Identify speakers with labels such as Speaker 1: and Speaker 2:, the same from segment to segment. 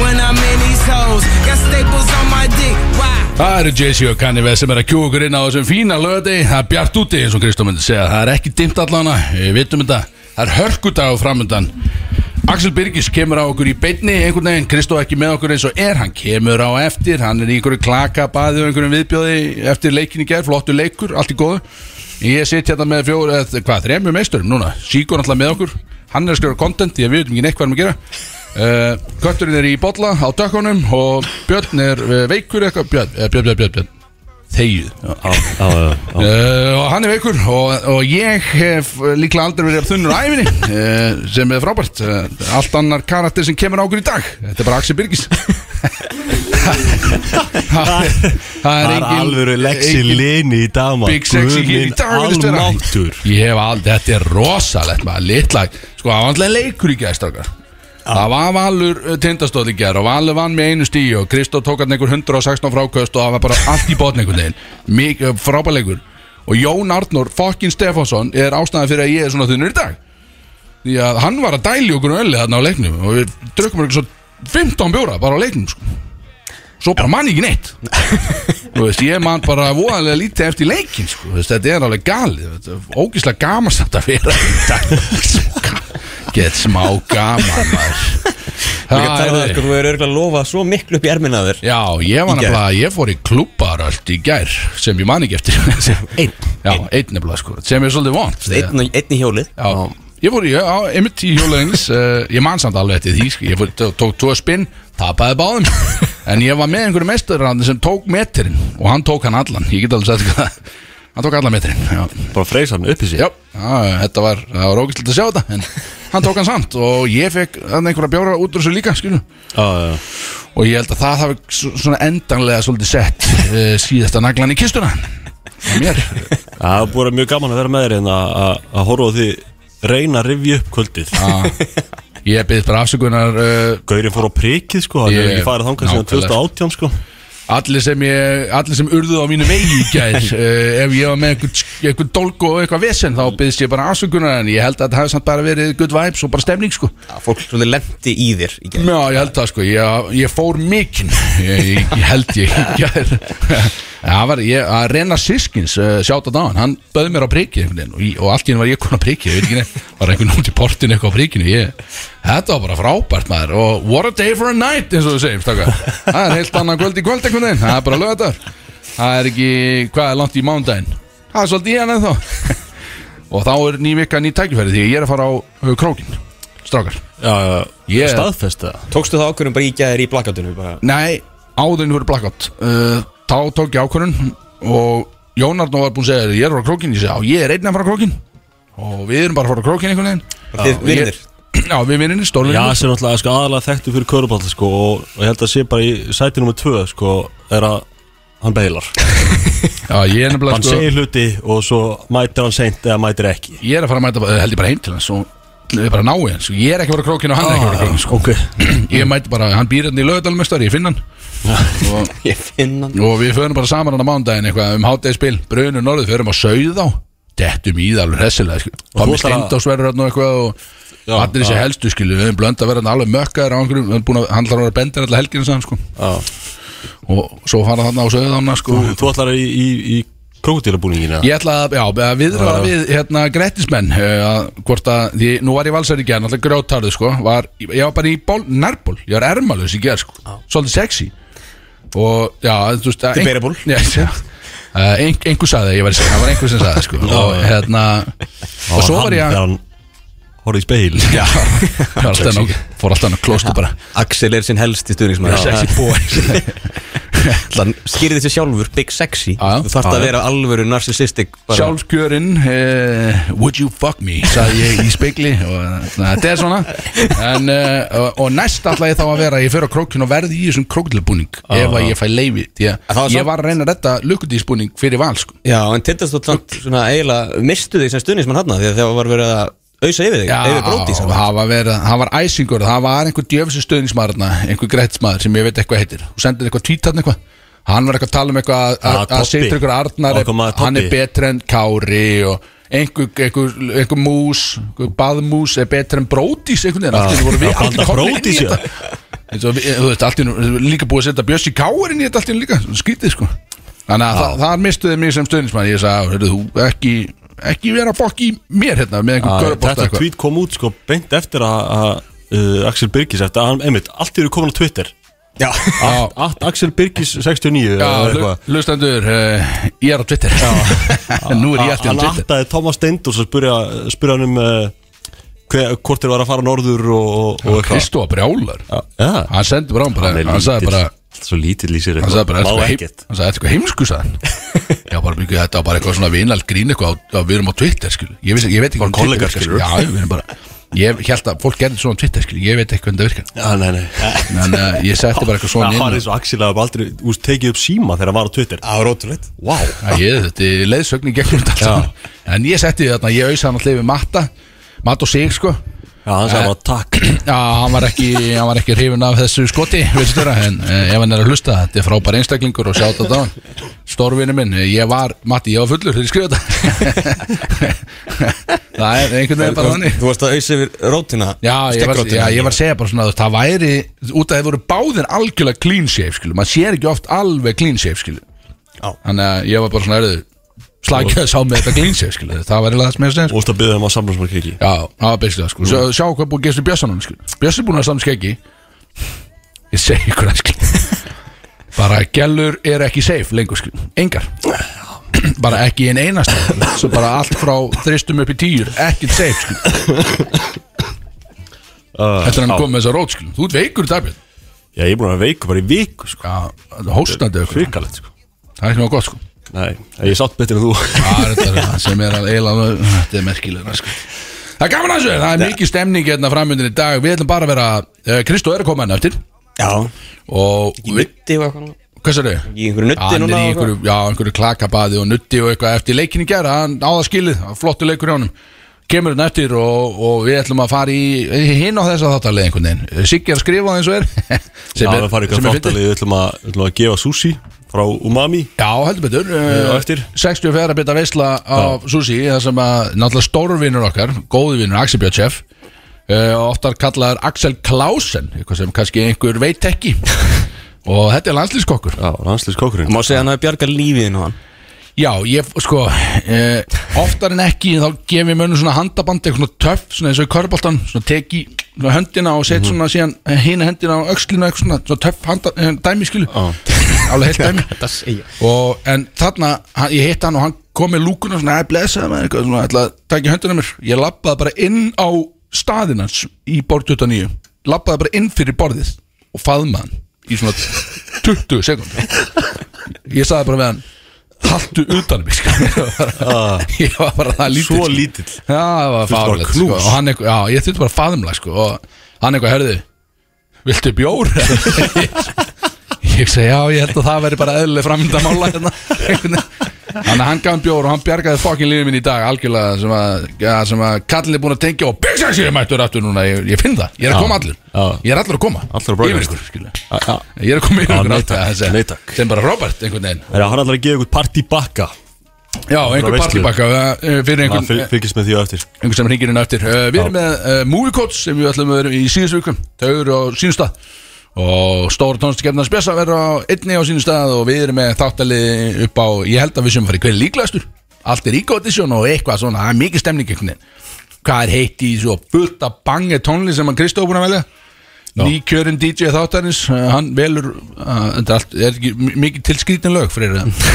Speaker 1: when I'm in these hoes. Got staples on my dick, why?
Speaker 2: Það eru JC og Kanye West sem er að kjúa okkur inn á þessum fína lögadegi Það er bjart úti eins og Kristó myndi segja Það er ekki dimmt allana, við vitum þetta Það er hörkudag á framöndan Axel Birgis kemur á okkur í beinni einhvern veginn Kristó ekki með okkur eins og er Hann kemur á eftir, hann er í einhverju klaka baði og einhverjum viðbjóði eftir leikin í gær Flottur leikur, allt í góðu Ég sitt hérna með fjóru, eða, hvað, þremur meisturum núna Sígur náttúrulega með okkur Hann er að skjóra content, ég veit ekki neitt hvað hann er að gera Uh, Kötturinn er í bolla á dökkunum og Björn er eh, veikur eitthvað Björn, eh, Björn, Björn, Björn, Björn Þegið
Speaker 3: á, á, á.
Speaker 2: uh, Og hann er veikur og, og ég hef eh, líklega aldrei verið af þunnur á æfinni uh, sem er frábært uh, Allt annar karakter sem kemur á okkur í dag Þetta er bara Axel Birgis Það
Speaker 3: Það er
Speaker 2: engin-
Speaker 3: alvöru Lexi
Speaker 2: engin-
Speaker 3: Lini í dag maður.
Speaker 2: Big Sexy Kid
Speaker 3: Guð
Speaker 2: í
Speaker 3: minn
Speaker 2: dag virðist vera.
Speaker 3: Almáttur
Speaker 2: Ég hef aldrei, þetta er rosalegt maður, litla Sko, það var alltaf leikur í gæstakar Það var Valur uh, tindastóð í gær og Valur vann með einu stíu og Kristó tók hann einhver 116 frákvöst og það var bara allt í botn einhvern veginn Mikið frábæleikur Og Jón Arnór, fokkin Stefánsson, er ástæðan fyrir að ég er svona þunnur í dag Því að hann var að dæli okkur um öllu þarna á leiknum og við drukkum okkur svo 15 bjóra bara á leiknum sko svo bara mann ekki neitt þú veist, ég mann bara voðalega lítið eftir leikin sko. Þú veist, þetta er alveg galið þetta er ógislega gaman samt að vera í dag. sko. get smá gaman maður.
Speaker 3: Ég
Speaker 2: Það
Speaker 3: tala
Speaker 2: er
Speaker 3: það sko,
Speaker 2: þið.
Speaker 3: þú hefur örgulega lofað svo miklu upp í ermina þér
Speaker 2: já, ég var
Speaker 3: Í gær.
Speaker 2: nefnilega ég fór í klubbaröld í gær sem ég man ekki eftir já,
Speaker 3: Einn
Speaker 2: einn nefnilega sko, sem er svolítið vant
Speaker 3: Einn, og- einn í hjólið
Speaker 2: Já, ég fór í, á, einmitt í hjólaðinglis uh, Ég man samt alveg eftir því sko. Ég fór, tó- tók tvo spinn, tapaði báðum En ég var með einhverju mesturrandi sem tók metrinn Og hann tók hann allan Ég get alveg sagt hvað Hann tók allan metrinn Já,
Speaker 3: Bara freysa hann upp í sig
Speaker 2: já, já þetta var, það var ógæslega að sjá þetta En hann tók hann samt Og ég fekk þarna einhverja bjóra út úr þessu líka skilu.
Speaker 3: já
Speaker 2: Og ég held að það hafi s- svona endanlega svolítið sett uh, Síðasta naglan í kistuna Á Mér
Speaker 3: Það er búin mjög gaman að vera með þér en að að horfa á því reyna að rifja upp kvöldið
Speaker 2: Já. Ég byrði bara afsökunar uh,
Speaker 3: Gaurinn fór á prikið sko, hann
Speaker 2: Ég-
Speaker 3: hefur ekki farið þangað síðan
Speaker 2: nákvæmlega.
Speaker 3: 2018 sko
Speaker 2: Allir sem, ég, allir sem urðuð á mínu vegi í gær uh, Ef ég var með einhvern einhver dólku og eitthvað vesen Þá byggðist ég bara afsökunar En ég held að það hefði samt bara verið good vibes og bara stemning sko
Speaker 4: Já, Fólk svolítið lendi í þér í gær.
Speaker 2: Já, ég held það sko Ég, ég fór mikinn ég, ég, ég held ég í gær Það var ég, að reyna sískins uh, Sjáta á hann, hann bauð mér á priki einhvern veginn og, í- og allt í henni var ég konar á priki Ég veit ekki neitt, var einhvern út í portinu eitthvað á prikinu ég, Þetta var bara frábært maður Og what a day for a night, eins og við segjum stakar Það er heilt annan kvöld í kvöld einhvern veginn Það er bara lögðar Það er ekki, hvað er langt í mándaginn? Það er svolítið í hann ennþá Og þá er ný vika, ný tækifæri Því ég er að fara á uh, krókin, strákar
Speaker 3: Já, já,
Speaker 2: Ég-
Speaker 3: staðfesta
Speaker 4: Tókstu það ákvörðum bara í gæðir í blackoutinu bara.
Speaker 2: Nei, áðurinn fyrir blackout uh, Þá tók ég ákvörðun Og Jón Arnó var búinn að segja Ég er að fara á krókin, ég segi já, ég er einn að fara á krókin Og við erum bara að fara á krókin einhvern veginn
Speaker 4: Þið
Speaker 2: Já, og ég-
Speaker 4: vinir.
Speaker 2: Já, við vinnir,
Speaker 3: Já,
Speaker 2: stórvinnir
Speaker 3: sem náttúrulega sko, aðalega þekktu fyrir köruball sko, og, og ég held að sé bara í sæti nummer 2 sko, er að hann beilar
Speaker 2: já, ég er nefnilega
Speaker 3: Hann
Speaker 2: sko,
Speaker 3: segir hluti og svo mætir hann seint eða mætir ekki
Speaker 2: Ég er að fara að mæta, eh, held ég bara heim til hans Og við bara náu hans Ég er ekki að fara á krókin og hann er ekki að fara á krókin sko.
Speaker 3: Ok
Speaker 2: Ég mæti bara, hann býr hérna í lögadalmestari, ég finn hann og,
Speaker 4: Ég finn hann
Speaker 2: og við förum bara saman hann á mándaginn eitthvað um hátæðispil Brunur norðið, förum að sauða á Dettum í það alveg hressilega sko.
Speaker 3: þú
Speaker 2: Pammi
Speaker 3: ætlar að-
Speaker 2: Steindós verður hann og eitthvað og
Speaker 3: Já,
Speaker 2: allir þessi
Speaker 3: já.
Speaker 2: helstu skilu Við höfum blönd að vera hann alveg mökkaður á einhverjum Við höfum búin að handla hann að benda allar helginu saman sko.
Speaker 3: Já.
Speaker 2: Og svo fara þarna á sauðána sko.
Speaker 3: Þú ætlar í, í, í krokodilabúningina
Speaker 2: Ég ætla að, já, að viðra við hérna grættismenn að, hvort að, því nú var ég valsar í gerð alltaf grjótarðu sko, var, ég var bara í ból, nærból, ég var ermalus í gerð sko svolítið sexy og já, þú veist að-
Speaker 4: Debatable.
Speaker 2: Já, já. Uh, ein, einhver sagði það, ég var að segja, það var einhver sem sagði það, sko og hérna, og svo var ég að
Speaker 3: Þegar hann horfði í speil
Speaker 2: já, ég var alltaf nokk fór alltaf nokk klóstu bara
Speaker 4: Axel er sinn helsti stuðningsmæður
Speaker 2: sexy boy
Speaker 4: Hann skýrði þessi sjálfur Big Sexy
Speaker 2: Já, já.
Speaker 4: Þú þarft að vera alvöru narcissistic bara.
Speaker 2: Sjálfskjörinn uh, Would you fuck me sagði ég í speikli og na, þetta er svona en, uh, og, og næst ætla ég þá að vera að ég fer á krókin og verði í þessum krókilbúning ef að ég fæ leifi því
Speaker 4: Ah. En það var
Speaker 2: að ég
Speaker 4: samt-
Speaker 2: var að reyna að redda lukkudísbúning fyrir val sko.
Speaker 4: Já, en tindast þú tlant svona eiginlega mistu þig sem stuðningsmann hann því að það var verið að ausa yfir þig yfir bróti
Speaker 2: og það var, verið, það var æsingur það var einhver djöfisir stöðningsmaðurna einhver grætsmaður sem ég veit eitthvað heitir og sendir eitthvað tvítarn eitthvað hann var eitthvað að tala um eitthvað að-
Speaker 3: Ah,
Speaker 2: að- að
Speaker 3: Tobbi.
Speaker 2: setur ykkur Arnar
Speaker 3: Okkar maður
Speaker 2: hann er
Speaker 3: Tobbi.
Speaker 2: betri en Kári og einhver, einhver, einhver mús einhver baðmús er betri en Brótis einhvern veginn allt í einu voru við
Speaker 3: Blanda
Speaker 2: allir komnir inn í
Speaker 3: Brodís í
Speaker 2: þetta. eins og, við- þú veist, allt í nú líka búið að setja Bjössi Káurinn í þetta allt í nú líka skrítið sko þannig að
Speaker 3: Ah.
Speaker 2: það, það mistuði mig sem stöðnismann ég sagði, hörru þú, ekki ekki vera að fokk í mér hérna með einhver körubótt
Speaker 3: Ah, Þetta tweet kom út sko beint eftir að, að uh, Axel Birgis eftir að hann, einmitt, allt eru komin á Twitter
Speaker 4: Já,
Speaker 2: Já,
Speaker 3: Allt Axel Birgis 69
Speaker 2: já,
Speaker 3: eða
Speaker 2: lu-
Speaker 3: eitthvað.
Speaker 2: hlustendur uh, ég er á Twitter nú er ég allt í
Speaker 3: Ah, Hann
Speaker 2: nú Twitter
Speaker 3: attaði Thomas Steindors að spurja, spurja hann um uh, hver, hvort þeir var að fara norður og, og- og eitthvað
Speaker 2: Kristófa brjálar
Speaker 3: Já,
Speaker 2: hann sendi bara á hann bara,
Speaker 5: Hann er
Speaker 2: hann sagði
Speaker 5: lítill.
Speaker 2: bara
Speaker 5: Allt Svo lítill í sér
Speaker 2: hann sagði bara,
Speaker 3: Má
Speaker 2: "Ertu eitthvað heim-
Speaker 3: ekkert.
Speaker 2: hann sagði "Ertu eitthvað heimsku sagðan já, bara mikið þetta var bara eitthvað svona vinald grín eitthvað á- að við erum á Twitter, skil ég, vissi, ég veit ekki
Speaker 5: Bara
Speaker 2: hvernig
Speaker 5: kollegar,
Speaker 2: Twitter virkar,
Speaker 5: skilur.
Speaker 2: skilur. já, við erum bara ég held að fólk gerði svona á Twitter, skil ég veit ekki hvernig það virkar
Speaker 3: Já, nei, nei
Speaker 2: en uh, ég setti bara eitthvað svona
Speaker 3: Það var
Speaker 2: inn
Speaker 3: eins og Axel að aldrei úst, tekið upp síma þegar hann var á Twitter
Speaker 4: það var ótrúleitt
Speaker 3: Vá
Speaker 2: að ég, þetta er leiðsögn í gegnum þetta allt saman. en ég setti þarna, ég auðsa hann alltaf yfir matta matt og sig, sko
Speaker 3: Já, hann sagði bara takk
Speaker 2: Já, hann var ekki, hann var ekki hrifin af þessu skoti, veistu þeirra, en eh, ef hann er að hlusta, þetta er frábær einstaklingur og sjáta þetta á hann. Stórvinu minn, eh, ég var, Matti, ég var fullur þegar ég skrifa þetta. það er einhvern veginn bara þannig.
Speaker 4: Þú varst að auðsa yfir rótina
Speaker 2: Já, ég var,
Speaker 4: stekkrótina.
Speaker 2: já, ég var að segja bara svona, þú veist, það væri, út að þeir voru báðir algjörlega clean shave, skilu, maður sér ekki oft alveg clean shave, skilu.
Speaker 4: Já.
Speaker 2: Þannig að ég var bara svona, erðu, slagja þess á með þetta clean shave, skilu, það væri það sem ég að segja, sko.
Speaker 3: Og það byrðið hann að samla sem að kiki
Speaker 2: Já, það var bestilega sko Sjá, sjá hvað búið að gerast í Bjössanum sko. Bjössi er búin að samt skeggi Ég segi ykkur það sko Bara gælur er ekki safe lengur sko Engar Bara ekki ein einasta Svo bara allt frá þristum upp í tíur Ekkert safe sko Þetta er hann komið með þessa rót sko Þú ert veikur í dagbjörn
Speaker 3: Já, ég er búin að vera veiku bara í viku sko.
Speaker 2: Já, þetta er hóstandi ykkur
Speaker 3: Svikalegt sko
Speaker 2: Það er ekki náttúrulega gott sko
Speaker 3: Nei, ég er sátt betur en þú
Speaker 2: Já, þetta er það sem er að eila Þetta er merkilega sko Það er gaman að þessu, það er mikið stemning hérna framöndin í dag Við ætlum bara að vera, eh, Kristó er að koma henni eftir
Speaker 4: Já,
Speaker 2: og
Speaker 4: í nutti og eitthvað
Speaker 2: hvað sér þau?
Speaker 4: Í einhverju nutti
Speaker 2: hann er í
Speaker 4: núna og
Speaker 2: einhverju, já, einhverju klakabaði og nutti og eitthvað eftir leikin í gera, hann á það skilið það var flottur leikur hjá honum, kemur hann eftir og, og við ætlum að fara í hinn á þess að þáttalið einhvern veginn, Siggi er að skrifa það eins og er
Speaker 3: Já,
Speaker 2: sem
Speaker 3: það farið ykkur
Speaker 2: fyndið.
Speaker 3: þáttalið Við ætlum að, við ætlum að gefa sushi frá Umami
Speaker 2: Já, heldur betur
Speaker 3: á
Speaker 2: uh,
Speaker 3: eftir.
Speaker 2: 64 bita veisla á Susi Það sem að náttúrulega stórvinur okkar Góði vinur, Axel Björn Chef uh, Oftar kallaður Axel Klausen Eitthvað sem kannski einhver veit ekki Og þetta er landslískokkur
Speaker 3: Já, landslis kókurinn
Speaker 4: Má segja hann að bjarga lífiðinu hann
Speaker 2: Já, ég, sko uh, Oftar en ekki þá gef ég mönnum svona handaband Eitthvað svona töff, svona eins og í körboltan Svona teki svona höndina og set svona síðan Hina hendina á öxlina, eitthvað svona, svona töff handa, eh, Dæmi skilu Alveg heilt dæmi
Speaker 4: Þetta segja
Speaker 2: og, En þarna, hann, ég hitt hann og hann kom með lúkuna svona, að blessaði með eitthvað svona, ætla að taka í höndina á mér Ég labbaði bara inn á staðinans í borð 29 Labbaði bara inn fyrir borðið og faðmaði hann í svona 20 sekúndur Ég sagði bara við hann Haltu utan um mig sko. Ég var bara- Ég var bara það lítill
Speaker 3: Ah. Svo
Speaker 2: sko.
Speaker 3: lítill.
Speaker 2: Já, það var
Speaker 3: bara
Speaker 2: fárlega sko.
Speaker 3: knús.
Speaker 2: Og hann eitthvað, já, ég þurfti bara að faðumla sko. Og hann eitthvað, herðu Viltu bjór? Ég segi já, ég held að það veri bara eðlileg framvindamála hérna Einhvern veginn. Þannig að hann gaf hann bjór og hann bjargaði fokkin lífið minn í dag algjörlega sem að, ja, sem að kallin er búin að tengja og byggsa sér mættur aftur núna ég, ég finn það, ég er að koma allur
Speaker 3: já.
Speaker 2: Ég er allur að koma,
Speaker 3: Allur að bregðast.
Speaker 2: Yfir ykkur, skilur. Ég er að koma yfir ykkur
Speaker 3: Já, nei
Speaker 2: aftur
Speaker 3: takk,
Speaker 2: þessi-
Speaker 3: nei takk.
Speaker 2: Sem bara Robert einhvern veginn
Speaker 3: Það er að hann ætlar að gefa ykkur partybakka
Speaker 2: Já, einhver
Speaker 3: veislu.
Speaker 2: partibakka fyrir
Speaker 3: Það
Speaker 2: einhvern
Speaker 3: fyl- fylgist með því á eftir
Speaker 2: einhver sem ringir inn á eftir uh, Við erum með uh, Movie Coach sem við ætlum að vera í síðustu vikum Þau eru á sínum stað og stóra tónlistakefnar spesa verður á einni á sínum stað og við erum með þáttalið upp á, ég held að við sem farið hver er líklegastur allt er íkóðisjón og eitthvað svona það er mikið stemning einhvern veginn hvað er heitt í þessu og fullt af bange tónlist sem hann Kristó er búin að velja nýkjörinn DJ þáttarins uh, hann velur, uh, þetta er, allt, er ekki mi- mikið tilskrítin lög fyrir það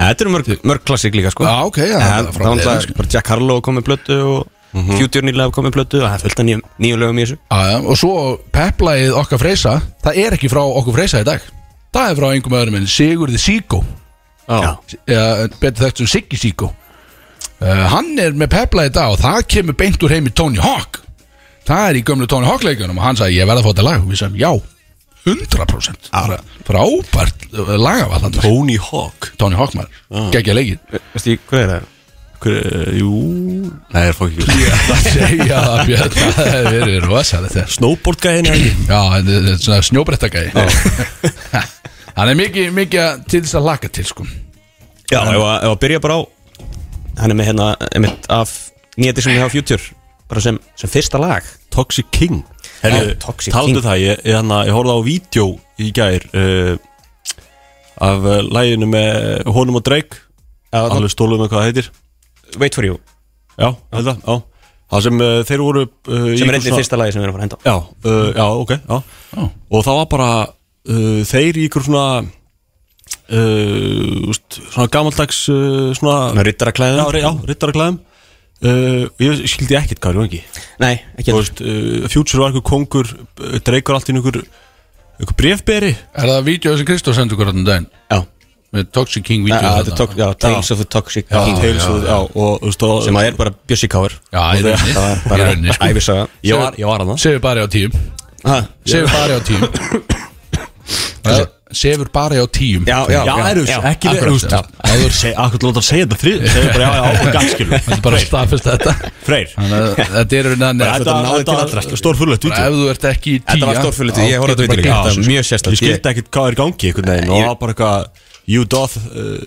Speaker 4: Þetta eru mörg, mörg klassik líka sko
Speaker 2: Já, Ah, ok, já, það
Speaker 4: En
Speaker 2: er
Speaker 4: Það
Speaker 2: frá
Speaker 4: var
Speaker 2: leiðin,
Speaker 4: náttúrulega bara Jack Harlow kom með blötu og Future nýlega kom með blötu og það er fullt af nýjum, nýjum lögum í þessu
Speaker 2: Aða, og svo peplaðið okkar freysa það er ekki frá okkur freysa í dag það er frá einhverjum öðrum en Sigurði Síkó
Speaker 4: Já.
Speaker 2: eða betur þekkt sem Siggi Síkó uh, hann er með peplaðið í dag og það kemur beint úr heimi Tony Hawk það er í gömlu Tony Hawk leikunum og hann sagði ég verða að fá þetta lag og við sagðum já 100% Bara frábært lagavalland
Speaker 3: Tony Hawk
Speaker 2: Tony Hawk maður geggja leikinn
Speaker 4: Veistu, hvað er það?
Speaker 3: Hver, eh, Jú Nei, það er fokk ekki
Speaker 2: það segja það Björn það hefur verið rosalegt þetta
Speaker 3: Snowboard gæðin er ekki
Speaker 2: Já, þetta er- þetta er svona snjóbrettagæði Hann er mikið, mikið að- til þess að laka til sko
Speaker 4: Já, ef að, ef að byrja bara á Hann er með hérna, einmitt af nýjandi sem við hafa Future bara sem, sem fyrsta lag
Speaker 3: Toxic King Herri,
Speaker 4: toxic
Speaker 3: taldu
Speaker 4: team.
Speaker 3: það, ég, hérna, ég, hana, ég horfði á vídeo í gær uh, af uh, læginu með honum og Drake
Speaker 4: Já,
Speaker 3: alveg stóluð með hvað það heitir
Speaker 4: Wait for you
Speaker 3: Já, þetta, já Það sem uh, þeir voru uh, í
Speaker 4: sem er
Speaker 3: einhvers
Speaker 4: einnig
Speaker 3: svona-
Speaker 4: fyrsta lagi sem við erum að fara að henda á.
Speaker 3: Já, uh, já, ok, já Og það var bara uh, þeir í ykkur svona uh, úst, svona gamaldags uh, svona
Speaker 4: Svona rittaraklæðum
Speaker 3: Já, ri- já, rittaraklæðum uh, Ég skildi ekkert hvað er vangi
Speaker 4: Nei, ekki
Speaker 3: Þú
Speaker 4: heldur.
Speaker 3: veist, uh, Future var einhver kongur uh, Dreikur allt í einhver einhver brefberi
Speaker 2: Er það vídeo sem Kristóf sendur hvernig um daginn?
Speaker 4: Já,
Speaker 2: Með Toxic King
Speaker 4: Já,
Speaker 2: vídeo
Speaker 4: þetta er tók- já, Tales of the Toxic King
Speaker 3: Tales of- já, og, þú veist, og,
Speaker 4: sem að er bara Bjössi Káur
Speaker 2: Já, í rauninni, í
Speaker 4: það var bara sko.
Speaker 2: rauninni, sko.
Speaker 4: æfisaga
Speaker 3: ég var, ég var að það
Speaker 2: Sefur bara á tíum
Speaker 4: Ha,
Speaker 2: Sefur bara á tíum Það- Sefur bara á tíum
Speaker 4: Já, já,
Speaker 3: Já, er
Speaker 4: já,
Speaker 3: þess,
Speaker 2: akkurat,
Speaker 3: ekki verið, þú veist
Speaker 2: já.
Speaker 3: Áður seg, akkur lóta að segja þetta þrið Segðu bara, já, já, og gangskilu
Speaker 2: Þetta er bara að staðfesta þetta
Speaker 3: Freyr
Speaker 2: Þannig að Þetta er þannig að
Speaker 4: þetta náði til allra,
Speaker 3: þetta stórfurlegt vídeo
Speaker 2: Ef þú ert ekki í tíu
Speaker 4: Þetta var stórfurlegt, ég horfði á þetta líka.
Speaker 2: Já,
Speaker 4: Þetta var mjög sérstakt.
Speaker 3: Ég skildi ekkert hvað er í gangi einhvern veginn og það var bara eitthvað You doth uh,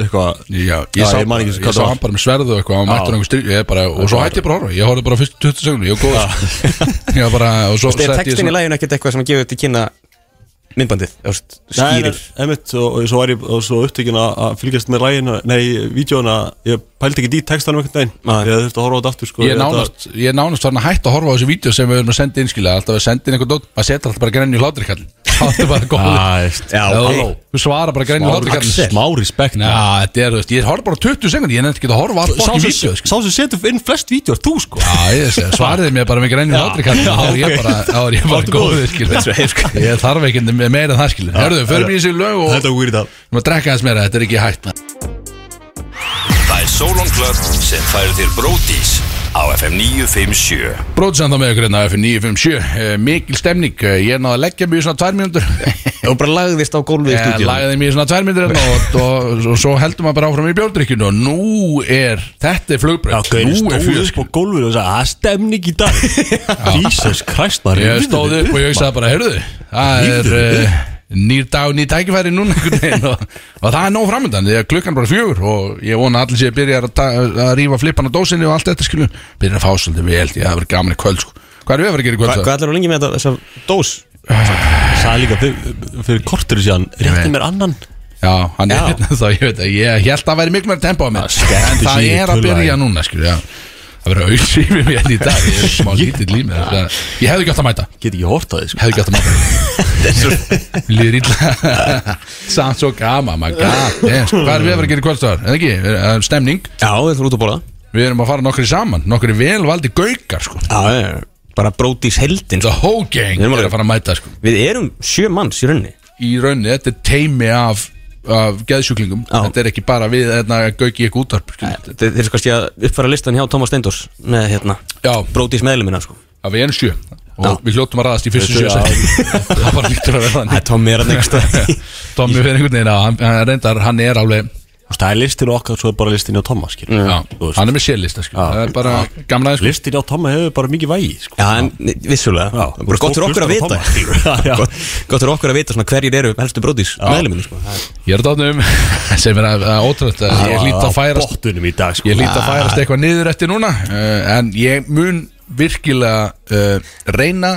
Speaker 3: eitthvað
Speaker 2: Já, ég sá,
Speaker 3: ég man ekki
Speaker 2: ég,
Speaker 3: hvað það
Speaker 2: sá
Speaker 3: var.
Speaker 2: hann bara með sverðu og eitthvað og mættur einhver stríð ég bara, og svo hætti ég bara að horfa, ég horfði bara fyrst 20 segundu, ég var góð ég var bara, og svo
Speaker 4: Er
Speaker 2: setti ég
Speaker 4: textin í
Speaker 2: svona
Speaker 4: læginu ekkert eitthvað sem að gefa til kynna myndbandið, þú veist,
Speaker 3: Skýrir
Speaker 4: skýrir
Speaker 3: Emitt og, og svo var ég og svo upptökin að að fylgjast með lægin Nei, vídjóna Ég pældi ekki í textanum einhvern
Speaker 4: Nei.
Speaker 3: veginn Ég þurfti að horfa á þetta aftur sko
Speaker 2: ég er
Speaker 3: þetta-
Speaker 2: nánast, ég er nánast farin að hætta að horfa á þessi vídeo sem við erum að senda innskila alltaf að senda inn einhvern dót, maður setja alltaf bara grenni í hlátrikall það er bara góð
Speaker 3: Æst,
Speaker 4: Já,
Speaker 2: Þú- þú svara bara grenni í hlátrikall
Speaker 3: Smá respekt
Speaker 2: Næ, þetta er, þú veist, ég horf bara á 20 segundu ég nefndi ekki að horfa á allt
Speaker 3: Sá
Speaker 2: bótt í
Speaker 3: sem-
Speaker 2: vídeo sko.
Speaker 3: sá sem setur inn flest vídjór, þú sko
Speaker 2: Já, ég sé, svariði mér bara með grænir hlátrikall þá er ég bara, þá er ég bara
Speaker 3: Þáttu
Speaker 2: góður
Speaker 3: góður.
Speaker 2: skilur.
Speaker 3: sko.
Speaker 2: ég þarf ekki meira en það skilur Hörðu, förum í þessi lög og
Speaker 3: Þetta er weird að
Speaker 2: Nú að drekka aðeins meira, þetta er ekki hægt maður.
Speaker 5: Það er Solon Club sem færir þér bródís á FM 957
Speaker 2: Bróðsand þá með ykkur hérna F957 uh, Mikil stemning, uh, ég er náða að leggja mjög svona tvær mínútur Eh,
Speaker 4: og bara lagðist á gólfið í
Speaker 2: Ég
Speaker 4: stúdíu
Speaker 2: lagði mjög svona tvær mínútur hérna og, og, og, og svo heldur maður bara áfram í bjórdrykkinu og nú er, þetta er
Speaker 3: Já,
Speaker 2: flugbröð
Speaker 3: gauðin
Speaker 2: Nú er
Speaker 3: stóð upp á
Speaker 2: fjöðskil
Speaker 3: gólfinu og sagði Það er stemning í dag Jesus Christ maður
Speaker 2: Ég
Speaker 3: rífðu
Speaker 2: stóð upp og
Speaker 3: þig
Speaker 2: ég
Speaker 3: maður.
Speaker 2: hugsaði bara, heyrðu Það
Speaker 3: Rífðu
Speaker 2: er
Speaker 3: þig
Speaker 2: uh, nýr dag, nýr tækifæri núna einhvern veginn og, og það er nóg framöndan Því að klukkan bara fjögur og ég vona að allir sé að byrja að, ta- að rífa flippan á dósinni og allt þetta skilu Byrja að fá svolítið vel, því að það verður gaman í kvöld sko. Hvað er við að fara að gera í kvöld?
Speaker 4: Hvað
Speaker 2: það?
Speaker 4: hvað ætlar þú lengi með þetta, þessa dós?
Speaker 3: sagði líka fyrir, fyrir kortur síðan rétti
Speaker 2: veit.
Speaker 3: mér annan
Speaker 2: Já, hann er
Speaker 4: Já.
Speaker 2: hérna þá, ég veit að ég held að væri miklu meira tempo á mér En
Speaker 3: skemmti
Speaker 2: það
Speaker 3: sig í
Speaker 2: er að
Speaker 3: tulla,
Speaker 2: byrja
Speaker 3: já.
Speaker 2: núna, skilur já Það verður auðsýfið mér hérna í dag Ég er smá lítið límið þess að- sko. Ég hefði ekki átt að mæta
Speaker 3: get ekki hort á þig sko.
Speaker 2: Hefði ekki átt að mæta Mér Líður illa Samt svo gaman, maður gæt yes. Hvað er við að vera að gera í kvöldstofar? En ekki, það er stemning
Speaker 4: Já, við ætlum út að bóla
Speaker 2: Við erum að fara nokkri saman Nokkri velvaldi gaukar, sko
Speaker 4: Já, já, bara brótis heldin
Speaker 2: The whole gang
Speaker 4: Við erum
Speaker 2: er
Speaker 4: alveg-
Speaker 2: að fara að mæta, sko
Speaker 4: Við erum sjö manns í rauninni
Speaker 2: Í rauninni, þetta er teimi af af geðsjúklingum,
Speaker 4: Já.
Speaker 2: þetta er ekki bara við hérna, gauki í eitthvað útarp skilur.
Speaker 4: Þeir þeir eru sko að stíga- uppfæra listan hjá Thomas Steindors með hérna,
Speaker 2: Já,
Speaker 4: brótis meðlumina sko
Speaker 2: að við erum sjö og
Speaker 4: Já.
Speaker 2: við hljóttum að raðast í fyrstu sjö
Speaker 3: Þetta er-
Speaker 2: sæti. það bara lítur að verða
Speaker 4: Það er
Speaker 2: þannig
Speaker 4: Tommy hérna er að neksta
Speaker 2: Tommy fyrir einhvern veginn að hann, hann, reyndar, hann er alveg
Speaker 3: Þú veist, það er listin okkar svo er bara listin á Tomma skil
Speaker 2: já,
Speaker 3: Þú veist.
Speaker 2: hann er með sérlista skil.
Speaker 3: Já.
Speaker 2: það er bara gamla aðeins sko.
Speaker 3: listin á Tomma hefur bara mikið vægi sko.
Speaker 4: Já, en vissulega
Speaker 3: Já,
Speaker 4: Bara Gott fyrir okkur
Speaker 3: hlustar á
Speaker 4: að vita
Speaker 3: Tomma, skilur. Já, já.
Speaker 4: Gott gott fyrir okkur að vita svona hverjir eru helstu brótis meðlumina sko
Speaker 2: ég er dátnum sem er að, að ótrútt að ég hlýtt að færast
Speaker 3: bóttunum í dag sko.
Speaker 2: ég hlýtt að færast eitthvað niður eftir núna uh, en ég mun virkilega uh, reyna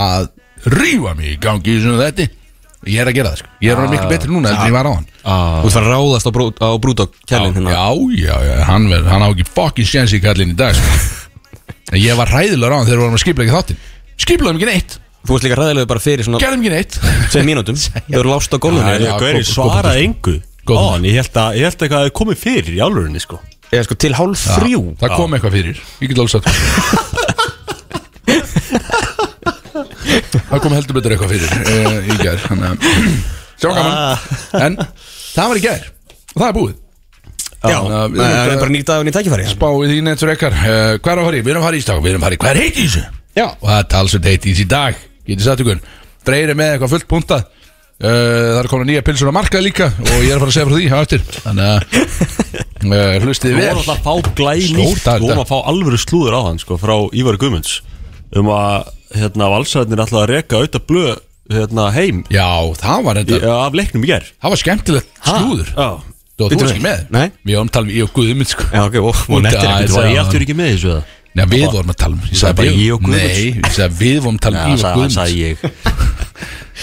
Speaker 2: að rýfa mig í gangi í svona þetta ég er að gera það sko. ég er að
Speaker 3: Ah,
Speaker 2: miklu betri núna en ég var á hann
Speaker 4: Þú ert fara að ráðast á, bró, á brúdók kjærlinn hérna
Speaker 2: Já, já, já, hann, ver, hann á ekki fokkin sjans í kallin í dag sko. En Ég var ræðilega ráðan þegar við vorum að skipla ekki þáttinn Skiplaðum ekki neitt,
Speaker 4: Þú ert líka ræðilega bara fyrir svona
Speaker 2: gerðum ekki neitt
Speaker 4: Tveim mínútum Þau eru lást á gólfinu
Speaker 3: Það
Speaker 2: Já,
Speaker 3: er gauðin
Speaker 2: góð-
Speaker 3: svarað engu
Speaker 2: Góð
Speaker 3: Ó, en ég held að ég held eitthvað að það komið fyrir í álurinni sko.
Speaker 4: Eða sko til hálf þrjú
Speaker 2: Það kom eitthvað fyrir, ég get alveg sagt það. Það kom heldur betur eitthvað fyrir uh, í gær þannig að- Sjá
Speaker 4: Ah.
Speaker 2: gaman En það var í gær og það er búið
Speaker 4: Já,
Speaker 2: Já,
Speaker 4: það
Speaker 2: við erum
Speaker 4: er
Speaker 2: bara-
Speaker 4: bara nýtt dag og nýtt tækifæri
Speaker 2: Báið þín eftir ekkar uh, Hvað er að fara í? Við erum að fara í strákum, við erum að fara í Hvað er heiti í þessu?
Speaker 4: Já.
Speaker 2: Og það er talsveit heiti í þessu í dag Getið satt ykkur Dreiri með eitthvað fullt punta uh, Það er komin nýja pilsur á markað líka Og ég er að fara að segja frá því á eftir Þannig að uh, hlustið
Speaker 3: Við
Speaker 2: vel
Speaker 3: vorum alltaf að fá glæni
Speaker 2: Stór dagur
Speaker 3: Við vorum
Speaker 2: dag.
Speaker 3: að fá alvöru slúður á hann sko, frá Ívar Guðmunds um að hérna, valsæðinir alltaf að reka auðvitað blöð hérna, heim
Speaker 2: Já, það var
Speaker 3: í,
Speaker 2: þetta
Speaker 3: af leiknum í ger
Speaker 2: Það var skemmtilegt slúður
Speaker 3: Já,
Speaker 2: Þú þú
Speaker 4: Bíddu
Speaker 2: varst
Speaker 4: við.
Speaker 2: ekki með
Speaker 4: Nei.
Speaker 2: Við varum talað um ég og Guðmund sko
Speaker 4: Já, ok, og
Speaker 2: Út
Speaker 4: hún eftir
Speaker 2: að-
Speaker 3: Þú
Speaker 4: ekki
Speaker 2: Þetta
Speaker 3: var
Speaker 2: var-
Speaker 3: ég aftur ekki með þessu eða?
Speaker 2: Nei, við vorum að tala um Ég sagði bara
Speaker 3: Ég og Guðmunds.
Speaker 2: Nei, ég sagði að við vorum að tala um ég
Speaker 3: það
Speaker 2: og
Speaker 3: sagði,
Speaker 2: Guðmunds
Speaker 3: sagði ég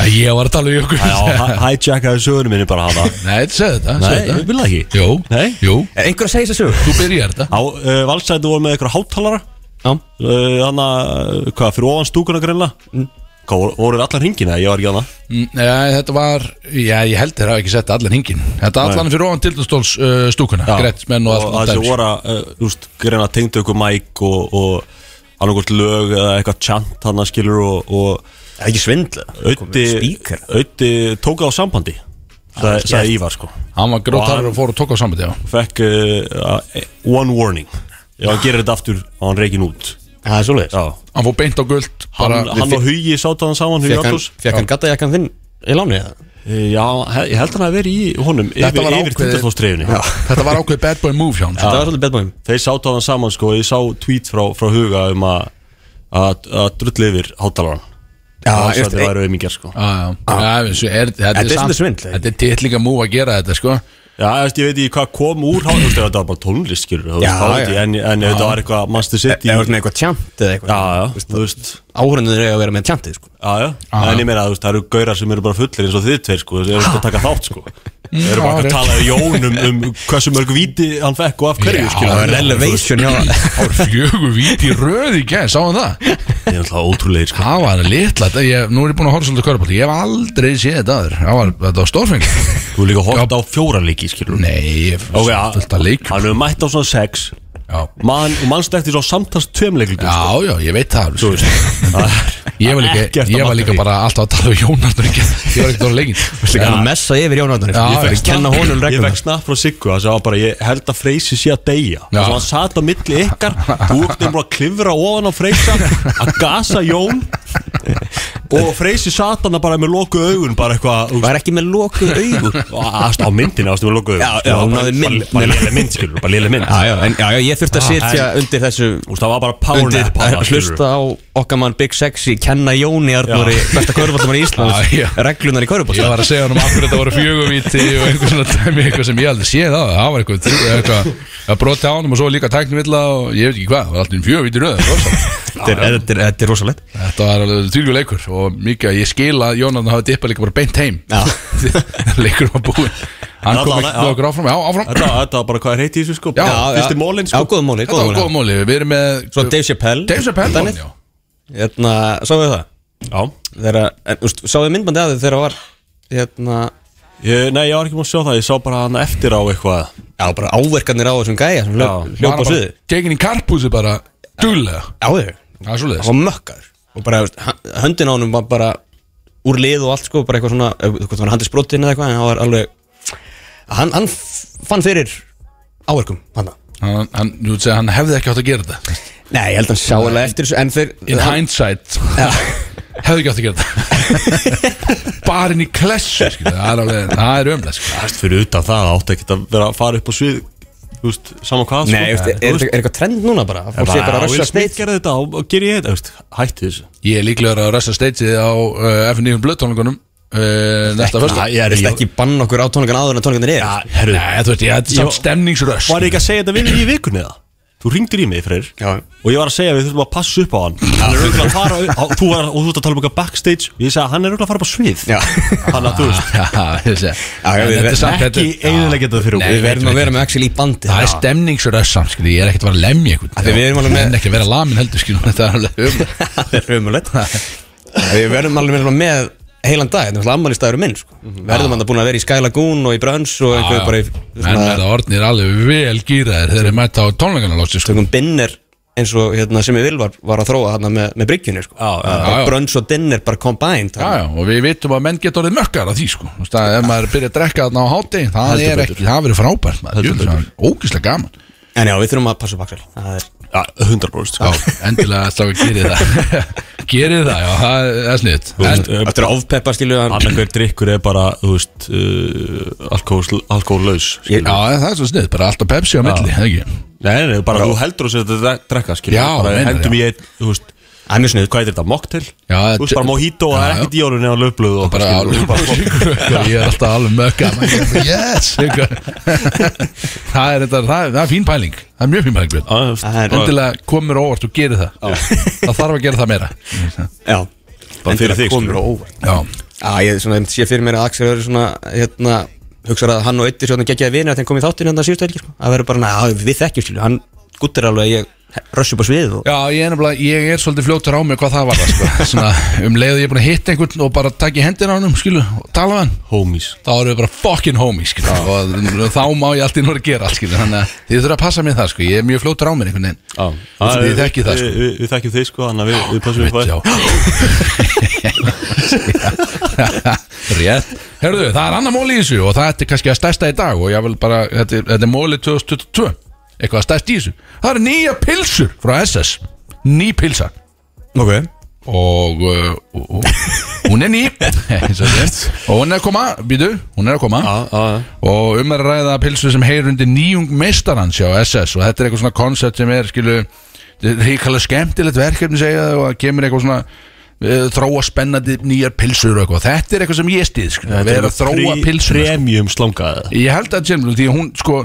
Speaker 2: Að Ég var að tala um ég og
Speaker 3: Já, hi-
Speaker 2: Guðmunds
Speaker 3: hijackaði sögurinn minni bara hana
Speaker 2: Nei, þetta segði þetta
Speaker 3: Nei,
Speaker 2: segðu
Speaker 3: ég vil það ekki.
Speaker 2: Jú,
Speaker 3: Nei.
Speaker 2: jú,
Speaker 4: Er einhver að segja þessu?
Speaker 2: þú byrjar þetta
Speaker 3: Á uh, valsæti voru með eitthvað hátalara
Speaker 4: Já
Speaker 3: uh, Hanna, uh, hvað, fyrir ofan stúkuna greinlega mm. Hvað, voru- voru allar hringina? Ég var ekki hana
Speaker 2: Mm, Já, þetta var, já, ég held þeir hafa ekki sett allan hingin Þetta allan fyrir ofan tildastóls uh, stúkuna Grettmenn og allt
Speaker 3: Og þessi
Speaker 2: dæmis.
Speaker 3: voru að, uh, þú veist, greina tengdu ykkur mæk og, og annarkvort lög eða eitthvað chant hana skilur og, og
Speaker 4: Það er ekki svindla
Speaker 3: Ötti,
Speaker 4: Spíker
Speaker 3: Ötti tók á sambandi Sa- sagði Ívar sko
Speaker 2: Hann var grótarur
Speaker 3: Og hann-
Speaker 2: og fór og tók á samvæti Já,
Speaker 3: fekk uh, uh, one warning ef hann gerir þetta aftur og hann reikin út
Speaker 4: Það er svoleiðis
Speaker 3: já,
Speaker 2: hann fór beint á guld bara,
Speaker 3: hann, hann og Hugi sátt hann saman Hugi
Speaker 4: Fekk hann,
Speaker 3: Artús
Speaker 4: fekk hann gata jakkan þinn í láni eða?
Speaker 3: já, he- ég held hann að vera í honum
Speaker 2: Þetta
Speaker 3: yfir,
Speaker 2: var
Speaker 3: yfir
Speaker 2: ákveðið.
Speaker 3: tindastóðstreifinu
Speaker 2: Þetta var ákveð bad boy move hjá hann sko.
Speaker 4: Þetta var svolítið bedmæðum
Speaker 3: þeir sátt hann saman sko ég sá tweet frá, frá Huga um að að að drulli yfir hátalaran
Speaker 4: ég veist,
Speaker 3: það
Speaker 4: ein-
Speaker 3: var auðmikið sko
Speaker 2: Já, já. Já, við séum, er- Þetta
Speaker 4: er
Speaker 2: samt-
Speaker 4: svolítið svindl, ekki?
Speaker 2: Þetta er titlinga múf að gera þetta sko
Speaker 3: Já, ég veist, ég veit ekki hvað kom úr hálf, þú veist, þetta var bara tónlist, skilur, þú
Speaker 4: Já,
Speaker 3: veist, þá veit ég,
Speaker 4: já. E-
Speaker 3: en, en þetta var eitthvað Master City,
Speaker 4: Eða voru með eitthvað tjant eða
Speaker 3: já,
Speaker 4: eitthvað
Speaker 3: já, þú veist,
Speaker 4: Áhörðunir eru að vera með tjantið sko
Speaker 3: já, já, en ég meina, þú veist, það eru gaurar sem eru bara fullir eins og þið tveir, sko, þeir eru ekki að taka þátt, sko, þeir eru bara
Speaker 2: já,
Speaker 3: að tala um Jón um, um hversu mörg víti hann fekk og af hverju,
Speaker 2: Já,
Speaker 3: skilur,
Speaker 2: það er
Speaker 4: Elevation hjá
Speaker 2: Það var fjögur vít í röð í gæð Sáum það
Speaker 3: það er alltaf ótrúlega, sko,
Speaker 2: Það var litla þetta- ég, Nú er ég búin að horfa svolítið körbátt Ég hef aldrei séð þetta aður Það var, þetta var stórfeng
Speaker 3: þú er líka hort á fjóra leiki, skilur,
Speaker 2: Nei, ég
Speaker 3: ok,
Speaker 2: okay, fullt að leik
Speaker 3: hann er mætt á svona sex,
Speaker 2: Já
Speaker 3: mann, og mannstækti svo samtast tveim leikildum,
Speaker 2: Já, já, ég veit það sko.
Speaker 3: þú veist, það er
Speaker 2: Ég var líka,
Speaker 3: Ekkert að
Speaker 2: ég var
Speaker 3: marka
Speaker 2: líka
Speaker 3: því.
Speaker 2: bara alltaf að tala um Jónardur ekki Ég var ekkert um á leikin
Speaker 4: Þannig að messa yfir Jón Arnari
Speaker 2: Já,
Speaker 4: Ég
Speaker 2: já.
Speaker 4: fekk að kenna honum
Speaker 3: Ég
Speaker 4: reglum
Speaker 3: vekk snapp frá Siggu Það var bara, ég held að Freysi sé að deyja
Speaker 2: Já.
Speaker 3: Það var hann sat á milli ykkar Þú ert bara að klifra ofan á Freysa Að gasa Jón Og Freysi sat hann bara með loku augun Bara eitthvað
Speaker 4: Var ekki með lokuð augu
Speaker 3: Ást á myndinu, ástu með loku augun
Speaker 4: Já,
Speaker 3: Sko,
Speaker 4: já,
Speaker 3: það var
Speaker 4: hún
Speaker 3: bara-
Speaker 4: náði mynd-
Speaker 3: Bara lélega mynd, skilur, bara lélega mynd
Speaker 4: Já, já, en, já, já, ég þurfti að sitja
Speaker 3: en-
Speaker 4: undir þessu
Speaker 3: Úst, Það var bara power
Speaker 4: undir,
Speaker 3: nap
Speaker 4: að hlusta á okkar mann Big Sexy, kenna Jóni Arnóri, besta köruboltamar í Íslands,
Speaker 2: Já, já.
Speaker 4: reglunar í körubolt
Speaker 2: Ég var að segja hann um af hverju þetta voru fjögumíti og einhver svona dæmi, eitthvað sem ég aldrei séð á það var eitthvað, þrjú- eitthvað að broti á honum og svo líka tæknivilla og ég veit ekki hvað, það var alltaf fjögumíti röð
Speaker 4: Þetta er- þetta er- þetta er rosalegt
Speaker 2: Þetta var alveg þýrgjur leikur og mikið að ég skil að Jónardur hafi dippað líka bara beint heim
Speaker 4: Já.
Speaker 2: Leikur var búinn Hann kom
Speaker 3: Alla-
Speaker 2: ekki með okkur áfram, já áfram
Speaker 3: Þetta þetta var bara hvað er heiti í þessu sko
Speaker 2: Já,
Speaker 3: Fyrsti mólin
Speaker 4: Já,
Speaker 3: sko
Speaker 4: góð móli,
Speaker 2: Þetta
Speaker 4: góð
Speaker 2: var
Speaker 4: móli
Speaker 2: góð móli, við erum með
Speaker 4: Svo Dave Chappelle
Speaker 2: Dave Chappelle
Speaker 4: Þannig.
Speaker 2: já.
Speaker 4: Hérna, sáu við það?
Speaker 3: Já
Speaker 4: Þeirra, en, úst, sáu við myndbandi að þið þegar það var Hérna,
Speaker 3: Ég- Nei, ég var ekki múin að sjá það Ég sá bara hann eftir á eitthvað
Speaker 4: já, bara áverkarnir á þessum gæja sem hljóp
Speaker 3: Já,
Speaker 4: hljóp á sviði
Speaker 2: Tekin í karpúsi bara, duglega
Speaker 4: Já, þeir
Speaker 2: Það er svoleiðis
Speaker 4: Það var mökkar Og bara, úst, höndin á honum var bara Úr lið og allt, sko, bara eitthvað svona eh, Þú veist, hann handið sprotinn eða eitthvað En hann var alveg Hann, hann f- fann fyrir áverkum, hann
Speaker 2: hann, hann, þú veist að hann hefði ekki átt að gera þetta
Speaker 4: Nei, ég held hann sjá alveg eftir þessu En þeir
Speaker 2: in
Speaker 4: hann-
Speaker 2: hindsight hefði ekki átt að gera þetta bara inn í klessu skilur, það er alveg, það er ömlega sko.
Speaker 3: Æst fyrir utan það, það átti ekkert að vera að fara upp á svið Þú veist, saman hvað
Speaker 4: Nei,
Speaker 3: sko.
Speaker 4: úst, er, er, er eitthvað trend núna bara? Fólk sé bara að
Speaker 3: Will
Speaker 4: rössa
Speaker 3: Smith
Speaker 4: sneitt
Speaker 3: gerði þetta og og ger ég þetta þú veist, Hætti þessu
Speaker 2: ég er líklega að rösta stageið á uh, F9 blöðtónleikunum uh, næsta fyrsta
Speaker 3: ég
Speaker 4: Viltu sko. ekki bann okkur á tónleikana áður en tónleikana er yfir?
Speaker 3: herru
Speaker 2: Nei, þú veist, ég þetta er samt
Speaker 3: Ég-
Speaker 2: stemningsröst
Speaker 3: Var ég ekki að segja þetta við mig í vikunni það? Þú ringdir í mig, Freyr
Speaker 4: Já.
Speaker 3: Og ég var að segja að við þurfum að passa upp á hann Hann er auðvitað að fara á, Þú var og þú ert að tala um eitthvað backstage Og ég sagði að hann er auðvitað að fara upp á svið
Speaker 4: Já.
Speaker 3: Þannig að þú veist
Speaker 2: Ah, Já, ég sé.
Speaker 4: já,
Speaker 2: En
Speaker 4: við-
Speaker 2: þetta er samt-
Speaker 3: ekki
Speaker 2: þetta-
Speaker 3: eyðileggja þetta fyrir
Speaker 2: Nei,
Speaker 3: okkur.
Speaker 4: Við verðum að
Speaker 2: veit,
Speaker 4: vera
Speaker 2: veit.
Speaker 4: með Axel í bandi
Speaker 2: Það er stemningsröst samt, skilur, ég er ekkert að vera að lemja einhvern
Speaker 4: því við erum alveg með-
Speaker 2: En ekki að vera lamin heldur, skilur, þetta er alveg ömlega
Speaker 4: Það er umulett Við verðum alveg verið með heilan dag Þetta er ammali staður minn sko. Verðum hann að búin að vera í Sky Lagoon og í Brönns og einhverju bara í
Speaker 2: Menn verða orðnir alveg vel gýraðir þegar þeir mæta á tónleikana lótsi, sko
Speaker 4: tökum binner eins og hérna, sem ég vil var, var að þróa þarna með, með bryggjunni sko.
Speaker 2: já, já.
Speaker 4: Brönns og dinner bara combined
Speaker 2: Já, já, og við vitum að menn geta orðið mökkar að því sko Þú veist að ef maður byrja að drekka þarna á hátegi það
Speaker 3: Heldur
Speaker 2: er
Speaker 3: betur.
Speaker 2: ekki, það verður frábært maður, jú, það er ógislega gaman
Speaker 4: En já, við þurfum að passa upp Axel Það er
Speaker 3: Já, 100% sko.
Speaker 2: Já, endilega stráka gerið það Gerið það, já, það er- það er sniðt
Speaker 3: Þú veist,
Speaker 2: En
Speaker 3: eh,
Speaker 4: Þetta er ofpeppa skilu hann
Speaker 3: Annarkver drikkur er bara, þú veist uh, alkohól- Alkohólaus
Speaker 2: Já,
Speaker 3: skilur.
Speaker 2: það er svo sniðt, bara alltaf Pepsi á milli, það ekki
Speaker 3: Nei, nei, bara þú heldur þess að þetta drekka skilur
Speaker 2: Já,
Speaker 3: bara
Speaker 2: meinar,
Speaker 3: hendum
Speaker 2: já.
Speaker 3: í einn, þú veist
Speaker 4: Það er mjög sniðugt
Speaker 3: Hvað heitir þetta? Mocktail?
Speaker 2: Já, þetta-
Speaker 3: Þú veist bara mojito og það er
Speaker 2: Já,
Speaker 3: ekkert í orðinu eða löfblöð og
Speaker 2: bara
Speaker 3: skilur,
Speaker 2: alveg
Speaker 3: þú bara-
Speaker 2: ég er alltaf alveg mökka yes eitthvað. það er þetta það, er- það er fín pæling það er mjög fín pæling Björn.
Speaker 3: Já, þú veist,
Speaker 4: Það er
Speaker 2: endilega komur óvart og gerir það það þarf að gera það meira
Speaker 4: Já
Speaker 3: Bara fyrir þig,
Speaker 4: komur
Speaker 3: skilur.
Speaker 4: á óvart
Speaker 2: já
Speaker 4: Já, ég svona, ég sé fyrir mér að Axel verður svona hérna, hugsar að hann og Eittir svona geggjaði vinir að þeim komið þáttin en það síðustu helgi sko. að verður bara, na, við þekkjum skilu hann guttir alveg að ég rössu upp á sviðið og
Speaker 2: Já, ég er, nefnilega- ég er svolítið fljótur á mig hvað það var sko. Svona, um leiðu ég er búin að hitta einhvern og bara taka í hendina á hann skilu, og tala við hann
Speaker 3: Homies
Speaker 2: þá erum við bara fucking homies skilu, og þá má ég allt í núna gera allt skilu, þannig að þið þurfa að passa mér það sko. ég er mjög fljótur á mér einhvern veginn
Speaker 3: Já,
Speaker 2: Þið
Speaker 3: við-
Speaker 2: þekkið það, sko.
Speaker 3: við- við- Við þekkjum þig sko, þannig að við- við passum upp á
Speaker 2: Já.
Speaker 3: þér
Speaker 2: Rétt Herðu, það er annar mól í þessu og það er kannski að stærsta í dag og ég vil bara, þetta er, þetta er móli 2022 eitthvað að stærst í þessu Það eru nýja pilsur frá SS Ný pilsa
Speaker 4: okay.
Speaker 2: og, uh, og, og hún er ný eins og þetta. og hún er að koma, býtu, hún er að koma
Speaker 3: Já, já, já.
Speaker 2: og um er að ræða pilsu sem heyr undir nýjung meistarans hjá SS og þetta er eitthvað svona koncept sem er skilu, ríkala skemmtilegt verkefni segja það og það kemur eitthvað svona eh, þróa spennandi nýjar pilsur og eitthvað, þetta er eitthvað sem ég stið skilu, að vera að þróa sko.
Speaker 3: Pre-
Speaker 2: pilsur
Speaker 3: Premium slangaði
Speaker 2: ég held að Jimlu, því að hún sko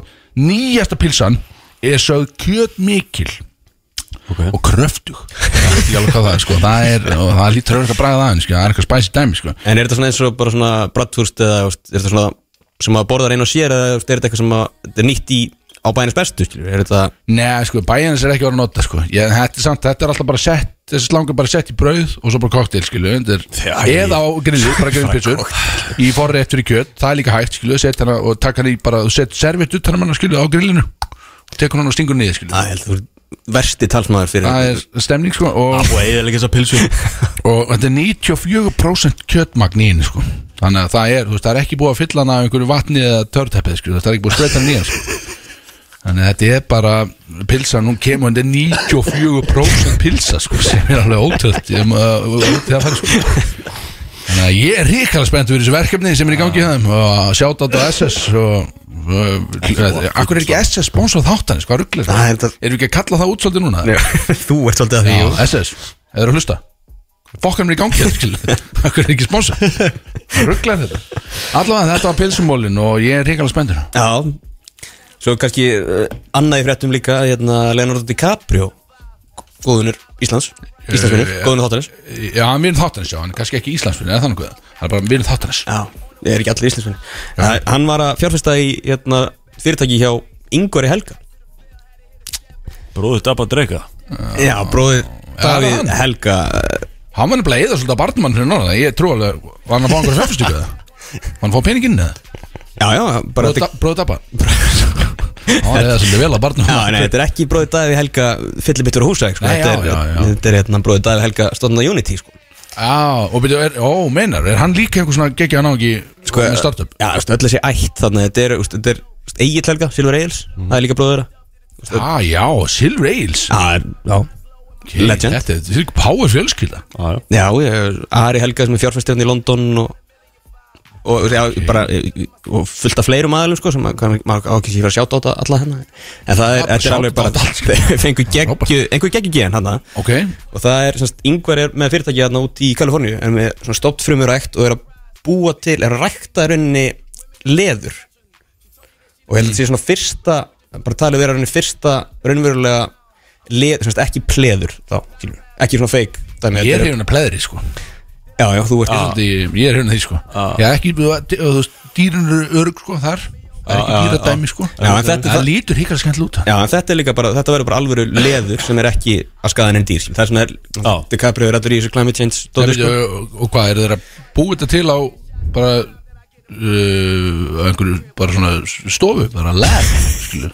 Speaker 2: nýjasta pilsan er sögð kjöt mikil
Speaker 3: Ok.
Speaker 2: og kröftug Ég veit ekki alveg hvað það er sko, það er og það lítur örugglega að bræða aðeins, sko, það er eitthvað spæsi dæmi sko
Speaker 4: en er þetta svona eins og bara svona brattúrst eða þú veist, er þetta svona sem að borðar einu og sér eða þú veist, er þetta eitthvað sem að þetta er nýtt í á bæinins bestu skilu er þetta
Speaker 2: Nei, sko, bæjarnis er ekki verið að nota sko ég, þetta, er samt, þetta er alltaf bara sett þessi slangur bara sett í brauð og svo bara koktel skilu undir,
Speaker 3: Já, ég-
Speaker 2: eða á grillu, bara grillpilsur í forri eftir í kjöt, það er líka hægt skilu, set hana og takk hana í bara, set servitt utan um hana skilu á grillinu og tekur hana og stingur niður skilu
Speaker 4: að, held, þú ert versti talsmaður fyrir
Speaker 2: það er stemning sko og
Speaker 3: Og eða líka þess að pilsu
Speaker 2: og þetta er 94% kjötmagn í henni sko þannig að það er, þú veist, það er ekki búið að fylla hana af einhverju vatni eða törteppið sko, það er ekki búið að streyta hana nýja sko þannig að þetta er bara pilsan, hún kemur þetta er 94% pilsa sko sem er alveg ótröld ég, uh, út í það færi, sko. þannig að ég er ríkala spennt fyrir þessu verkefni sem er í gangi hjá þeim og sjátt á SS og Uh, akkur er ekki SS sponsor þáttan sko, rugglir, sko.
Speaker 4: Það er þetta-
Speaker 2: erum við ekki að kalla það út svolítið núna
Speaker 4: þú ert svolítið að því
Speaker 2: Já,
Speaker 4: jú.
Speaker 2: SS, eða eru að hlusta Fokkan mér í gangi Akkur er ekki sponsa Rugglar þetta Allavega þetta var pilsumólin og ég er hrikalega spendur
Speaker 4: Já Svo kannski uh, annað í fréttum líka hérna, Leonardo DiCaprio Góðunir Íslands Íslandsvinir,
Speaker 2: Eh,
Speaker 4: uh, góðunir þáttanins
Speaker 2: Já, hann vinur þáttanins, já, hann er kannski ekki Íslandsvinni eða þannig hvað Hann er bara vinur þáttanins
Speaker 4: Já, ég er ekki allir Íslandsvinir ja. Hann var að fjárfesta í hérna, fyrirtæki hjá Ingvari Helga
Speaker 3: Bróðu dabba að drega
Speaker 4: Já, bróðið
Speaker 2: Er það hann?
Speaker 4: Davíð Helga eh,
Speaker 2: Hann var nefnilega eða svolítið að barnumann fyrir norðan Ég trú alveg, var hann að fá einhverja fjárfyrstíku eða Var hann að fá peninginn eða
Speaker 4: Já, já, bara þetta-
Speaker 2: Bróðu dabba Hann var eða svolítið vel að barnumann
Speaker 4: Já, nei, þetta er ekki bróðið Davíð Helga fyllibittur á húsæk sko.
Speaker 2: Nei, já,
Speaker 4: Þetta er,
Speaker 2: já, já.
Speaker 4: þetta er hérna, bróðið Davíð Helga stofnuna Unity sko.
Speaker 2: Já, og byrju, er, ó, meinar, er hann líka einhver svona geggjaðan á ekki sko, með startup?
Speaker 4: Já, þú veist, öll þessi ætt þarna Þetta er, þú veist, þetta er þú veist, Egill Helga, Silver Egils Það er líka bróðið þeirra eh,
Speaker 2: Ah, já, Silver Eils
Speaker 4: Mhm. Já, er- já
Speaker 2: okay,
Speaker 4: legend.
Speaker 2: Þetta er- þetta er power fjölskylda
Speaker 4: Já, ég, Ari Helga sem er fjárfæstirinn í London og, og, já, bara, e, og fullt af fleirum aðalum sko, sem maður maður á ekki sér að sjáta á þetta alla hérna en það er,
Speaker 2: bara
Speaker 4: þetta er alveg
Speaker 2: shout-out
Speaker 4: bara þeir fengu geggju, einhver geggju gen hann
Speaker 2: Ok,
Speaker 4: og það er, semst, yngvar er með fyrirtæki hérna út í Kaliforníu, er með svona stoppt frumur rækt og er að búa til, er að rækta í rauninni leður og ég held að þetta sé svona fyrsta bara talið vera rauninni fyrsta raunverulega leður, semst, ekki pleður þá, skilur við, ekki svona feik
Speaker 2: ég er hérna pleðri sko
Speaker 4: Já, já, þú ert
Speaker 2: Því, Ég er hérna því sko
Speaker 4: Ah.
Speaker 2: Já, ekki, þú þú veist, dýrin eru örg sko þar Það er ekki dýradæmi sko
Speaker 4: Ah, Já, en þetta er
Speaker 2: Það
Speaker 4: það-
Speaker 2: lítur hikkar skemmt lúta
Speaker 4: Já, en þetta er líka bara, þetta verður bara alvöru leður sem er ekki að skaða henni dýr skilur. Það er svona,
Speaker 3: Já.
Speaker 4: er- DiCaprio er rættur í þessu climate change dóti, sko.
Speaker 2: Og hvað, eru þeir að búa þetta til á bara uh, einhverju, bara svona stofu bara lab, skilu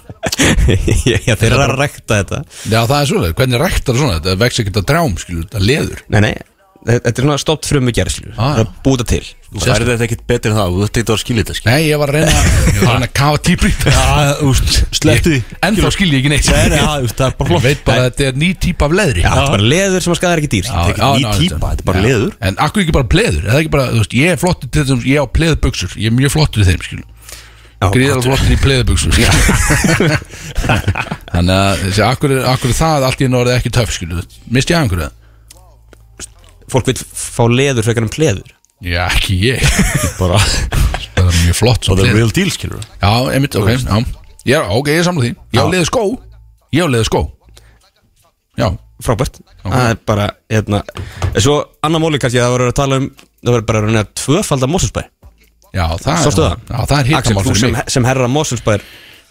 Speaker 4: Já, þeir eru að rækta þetta
Speaker 2: Já, það er svolítið, hvernig ræktar svona þetta vex ekkert að trjám, skilu, það leður
Speaker 4: Nei, nei, þe- þetta er svona stopt frumu gerðslu
Speaker 2: Já,
Speaker 4: Það er að búta til
Speaker 3: Það er þetta ekkert betur en það Þú þetta eitthvað að skilja þetta skilja
Speaker 2: Nei, ég var að reyna, ég var að reyna að kafa tíbrít
Speaker 3: Sleptu því
Speaker 2: En þá skil ég ekki neitt
Speaker 3: Nei, nei, já, þú veist, það er bara
Speaker 2: Ég
Speaker 3: flott
Speaker 2: veit bara að þetta er ný típa af leðri
Speaker 4: Já, þetta er bara leður sem að skaða ekki dýr
Speaker 2: Já,
Speaker 3: Þetta er ekki
Speaker 2: já,
Speaker 3: ný
Speaker 2: já,
Speaker 3: týpa, þetta er bara
Speaker 2: Já.
Speaker 3: leður.
Speaker 2: En akkur ekki bara pleður, eða ekki bara, þú veist, ég er flottur til þessum, ég á pleðbuxur, ég er mjög flottur í þeim, skilur
Speaker 4: Já,
Speaker 2: Gríðar flottur í pleðbuxur Þannig að, þessi, akkur, er- akkur er það allt í einu orðið ekki töff, skilur Mist ég að einhverju það?
Speaker 4: fólk vil fá leður frekar en pleður
Speaker 2: Já, ekki ég
Speaker 3: bara
Speaker 2: Það er mjög flott
Speaker 3: bara
Speaker 2: svo
Speaker 3: the
Speaker 2: plið.
Speaker 3: real deal skilur
Speaker 2: Já, einmitt, ok já. Ég er, ok, ég er samlega því Ég á
Speaker 4: Já.
Speaker 2: leðu skó Ég á leðu skó Já,
Speaker 4: frábært það er bara hérna en svo annar móli kannski að það voru að tala um það voru bara að reyna að tvöfalda Mosfellsbær
Speaker 2: já, það er
Speaker 4: Sástu það?
Speaker 2: Já, það er
Speaker 4: Axel,
Speaker 2: hittamál
Speaker 4: þú
Speaker 2: fyrir
Speaker 4: sem,
Speaker 2: mig
Speaker 4: sem herra Mosfellsbær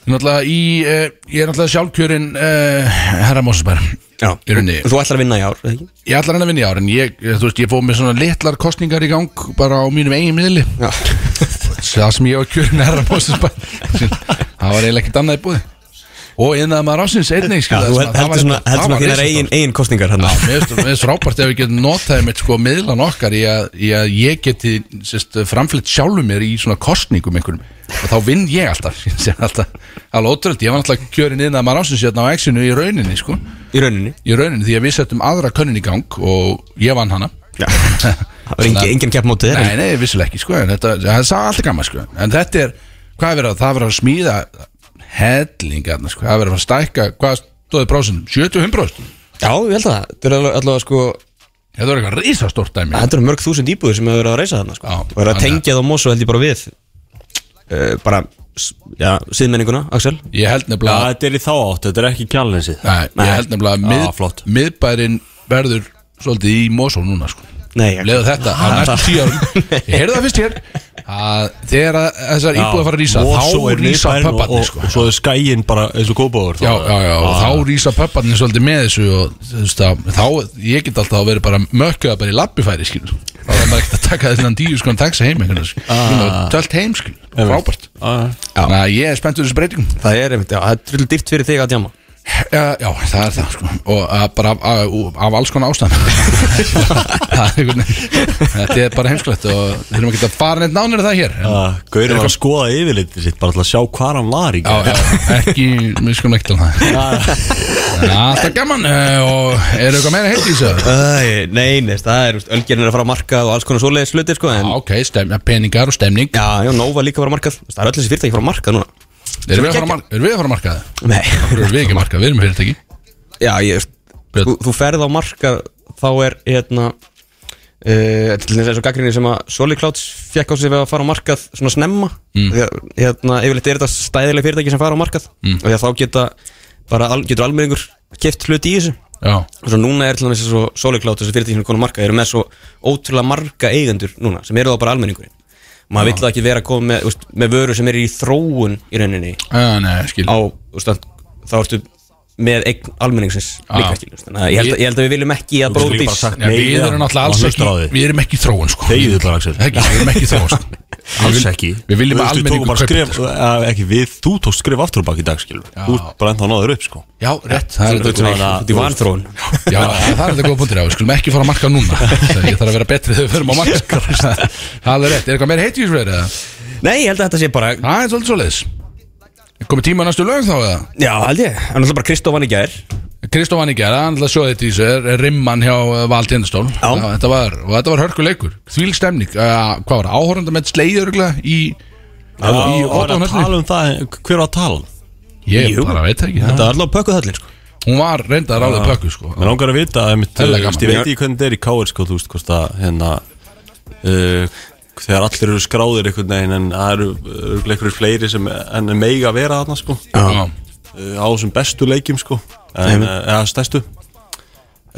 Speaker 2: Náttúrulega í, uh, ég er náttúrulega sjálfkjörin uh, Herra Mósesberg
Speaker 4: já
Speaker 2: Í rauninni
Speaker 4: þú ætlar að vinna í ár eða ekki?
Speaker 2: Ég ætlar henni að vinna í ár En ég, eh, þú veist, ég fóð með svona litlar kostningar í gang Bara á mínum eigin miðli
Speaker 4: já
Speaker 2: Það sem ég var kjörin herra Mósesberg Það var eiginlega ekkert annað í búði Og innað maður ásins einnig
Speaker 4: Já,
Speaker 2: skilur,
Speaker 4: þú
Speaker 2: það sem að- það var-
Speaker 4: heldur svona,
Speaker 2: það
Speaker 4: heldur svona
Speaker 2: var
Speaker 4: þínar
Speaker 2: risastórt.
Speaker 4: eigin, eigin hérna, kostningar hann
Speaker 2: Já, mér finnst- mér finnst frábært ef við getum notaði mitt sko miðlan okkar í að, í að ég geti sérst, framflitt sjálfum mér í svona kostningum einhverjum og þá vinn ég alltaf, sem alltaf alveg ótrúld, ég var alltaf kjörin inn að maður ásins hérna á exinu í rauninni sko
Speaker 4: í rauninni
Speaker 2: í rauninni því að við settum aðra könnin í gang og ég vann hana
Speaker 4: það var engin, engin kepp mótið þér
Speaker 2: Nei, nei, vissulega ekki sko en þetta, það er alltaf gaman sko en þetta er, hvað er verið að, það er verið að smíða hellingarna sko, það er verið að stækka hvað stóði prósinum, 75 prósinum
Speaker 4: já, ég held að það þetta er alveg- allavega sko
Speaker 2: þetta var eitthvað risastórt dæmi
Speaker 4: þetta eru mörg þúsund íbúður sem hefur verið að reysa þarna sko.
Speaker 2: Já,
Speaker 4: og er að
Speaker 2: þannig að-
Speaker 4: tengja það á Mosó held ég bara við uh, bara s- já, síðmenninguna, Axel
Speaker 2: ég held
Speaker 3: já
Speaker 2: nefnilega
Speaker 3: þetta er í þá átt þetta er ekki kjallensið
Speaker 2: Nei, ég held nefnilega að
Speaker 3: Já,
Speaker 2: mið,
Speaker 3: flott.
Speaker 2: miðbærin verður svolítið í Mosó núna sko.
Speaker 4: Nei, ég-
Speaker 2: Leðu þetta á næstu tíu árum Ég heyrði það fyrst hér að þegar að þessar íbúið fara að rýsa
Speaker 3: Mosó er
Speaker 2: þá rýsa
Speaker 3: miðbærinn og-
Speaker 2: pöpparnir
Speaker 3: og-
Speaker 2: sko.
Speaker 3: og svo er skæin bara eins og kópaður
Speaker 2: Já, já, já, og þá rýsa pöpparnir svolítið með þessu og þú veist að þá, ég get alltaf að vera bara mökkuða bara í labbifæri skil þá er maður ekkert að taka þessan díu sko en taxa heim einhvern veginn, sko. tölt heim skil frábært, þannig að ég er spennt fyrir þessu breytingum
Speaker 4: það er einmitt, já, það er trull dýrt fyrir þig að djama
Speaker 2: Já, já, það er það sko og uh, bara af, af, af alls konar ástæðan Það er einhvern veginn- Þetta er bara heimsklegt og við erum ekki að fara neitt nánir það hér en,
Speaker 3: Gaurið var að skoða yfirlitið sitt bara til að sjá hvað hann var í
Speaker 2: Já,
Speaker 3: gær.
Speaker 2: já, ekki, við skulum ekki til það Ah. En Alltaf gaman uh, og eru eitthvað meira heilt í þessu?
Speaker 4: Æ, nei, nei, það er, ölgerinn er að fara að marka og alls konar svoleiðis hluti, sko, en
Speaker 2: Já, Ok, stem, peningar og stemning
Speaker 4: já, já, Nova líka að fara að marka það er öll þessi fyrirtæki að fara að marka núna
Speaker 2: Erum við að fara að marka- erum við að fara að marka það?
Speaker 4: nei,
Speaker 2: Okkur erum við ekki að marka, við erum fyrirtæki
Speaker 4: já, ég
Speaker 2: Björn.
Speaker 4: þú, þú ferð á marka, þá er, hérna Uh, til þess að gaggrinni sem að Soli Clouds fekk á sig við að fara á markað svona snemma mm. því að hérna, yfirleitt er þetta stæðileg fyrirtæki sem fara á markað mm. og því að þá geta bara, al, getur almenningur keft hluti í þessu
Speaker 2: Já,
Speaker 4: og svo núna er til dæmis svo Soliklátt þessi fyrirtæki sem er konar marka eru með svo ótrúlega marga eigendur núna sem eru þá bara almenningurinn maður vill það ekki vera að koma með, úst, með vöru sem eru í þróun í rauninni
Speaker 2: ah, nei, skil
Speaker 4: á, úst, að, þá ertu með eign almenningsins
Speaker 2: Já.
Speaker 4: líka skil úst, þannig að ég, held, að- ég held að við viljum ekki að
Speaker 3: Þú getur líka bara
Speaker 4: bróðís
Speaker 3: sagt
Speaker 2: Já,
Speaker 3: nei
Speaker 2: Við erum
Speaker 3: hann.
Speaker 2: náttúrulega alls
Speaker 3: Hann hlustar á
Speaker 2: ekki
Speaker 3: þig.
Speaker 2: Við erum ekki í þróun sko
Speaker 3: Þegiðu bara, Axel.
Speaker 2: Ekki, Við erum ekki í þróun sko Við
Speaker 3: Alls
Speaker 2: vil-
Speaker 3: ekki
Speaker 2: Við viljum að
Speaker 3: Þú veist, við tókum
Speaker 2: almenningur
Speaker 3: bara
Speaker 2: kaupi
Speaker 3: skref,
Speaker 2: þetta, sko.
Speaker 3: eh, ekki við, Þú tókst skrif aftur á bak í dag skilur Þú ert bara ennþá náður upp sko
Speaker 2: Já, rétt, það er þetta
Speaker 4: Þú
Speaker 2: góð
Speaker 4: ert í vanþróun
Speaker 2: Já, það er þetta góð punktur, já, við skulum ekki fara að marka núna Það- Ég þarf að vera betri þegar við förum á marka Það er rétt, er eitthvað meira heiti í þessu verið? eða?
Speaker 4: Nei, ég held að þetta sé bara
Speaker 2: Það er svolítið svoleiðis Er Komið tíma á næstu lög þá eða?
Speaker 4: Já, held ég Hann er alltaf bara Kristof hann í gær
Speaker 2: Kristof Anningjær, hann ætla að sjóða þetta í þessu er- er rimman hjá eh, Val Tindastól þetta var, og þetta var hörkuleikur þvíl stemning, uh, hvað var, áhoranda með sleiður í, í
Speaker 3: Já, og hann að
Speaker 2: Óttónhöllni
Speaker 3: tala um það Hver var að tala um?
Speaker 2: Ég
Speaker 4: Jú.
Speaker 2: bara veit það ekki
Speaker 4: Þetta
Speaker 2: það.
Speaker 4: var alltaf pökkuð þallin sko
Speaker 2: Hún var reyndað að ráða pökku sko
Speaker 3: Mér langar að vita að mitt,
Speaker 2: Helga
Speaker 3: veist, Ég
Speaker 2: gaman.
Speaker 3: veit ekki hvernig þetta er í káir sko Þú veist hvort að hérna uh, Þegar allir eru skráðir einhvern veginn En það eru eh, örugglega einhverjir fleiri sem En er meiga að vera þarna sko uh,
Speaker 2: Já.
Speaker 3: Á þessum bestu leikjum sko en, uh, Eða stærstu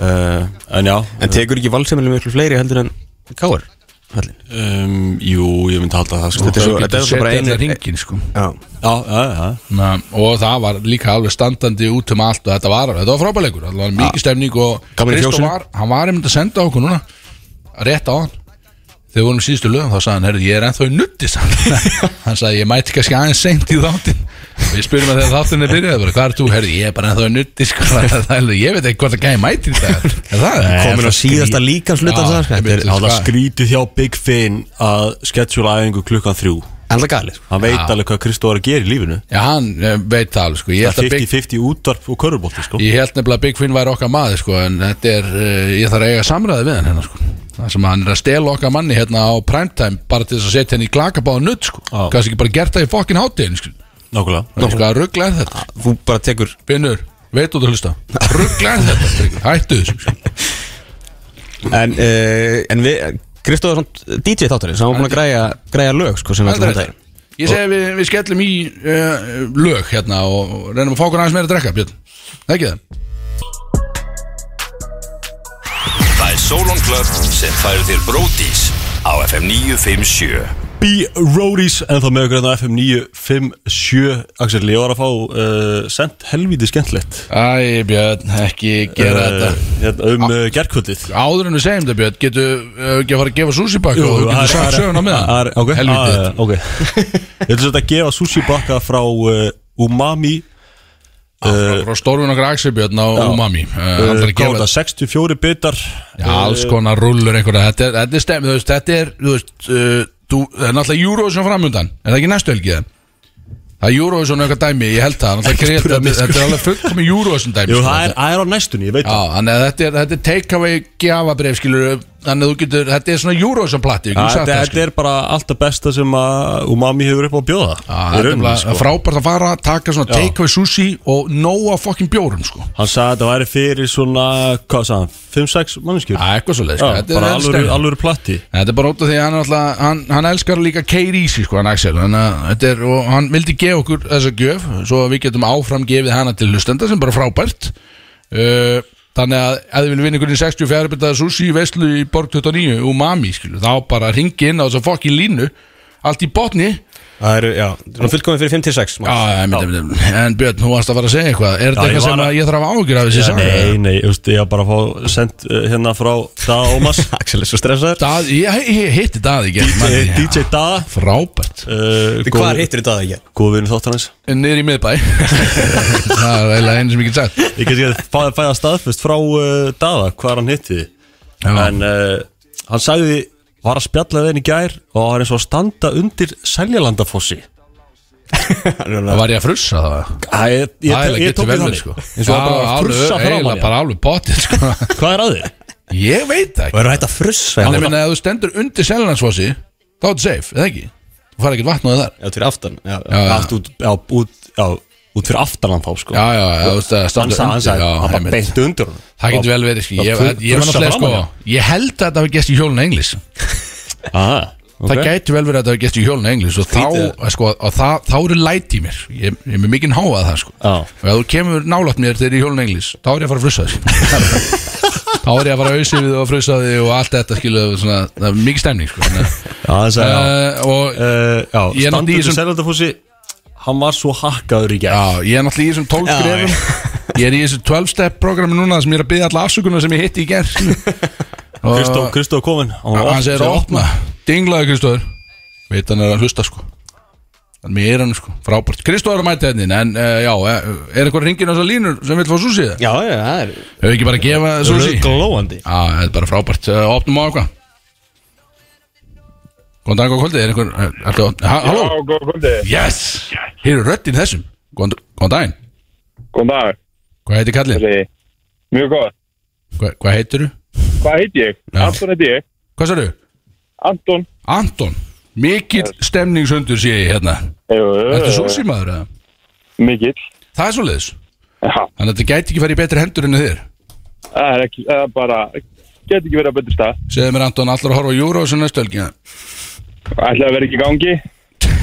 Speaker 3: uh, En já
Speaker 4: En tekur ekki valsemilum miklu fleiri heldur en Káur Hallin
Speaker 3: um, Jú, ég myndi halda það sko
Speaker 4: Þetta er svo-
Speaker 2: Þú
Speaker 4: þetta
Speaker 2: getur
Speaker 4: er bara
Speaker 2: setið
Speaker 4: einu-
Speaker 2: allan hringinn, sko.
Speaker 4: Já
Speaker 3: Já, já, já
Speaker 2: Na, og það var líka alveg standandi út um allt og þetta var, þetta var frábæleikur þetta var mikið stemning og
Speaker 4: Gaman í
Speaker 2: Kristó
Speaker 4: fjósinu.
Speaker 2: var, hann var einmitt að senda okkur núna rétt á hann þegar við vorum í síðustu lögum þá sagði hann, herrðu, ég er ennþá í nutti sagði hann Hann sagði, ég mæti kannski aðeins seint í þáttin við spyrum að þegar þáttin er byrjað bara, hvað er þú, herrðu, ég er bara ennþá í nutti sko, það er- það er- ég veit ekki hvort að gæði mæti í dag er það,
Speaker 4: Komin á síðasta líkamshluta
Speaker 2: Já,
Speaker 4: þar, sko.
Speaker 2: einmitt, þú
Speaker 4: Þetta er
Speaker 2: veist
Speaker 3: Það
Speaker 2: hvað.
Speaker 3: var skrítið hjá Big Finn að sketsjúla æfingu klukkan þrjú
Speaker 4: Alltaf galið sko
Speaker 3: Hann veit alveg hvað Kristó er að gera í lífinu
Speaker 2: já, hann eh, veit það alveg, sko ég
Speaker 3: Það
Speaker 2: held
Speaker 3: er
Speaker 2: að Big
Speaker 3: 50-50 útvarp og körubólti sko
Speaker 2: Ég held nefnilega að Big Finn væri okkar maður sko, en þetta er, uh, ég þarf að eiga samræði við hann hérna, sko. það sem að hann er að stela okkar manni hérna á primetime bara til þess að setja henni í klakabáða nutt sko.
Speaker 3: Já.
Speaker 2: kannski ekki bara gert það í fokkin hátíðin sko.
Speaker 3: Nákvæmlega
Speaker 2: Veist hvað ruggla er þetta
Speaker 4: Þú bara tekur
Speaker 2: Finnur, veit þú að hlusta ruggla er þetta, Tryggvi? hættu þessu sko.
Speaker 4: En, uh, en við, Kristóð er svona DJ þáttarins Hann var búin að græja, græja lög sko sem við ætlum að þetta
Speaker 2: Ég segi við, við skellum í uh, lög hérna og og reynum að fá okkur aðeins meira að drekka Björn, ekki það?
Speaker 5: Það er Solon Club sem færir þér Bródís á FM 957
Speaker 3: B-Roadies En þá með okkur hérna á FM 957 Axel, ég var að fá uh, Sent helvítið skemmtilegt
Speaker 2: Æ Björn, ekki gera
Speaker 3: Eh,
Speaker 2: þetta
Speaker 3: hérna, Um uh, gerkvöldið
Speaker 2: Áður en við segjum þetta Björn, getur uh, ekki að fara að gefa sushi bakka og þú getur sagt söguna með
Speaker 3: það Ok,
Speaker 2: Helvítið
Speaker 3: ah, ok Ég ætlum þetta að gefa sushi bakka frá uh, Umami
Speaker 2: Frá- Frá stórfin okkar Axel Björn á Umami Eh, Hann þarf að
Speaker 3: Uh, Góða,
Speaker 2: gefa
Speaker 3: 64 bitar
Speaker 2: Já, alls konar rullur einhverja Þetta er, þetta er stem, þú veist, þetta er þú veist, uh, þú, það er náttúrulega Eurovision framundan Er það ekki næstu helgið? Það er Eurovision eitthvað dæmi, ég held það Náttúrulega grét- Þetta þetta er alveg fullkomi Eurovision dæmi
Speaker 3: Jú,
Speaker 2: sko.
Speaker 3: það er, það er á næstunni, ég veit
Speaker 2: Já, þannig að þetta er, þetta er take-away gjafabref, skilur Þannig að þú getur, þetta er svona Eurovision plati
Speaker 3: Já, Þetta þetta er bara allt það besta sem að Umami hefur upp á að bjóða Í
Speaker 2: er
Speaker 3: rauninni,
Speaker 2: bara
Speaker 3: sko.
Speaker 2: frábært að fara, taka svona
Speaker 3: Já.
Speaker 2: take-away sushi og nóa fucking bjórum, sko
Speaker 3: Hann sagði að þetta væri fyrir svona, hvað sagði hann, 5-6 manneskjur
Speaker 2: Já, eitthvað svo leið, sko
Speaker 3: Já,
Speaker 2: Þetta er þetta
Speaker 3: bara
Speaker 2: er
Speaker 3: alvöru,
Speaker 2: stemning.
Speaker 3: alvöru platti
Speaker 2: Þetta er bara út af því að hann, alltaf, hann, hann elskar líka keiri í sig sko, hann Axel hann, þetta er, og hann vildi gefa okkur þessa gjöf svo að við getum áfram gefið hana til hlustenda sem er bara frábært uh, þannig að ef þið vil vinna einhvernig 64 bitaða sushi í veislu í Borg 29 og mami skilu, þá bara ringi inn á þess að fokki línu allt í botni
Speaker 4: Það eru, já, svona fullkomið fyrir 5-6
Speaker 2: Já, einmitt, einmitt, einmitt. en Björn, þú varst að fara að segja eitthvað er þetta
Speaker 3: Já, ég
Speaker 2: eitthvað sem
Speaker 3: var að-
Speaker 2: að ég þarf að ágjur af þessi saman?
Speaker 3: Nei, nei, þú veist, ég var bara að fá sendt uh, hérna frá Daða Ómas
Speaker 4: Axel er svo stressaður
Speaker 2: Dað, ég, ég hitti Daði ekki
Speaker 3: eh, DJ Daða
Speaker 2: Frábært
Speaker 3: uh,
Speaker 4: Hvað hittir þetta að ekki?
Speaker 3: Góð vinur þáttan hans
Speaker 2: Niður í miðbæ Það er eiginlega einu sem ég get sagt
Speaker 3: Ég get ekki að fæ- fæða staðfest frá uh, Daða hvað hann hitti
Speaker 2: Já.
Speaker 3: En uh, hann sagði, var að spjalla við henni í gær og hann var eins og að standa undir Seljalandafossi
Speaker 2: Það var ég að frussa það
Speaker 3: Æ, ég, ég,
Speaker 2: Það
Speaker 3: ég, ég tók
Speaker 2: vel
Speaker 3: við
Speaker 2: verið
Speaker 3: þannig
Speaker 2: sko
Speaker 3: eins og að bara að frussa
Speaker 2: alveg-
Speaker 3: fram
Speaker 2: eiginlega
Speaker 3: hann
Speaker 2: bara alveg potið sko
Speaker 3: hvað er að þig?
Speaker 2: Ég veit það
Speaker 4: Og
Speaker 2: ekki
Speaker 4: eru hægt að frussa
Speaker 2: Þannig
Speaker 4: hérna?
Speaker 2: minna að ef þú stendur undir seljalandsfossi Þá er þetta safe, eða ekki? Þú fara ekkert vatn á það þar
Speaker 4: Já, til aftan Já,
Speaker 2: Já, já.
Speaker 3: allt út, já, út, já, út fyrir aftanan þá sko
Speaker 2: Já, já, já, þú veist að
Speaker 3: hann
Speaker 2: standa
Speaker 3: sagði, hann
Speaker 2: undir
Speaker 3: sagði,
Speaker 2: já,
Speaker 3: hann bara
Speaker 2: einmitt.
Speaker 3: beint undir honum.
Speaker 2: Það getur vel verið sko
Speaker 3: Það
Speaker 2: Ég
Speaker 3: fu-
Speaker 2: ég var
Speaker 3: frussa
Speaker 2: náttúrulega
Speaker 3: fram
Speaker 2: sko
Speaker 3: hann,
Speaker 2: Ég held að þetta hafi gest í hjólun englis
Speaker 3: Aha,
Speaker 2: Það
Speaker 3: ok.
Speaker 2: gæti vel verið að þetta hafi gest í hjólun englis Og þá, sko, og það- þá eru læti í mér Ég ég er með mikinn háað það sko
Speaker 3: Já.
Speaker 2: Og ef þú kemur nálaft mér þegar ég er í hjólun englis Þá er ég að fara að frussa þig Þá er ég að fara að auðsifið og að frussa þig Og allt þetta skilu svona, það er mikið stemning sko. Þannig að-
Speaker 3: já, hann sagði, já,
Speaker 2: uh, Og ég
Speaker 3: uh, já
Speaker 2: er náttúrulega
Speaker 3: standandi
Speaker 2: í þessum-
Speaker 3: þessum... Selandafossi hann var svo hakkaður í gær
Speaker 2: já, ég er náttúrulega í þessum 12
Speaker 4: Já,
Speaker 2: grefum Ég er í þessu 12 step programmi núna sem ég er að byggja alla afsökunar sem ég hitti í gerð
Speaker 3: Kristó, Kristó kominn hann var
Speaker 2: Hann
Speaker 3: oft-
Speaker 2: segir að opna Dinglaði Kristóður Veit hann er að hlusta sko Þannig er hann sko, frábært Kristóður er að mæta hennin En uh, já, er eitthvað ringin á þessar línur sem vil fá súsið?
Speaker 4: Já, já, það er
Speaker 2: Hefur ekki bara að gefa súsi? Já,
Speaker 4: Glóandi
Speaker 2: þetta er bara frábært uh, Opnum á eitthvað Góðan dag og kvöldið, er einhver eh, er, er, er, Halló?
Speaker 6: Já, góð kvöldi.
Speaker 2: Yes! Hér er röddinn þessum Góðan góðan daginn
Speaker 6: Góðan dag.
Speaker 2: Hvað heitir kallinn?
Speaker 6: Þessi, mjög gott.
Speaker 2: Hva, hvað heitirðu?
Speaker 6: Hvað heit ég? Anton heit ég.
Speaker 2: Hvað sérðu?
Speaker 6: Anton.
Speaker 2: Anton Mikill stemningshundur sé ég hérna
Speaker 6: Jú,
Speaker 2: Þetta er súsi maður eða?
Speaker 6: Mikill.
Speaker 2: Það er svoleiðis
Speaker 6: Já,
Speaker 2: Þannig að þetta gæti ekki farið í betri hendur enn þér
Speaker 6: það er ekki, það er bara, get ekki verið að betri stað.
Speaker 2: Segðu mér Anton, allar að horfa á Júra og sem næstu helgina
Speaker 6: Ætlaði að vera ekki í gangi.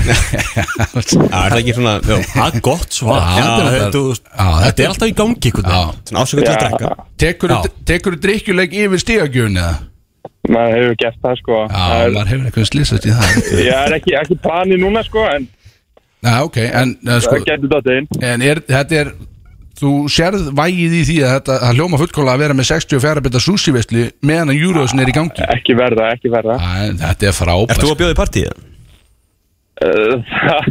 Speaker 4: Já, er það ekki svona já,
Speaker 3: það er gott svar
Speaker 2: Já,
Speaker 3: Já,
Speaker 2: þetta er-
Speaker 3: þetta
Speaker 2: Já, þetta
Speaker 3: þetta
Speaker 2: er-
Speaker 3: er alltaf í gangi einhvern
Speaker 2: Já,
Speaker 3: veginn.
Speaker 4: Svona ásökun til að drekka
Speaker 2: tekur,
Speaker 3: Já.
Speaker 2: tekur drikkjuleik yfir stíagjöfni eða?
Speaker 6: Maður hefur gert það, sko.
Speaker 2: Já,
Speaker 6: Það er,
Speaker 2: maður hefur eitthvað slýsast í það
Speaker 6: ég er ekki, ekki plani núna, sko, en
Speaker 2: Já, ok, en, en, sko,
Speaker 6: það getur þetta inn.
Speaker 2: en er, þetta er Þú sérð vægið í því að þetta það hljóma fullkóla að vera með 64 bita sushi-vestli meðan að Júruðsson er í gangi
Speaker 6: Ekki verða, ekki verða.
Speaker 2: Æ, Þetta er
Speaker 4: Ert
Speaker 2: frábært
Speaker 4: þú að bjóða í partíð?
Speaker 6: Uh, Það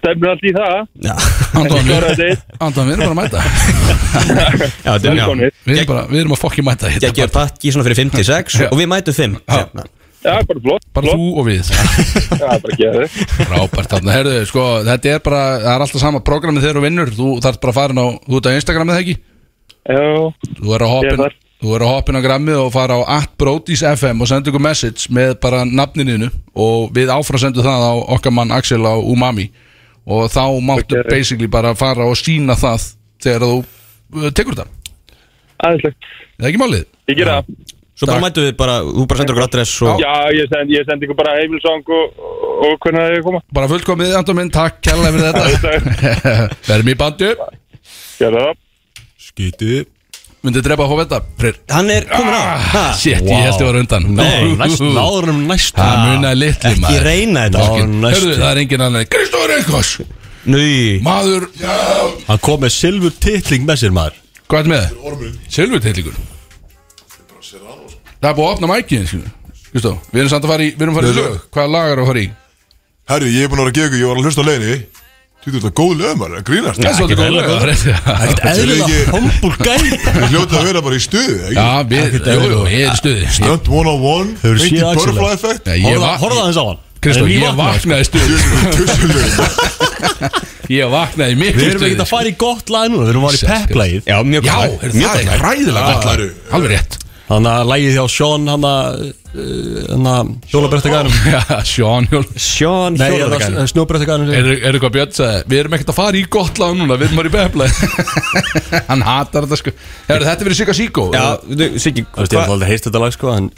Speaker 6: stefnir allt í það.
Speaker 4: Já,
Speaker 2: Anton,
Speaker 6: Ekki klára
Speaker 2: við,
Speaker 6: þetta.
Speaker 2: Anton, við erum bara að mæta
Speaker 4: já, þetta er mjög
Speaker 6: Velkomnir.
Speaker 2: Við erum, bara, við erum að fokki mæta hérna.
Speaker 4: Ég ger pakki svona fyrir 5-6
Speaker 2: Já.
Speaker 4: og við mætum Hérna. 5
Speaker 2: Já.
Speaker 6: Já, bara flott.
Speaker 2: Bara þú og við
Speaker 6: Já, bara gera þið.
Speaker 2: Rábært þarna, herðu, sko, þetta er bara Það er alltaf sama programmið þegar þú vinnur Þú þarf bara að fara inn á, þú ert á Instagram eða ekki
Speaker 6: Já,
Speaker 2: Þú er að
Speaker 6: Ég er
Speaker 2: hoppin
Speaker 6: þar.
Speaker 2: Þú er að hoppin á grammið og fara á atbrotis.fm og senda ykkur message með bara nafnininu og við áfram sendum það á okkar mann Axel á Umami og þá máttu
Speaker 6: Ok.
Speaker 2: basically bara fara og sína það þegar þú uh, tekur þetta
Speaker 6: aðeinslegt.
Speaker 2: Er það ekki málið?
Speaker 6: Ég gera það.
Speaker 4: Svo bara
Speaker 2: Takk.
Speaker 4: mætum við bara, þú bara sendur okkur adress og
Speaker 6: Já, ég sendi, ég sendi ykkur bara heimilsang og, og hvernig það er að koma
Speaker 2: Bara fullkomið, Anton minn, takk kærlega fyrir þetta Verðum í bandu
Speaker 6: Gerðu það
Speaker 3: Skítið
Speaker 2: Myndið drepa hófetta Freyr
Speaker 4: Hann er komin á Ha?
Speaker 2: Shit, ég held ég var undan
Speaker 3: Nei, næst, náður um næst
Speaker 2: Það munaði litli
Speaker 4: Ekki
Speaker 2: maður
Speaker 4: reyna þetta
Speaker 3: Náður um
Speaker 2: Hörðu,
Speaker 3: næst
Speaker 2: það er engin annan Kristóður Eikos
Speaker 4: Nú
Speaker 2: Maður
Speaker 3: Hann kom með silfur titling með sér maður
Speaker 2: Hvað er með? Silvutitlingur Það er búið að opna mækið Kristó, við erum samt að fara í Við erum að fara í
Speaker 7: Nei,
Speaker 2: lög Hvað lagar að fara í?
Speaker 7: Herru, ég er búin að vera að gefa ykkur, ég var að hlusta á leiðinni Þú veist að góð lög maður, það grínast
Speaker 2: Það er svolítið góð lög að fara í.
Speaker 7: ekki-
Speaker 3: Eðlilega hombul gæl
Speaker 7: Við hljóta að vera bara í stuði,
Speaker 2: Já,
Speaker 7: ekki?
Speaker 2: við,
Speaker 3: Ekkert
Speaker 2: jú,
Speaker 3: eðlilega.
Speaker 2: jú, ég er stuði
Speaker 7: Stunt 101,
Speaker 3: Hefur séð
Speaker 7: Mikið
Speaker 3: Axel?
Speaker 7: butterfly effect
Speaker 2: Nei, ég
Speaker 3: Horfða
Speaker 2: vakna-
Speaker 3: horfða aðeins á hann
Speaker 2: Kristó,
Speaker 3: En við
Speaker 2: ég
Speaker 3: vaknaðum.
Speaker 2: vaknaði stuði
Speaker 7: Djöfull,
Speaker 2: Ég vaknaði miklu
Speaker 3: Við erum ekki að fara í gott lag núna Við erum að fara í pepplægið
Speaker 4: Já, mjög
Speaker 2: Já,
Speaker 4: gott
Speaker 2: er
Speaker 4: lag. Mjög
Speaker 2: það er
Speaker 4: gott lag.
Speaker 2: ræðilega gott lag
Speaker 7: Já,
Speaker 2: Alveg rétt
Speaker 3: Þannig að lægið hjá Sean Hann að eh, Hann að Hjólabrettagæðanum
Speaker 2: Já, Sjón Hjól
Speaker 4: Sean
Speaker 3: Nei, er það eh,
Speaker 4: Hjólargan
Speaker 3: snjóbrettagæðanum
Speaker 2: Er það hvað Björn sagði? Við erum ekkert að fara í gott lag núna Við erum bara í bepla Hann hatar þetta sko Herru, þetta er verið Sigga Siggo
Speaker 4: Já,
Speaker 2: Er
Speaker 4: þú, Siggi
Speaker 3: Þú veist, ég hef
Speaker 4: hva-
Speaker 3: aldrei heist þetta lag sko En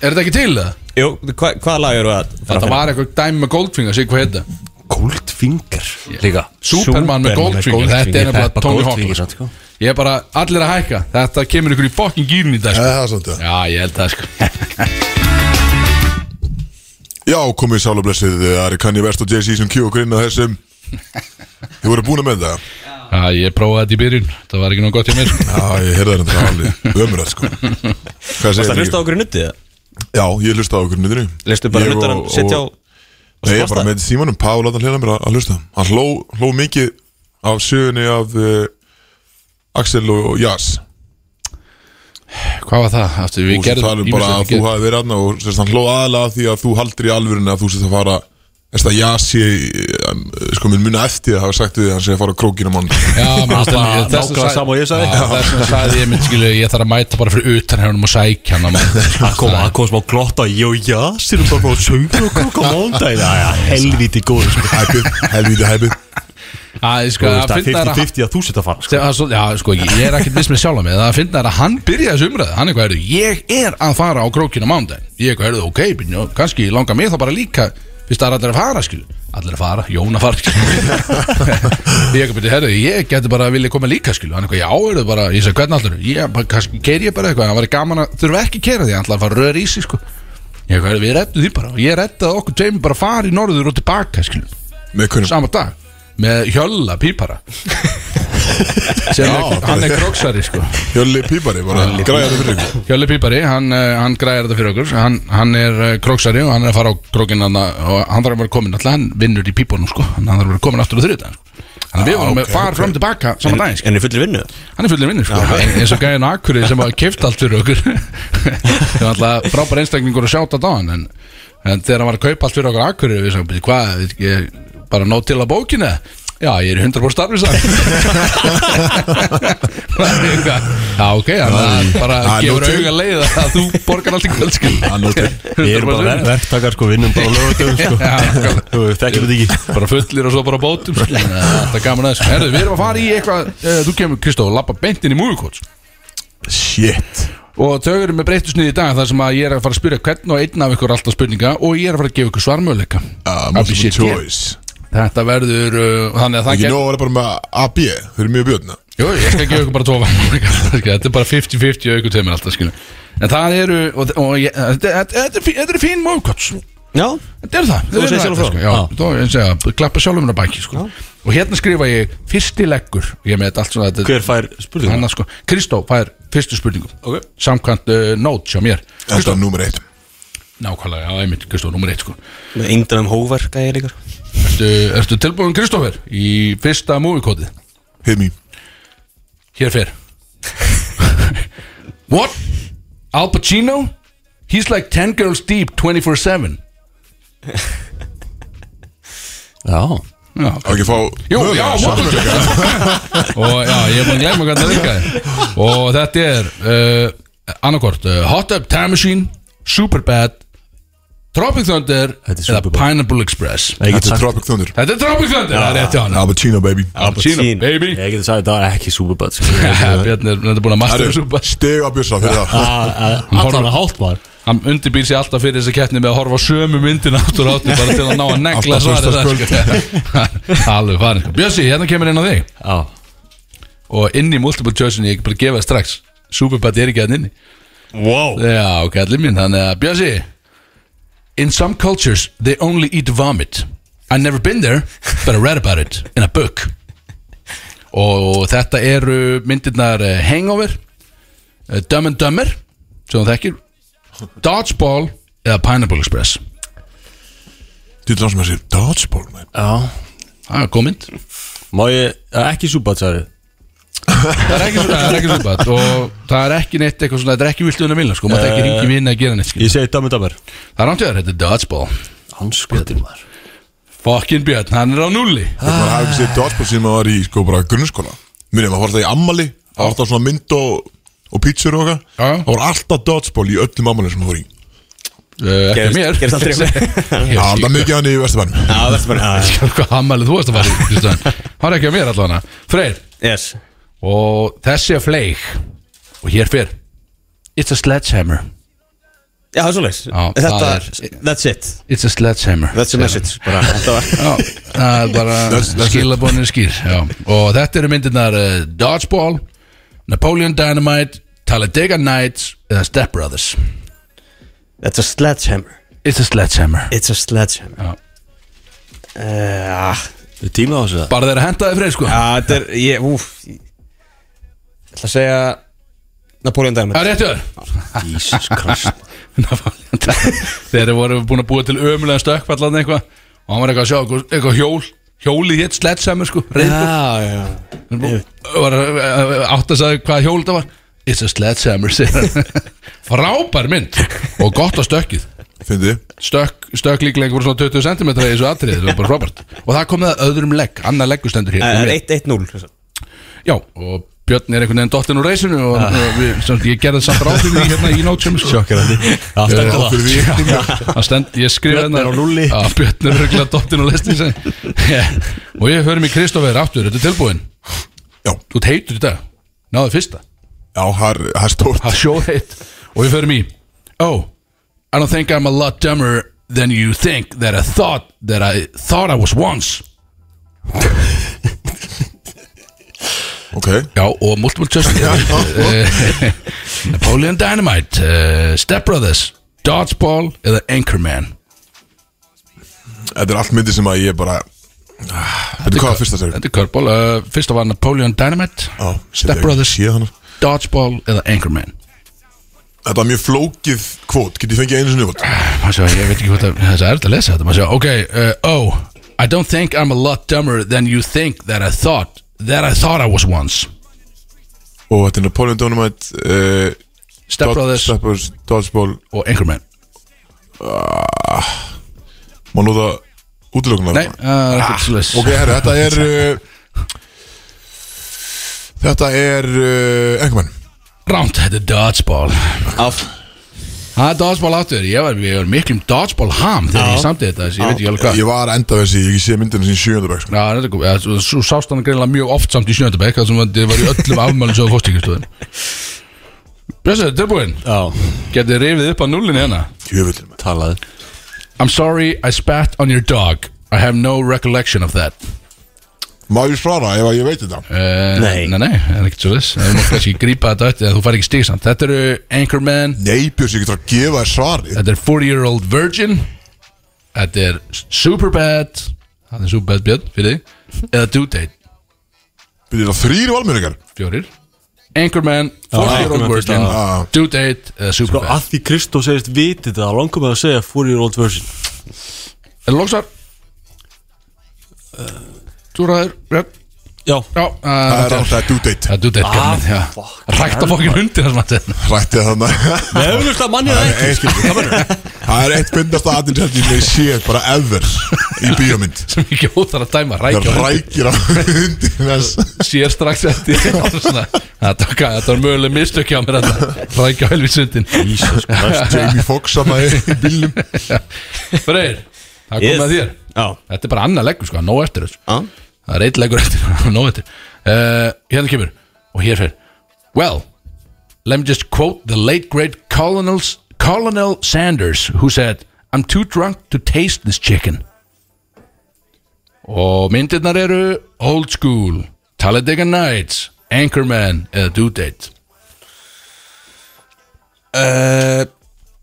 Speaker 2: þetta ekki til það?
Speaker 4: Jú, hva- hvaða lag eru að fara
Speaker 2: Þetta
Speaker 4: að
Speaker 2: var eitthvað dæmi með Goldfinger Sigga, hvað heit það?
Speaker 3: Goldfinger Líka
Speaker 2: Superman með Goldfinger Þetta er nefnilega Tony Hawk
Speaker 3: sko.
Speaker 2: Ég er bara allir að hækka Þetta kemur ykkur í fokkin gýrin í dag sko.
Speaker 7: Það er samt það
Speaker 2: Já, ég held það sko
Speaker 7: Já, komið sála blessið, það er Kanye West og Jay-Z sem kjú og grinna þessum Þið voru búin með það
Speaker 2: Já, ég prófaði þetta í byrjun Það var ekki nóg gott hjá mér sko.
Speaker 7: Já, ég heyrði það þetta alveg ömuröð sko Hvað
Speaker 4: Það
Speaker 7: segir
Speaker 4: hlusta á okkur í nuttið
Speaker 7: Já, ég hlusta á okkur nýðri
Speaker 4: Lestu bara nuttarann, setja á
Speaker 7: Nei, ég
Speaker 4: varst
Speaker 7: bara
Speaker 4: það?
Speaker 7: með símanum, Pál átt að hlera mér að- að hlusta Hann hló, hló mikið af sögunni af uh, Axel og og Jas
Speaker 2: Hvað var það? Aftur, við
Speaker 7: Og sem
Speaker 2: gerðum
Speaker 7: talum
Speaker 2: ýmislegt
Speaker 7: bara
Speaker 2: við
Speaker 7: að þú
Speaker 2: gerðum-
Speaker 7: hafi verið aðna og sérst, hann hló aðalega af því að þú haldir í alvörinu að þú sérst að fara Þess að Jas ég, sko, minn muna eftir að hafa sagt við því að hann sé að fara á krókinu mann
Speaker 2: Já, mér finnst
Speaker 3: Bara
Speaker 2: það- þess
Speaker 3: nákvæmlega
Speaker 2: að
Speaker 3: sama og ég sagði.
Speaker 2: Já, þess að sagði ég mynd skilju Ég þarf að mæta bara fyrir utan hefnum og sækja hann sko.
Speaker 3: Það kom að kom smá glotta Jó, já, sérum bara bara að söngja og kóka mándæði Það er helviti góð sko.
Speaker 7: Hæpið, helvítið hæpið
Speaker 2: Það sko,
Speaker 3: Þú
Speaker 2: að
Speaker 3: veist, Það er
Speaker 2: finna er að
Speaker 3: 50-50 að þú setja að fara sko.
Speaker 2: Sem að svo- Já, sko, ég ég er ekkert viss með sjálfa mig Það að finna er að hann byrja þessu umræðu Hann eitthvað, heyrðu, ég er að fara á krókinu mándaginn Ég eitthvað, heyrðu, ok, byrju, kannski langar mig þá bara líka Fyrst það er allir að fara, skilu Allir að fara, Jón að fara, skilu Ég eitthvað, byrju, heyrðu, ég geti bara að vilja koma líka, skilu Hann eitthvað, já, heyrðu, bara, ég sagði, hvernig allir Ég, bara, kannski keiri ég bara eitthvað Það var gaman að þurfa ekki að keira því Hann ætlaði að fara rör í sig, sko Ég eitthvað, heyrðu, við rettum því bara Og ég rettaði okkur tveim bara að fara í norður og tilbaka, skilu
Speaker 7: Með hvernig
Speaker 2: sama dag með hjölla pípara sem er, hann er kroksari sko
Speaker 7: Hjölli Pípari bara græða það fyrir ykkur
Speaker 2: hjölla pípari, hann, eh, hann græðir þetta fyrir okkur hann, hann er eh, kroksari og hann er að fara á krókin hann og hann þarf að vera komin alltaf hann vinnur í pípunum sko, hann þarf að vera komin aftur á þriðdag sko. Þannig að við vorum með far fram og tilbaka saman daginn sko.
Speaker 4: En er fullir vinnu
Speaker 2: Hann er fullir vinnu sko, En- eins og gæðin á Akureyri sem hafa kipt allt fyrir okkur Það var alltaf frábær einstaklingur að sjáta á hann en, en þegar hann var að kaupa allt fyrir okkur á Akureyri Við sagðum, "Bíddu, hvað, við ég, bara nót til að bókina Já, ég er í 100% starfis Já, ok, hann hann bara
Speaker 7: Hann
Speaker 2: gefur
Speaker 7: nóg til.
Speaker 2: auga leið að þú borgar allt í sko. kvöldskil
Speaker 3: Við erum bara ver- verktakar sko, vinnum bara lögutum sko.
Speaker 2: Já, nákvæmlega.
Speaker 3: Þú veist, þekkjum þetta ekki
Speaker 2: bara fullir og svo bara á bótum sko. Þannig að þetta er gaman aðeins Herðu, við erum að fara í eitthvað, eh, þú kemur Kristó og lappa beint inn í sko. múvikóts
Speaker 7: Shit
Speaker 2: Og þau eru með breytusnið í dag þar sem að ég er að fara að spyrja hvern og einn af ykkur er alltaf spurninga og ég er að fara að gefa ykkur svarmöðleika
Speaker 7: uh, Multiple choice
Speaker 2: Þetta verður, uh, þannig að það
Speaker 7: Ekki
Speaker 2: ger
Speaker 7: nóg að vera bara með AB Þau eru mjög björna
Speaker 2: Jú, ég skal gefa ykkur bara tvo varmöðleika Þetta er bara 50-50 og ykkur tveimur alltaf skilu En það eru, og, og ég, þetta, þetta, þetta, er fín- þetta er fín móðkots
Speaker 4: Já
Speaker 2: Þetta er það
Speaker 4: Þú
Speaker 2: Þetta
Speaker 4: segir
Speaker 2: er
Speaker 4: sjálfur
Speaker 2: það,
Speaker 4: frá.
Speaker 2: sko. Já, þú eins og að klappa sjálfum mér að baki sko. Og hérna skrifa ég fyrsti leggur Ég er með þetta allt svona þetta,
Speaker 3: Hver fær spurninga?
Speaker 2: annars, sko. Kristó fær fyrstu spurningum okay. Samkvæmt uh, nót hjá mér
Speaker 7: Þetta er nummer eitt
Speaker 2: Nákvæmlega, já, einmitt, Kristó, nummer eitt sko.
Speaker 4: Með engan um hóverka ég líka sko.
Speaker 2: Ertu, ertu tilbúin Kristófer í fyrsta móvikótið?
Speaker 7: Hit me
Speaker 2: Hér fer What? Al Pacino? He's like 10 girls deep 24-7
Speaker 3: Já
Speaker 2: Já,
Speaker 7: Á ekki að fá
Speaker 2: Jú,
Speaker 7: mögulega
Speaker 2: já, móvikótið Og já, ég er búin að glemma hvernig það virkaði Og eh, þetta er uh, annarkort uh, Hot Up Time Machine Superbad Tropic Thunder
Speaker 3: Þetta
Speaker 2: eða
Speaker 3: er Superbowl.
Speaker 2: Pineapple Express
Speaker 3: Ég get
Speaker 7: Þetta er
Speaker 3: sagt-
Speaker 7: Tropic Thunder
Speaker 2: Þetta er Tropic Thunder, það er rétt hjá hann
Speaker 7: Albertino baby
Speaker 2: Albertino,
Speaker 4: Albertino.
Speaker 2: baby
Speaker 3: Ég geti sagt að það var ekki Superbad
Speaker 2: Bjarni er nefndi búin að
Speaker 7: Það
Speaker 2: master þessu
Speaker 7: eru steg að bjösa fyrir það
Speaker 4: Ah.
Speaker 3: Allan að hálft maður
Speaker 2: Hann undirbýr sér alltaf fyrir þessa keppni með að horfa á sömu myndin aftur og áttur bara til að ná að negla
Speaker 7: Alltaf
Speaker 2: svarið það
Speaker 7: föstudagskvöld.
Speaker 2: sko. Alveg farin sko. Bjössi, hérna kemur inn á þig
Speaker 3: Já
Speaker 2: og inn í multiple choice ég er bara að gefa það strax Superbad er ekki að inni
Speaker 3: Wow
Speaker 2: Já, kallið mín, þannig að Bjössi In some cultures they only eat vomit I've never been there but I read about it in a book Og þetta eru myndirnar eh, Hangover eh, Dumb and Dumber sem þú þekkir Dodgeball eða Pineapple Express
Speaker 7: Þú veist sem að segja Dodgeball man.
Speaker 3: Já
Speaker 2: Það er góð mynd
Speaker 3: Má ég, eh, ekki Superbad sagði
Speaker 2: Það er ekki svona, það er ekki svona bad. og það er ekki neitt eitthvað svona, það er ekki vilt unna vilna sko, maður ekki ringi vinna að gera neitt skil.
Speaker 3: Ég segi Dami Damer
Speaker 2: Það er ántjöður, þetta er Dodgeball
Speaker 3: Hanskotir maður
Speaker 2: Fokkin Björn, hann er á núli
Speaker 7: Ég bara hafi ekki segið Dodgeball sem að var í sko bara grunnskóla Minni, maður var alltaf í ammali Það var alltaf svona mynd og, og pítsur og eitthvað
Speaker 2: Já.
Speaker 7: Það var alltaf Dodgeball í öllum ammali sem það fór í
Speaker 2: Uh, ekki
Speaker 4: Gerist-
Speaker 2: mér
Speaker 4: gerist aldrei hjá
Speaker 2: mér
Speaker 7: Já, það er mikið hann í Vestabænum
Speaker 4: Já, verður bara
Speaker 2: Hvað hammalið þú varst að fara í Kristján Það er ekki á mér allavega Freyr
Speaker 4: Yes
Speaker 2: Og þessi er fleik Og hér fyrr It's a sledgehammer
Speaker 4: Já, það er svoleiðis
Speaker 2: Já,
Speaker 4: Þetta
Speaker 2: það
Speaker 4: er That's it
Speaker 2: It's a sledgehammer
Speaker 4: That's the message bara Þetta var
Speaker 2: Já, það er bara
Speaker 7: That's- that's it.
Speaker 2: skilabónir skýr já. Og þetta eru myndirnar uh, Dodgeball Napoleon Dynamite Talladega Nights Eða Step Brothers
Speaker 4: That's a sledgehammer
Speaker 2: It's a sledgehammer
Speaker 4: It's a sledgehammer
Speaker 2: Já.
Speaker 4: Eh, ah,
Speaker 3: Þið tíma á þessu það
Speaker 2: Bara þeir henda þið freyr sko
Speaker 4: Já, þetta er Ég, úf Ég ætla að segja Napoleon Diamond
Speaker 2: Það er réttu þér
Speaker 3: Jesus Christ
Speaker 2: þegar þeir voru búin að búa til ömulega stökkfallan eitthvað og hann var eitthvað að sjá eitthvað, eitthvað hjól hjólið hitt sledgehammer sko reyndum
Speaker 4: ah. Já, já
Speaker 2: var að- að- að- átt að sagði hvað hjól það var it's a sledgehammer segir hann. frábær mynd og gott á stökkið
Speaker 7: Fyndi
Speaker 2: stökk, stökk líklega einhver svona 20 cm í þessu atriði, það var bara frábært og það kom það að öðrum legg, annar leggustendur hér
Speaker 4: Það
Speaker 2: um
Speaker 4: er
Speaker 2: ég.
Speaker 4: 1-1-0
Speaker 2: já, og Björn er einhvern veginn dottinn úr reysinu og,
Speaker 3: Ah.
Speaker 2: og við, sem, sagt, ég gerði samt ráð fyrir því hérna í nótsum sko.
Speaker 3: Alltaf
Speaker 2: Eh,
Speaker 3: góða
Speaker 2: Það stend, ég skrifa
Speaker 3: Björn er á núlli.
Speaker 2: Já, Björn er röglega dottin og lestin sem Og ég höfum í Kristoffer aftur, þetta er tilbúin
Speaker 7: Já.
Speaker 2: Þú ert heitur í dag, náðu fyrsta
Speaker 7: Já, það er- það er stórt
Speaker 2: Það er sjóðheit Og ég höfum í Oh, I don't think I'm a lot dumber than you think That I thought, that I thought I was once
Speaker 7: Ok
Speaker 2: Já, og Multiple Justice Eh, Napoleon Dynamite eh, Step Brothers Dodgeball eða Anchorman
Speaker 7: Þetta er allt myndi sem að ég bara Þetta er hvað að fyrsta sér
Speaker 2: Þetta er Körbol, uh, fyrsta var Napoleon Dynamite Step Brothers,
Speaker 7: Þetta
Speaker 2: Dodgeball eða Anchorman
Speaker 7: var mjög flókið kvót Get ég fengið einu sinni kvót
Speaker 2: Ah, Maður sjá, ég veit ekki hvað það, það er erfitt að lesa þetta Maður sjá, ok, uh, oh I don't think I'm a lot dumber than you think that I thought That I thought I was once
Speaker 7: Og þetta er Napoleon Dynamite eh,
Speaker 2: Step
Speaker 7: Dod-
Speaker 2: Brothers
Speaker 7: Step Brothers, Dodgeball
Speaker 2: og Anchorman
Speaker 7: Má nota útlökunar
Speaker 2: Nei, það er ekkert slis
Speaker 7: Ah, Ok, herru, þetta er eh, Þetta er eh, Engman
Speaker 2: Rámt, þetta er dodgeball
Speaker 4: Af
Speaker 2: Það er dodgeball áttur, ég var, ég var miklum dodgeball ham þegar ég samti þetta, þessi, ég veit ekki alveg hvað
Speaker 7: Ég var að enda þessi, ég sé myndina sín sjöndabæk sko.
Speaker 2: Já, þetta er góð, ja, svo- svo sást hann greinlega mjög oft samt í sjöndabæk Það sem þetta var í öllum afmælum svo fórstíkistöðum Bjössu, tilbúin,
Speaker 3: Já,
Speaker 2: getið rifið upp á nullinu hérna
Speaker 7: Jöfull maður.
Speaker 3: talaði
Speaker 2: I'm sorry I spat on your dog I have no recollection of that
Speaker 7: Má ég svara ef að ég veit þetta
Speaker 2: uh,
Speaker 4: Nei.
Speaker 2: Nei, nei, það er ekkert svo þess Það má kannski grípa þetta eftir að þú fær ekki stíksamt Þetta eru Anchorman
Speaker 7: Nei, Björs, ég getur að gefa þér svari
Speaker 2: Þetta er 40 year old virgin Þetta er Superbad Það er Superbad Björn fyrir þig Eða Due Date,
Speaker 7: Byrðir það þrýri valmjöringar
Speaker 2: fjórir Anchorman, 40 year old
Speaker 3: Anchorman fyrst,
Speaker 2: virgin
Speaker 7: já.
Speaker 2: Due Date eða
Speaker 3: Sko,
Speaker 2: Superbad
Speaker 3: að því Kristó segist vitið það Langum að segja 4 year old version
Speaker 2: Er það lóksar? Þú ræður, Björn
Speaker 3: Já,
Speaker 2: Já, það
Speaker 7: Það
Speaker 2: er
Speaker 7: er
Speaker 2: rætt
Speaker 7: rátt að due date
Speaker 2: Það er dúdeitt gæmið, já Rækta fokkin hundi þessum að þetta
Speaker 7: Rætti það
Speaker 3: við
Speaker 7: þannig
Speaker 3: höfum hlust að manni það ekki
Speaker 7: Það er eitt bindast aðinsætti sem ég sé bara ever í bíómynd
Speaker 2: Sem ekki óþar að dæma
Speaker 7: Það
Speaker 2: rækja hundi
Speaker 7: rækir á hundi þess
Speaker 2: Sér strax eftir Svona, Þetta var hvað, þetta var möguleg mistök hjá mér þetta Rækja helvið sundin
Speaker 3: Jesus Christ
Speaker 7: Jamie Foxx að maður í bílnum
Speaker 2: Freyr, það kom
Speaker 4: Yes.
Speaker 2: með þér
Speaker 4: Já,
Speaker 2: Þetta er bara annað leggur sko, nóg eftir þessu
Speaker 4: já
Speaker 2: Það er eitt leggur eftir, nóg eftir uh, Hérna kemur, og hér fer Well, let me just quote the late great colonels, Colonel Sanders Who said, I'm too drunk to taste this chicken Og myndirnar eru Old School, Talladega Nights Anchorman eða Due Date
Speaker 4: uh,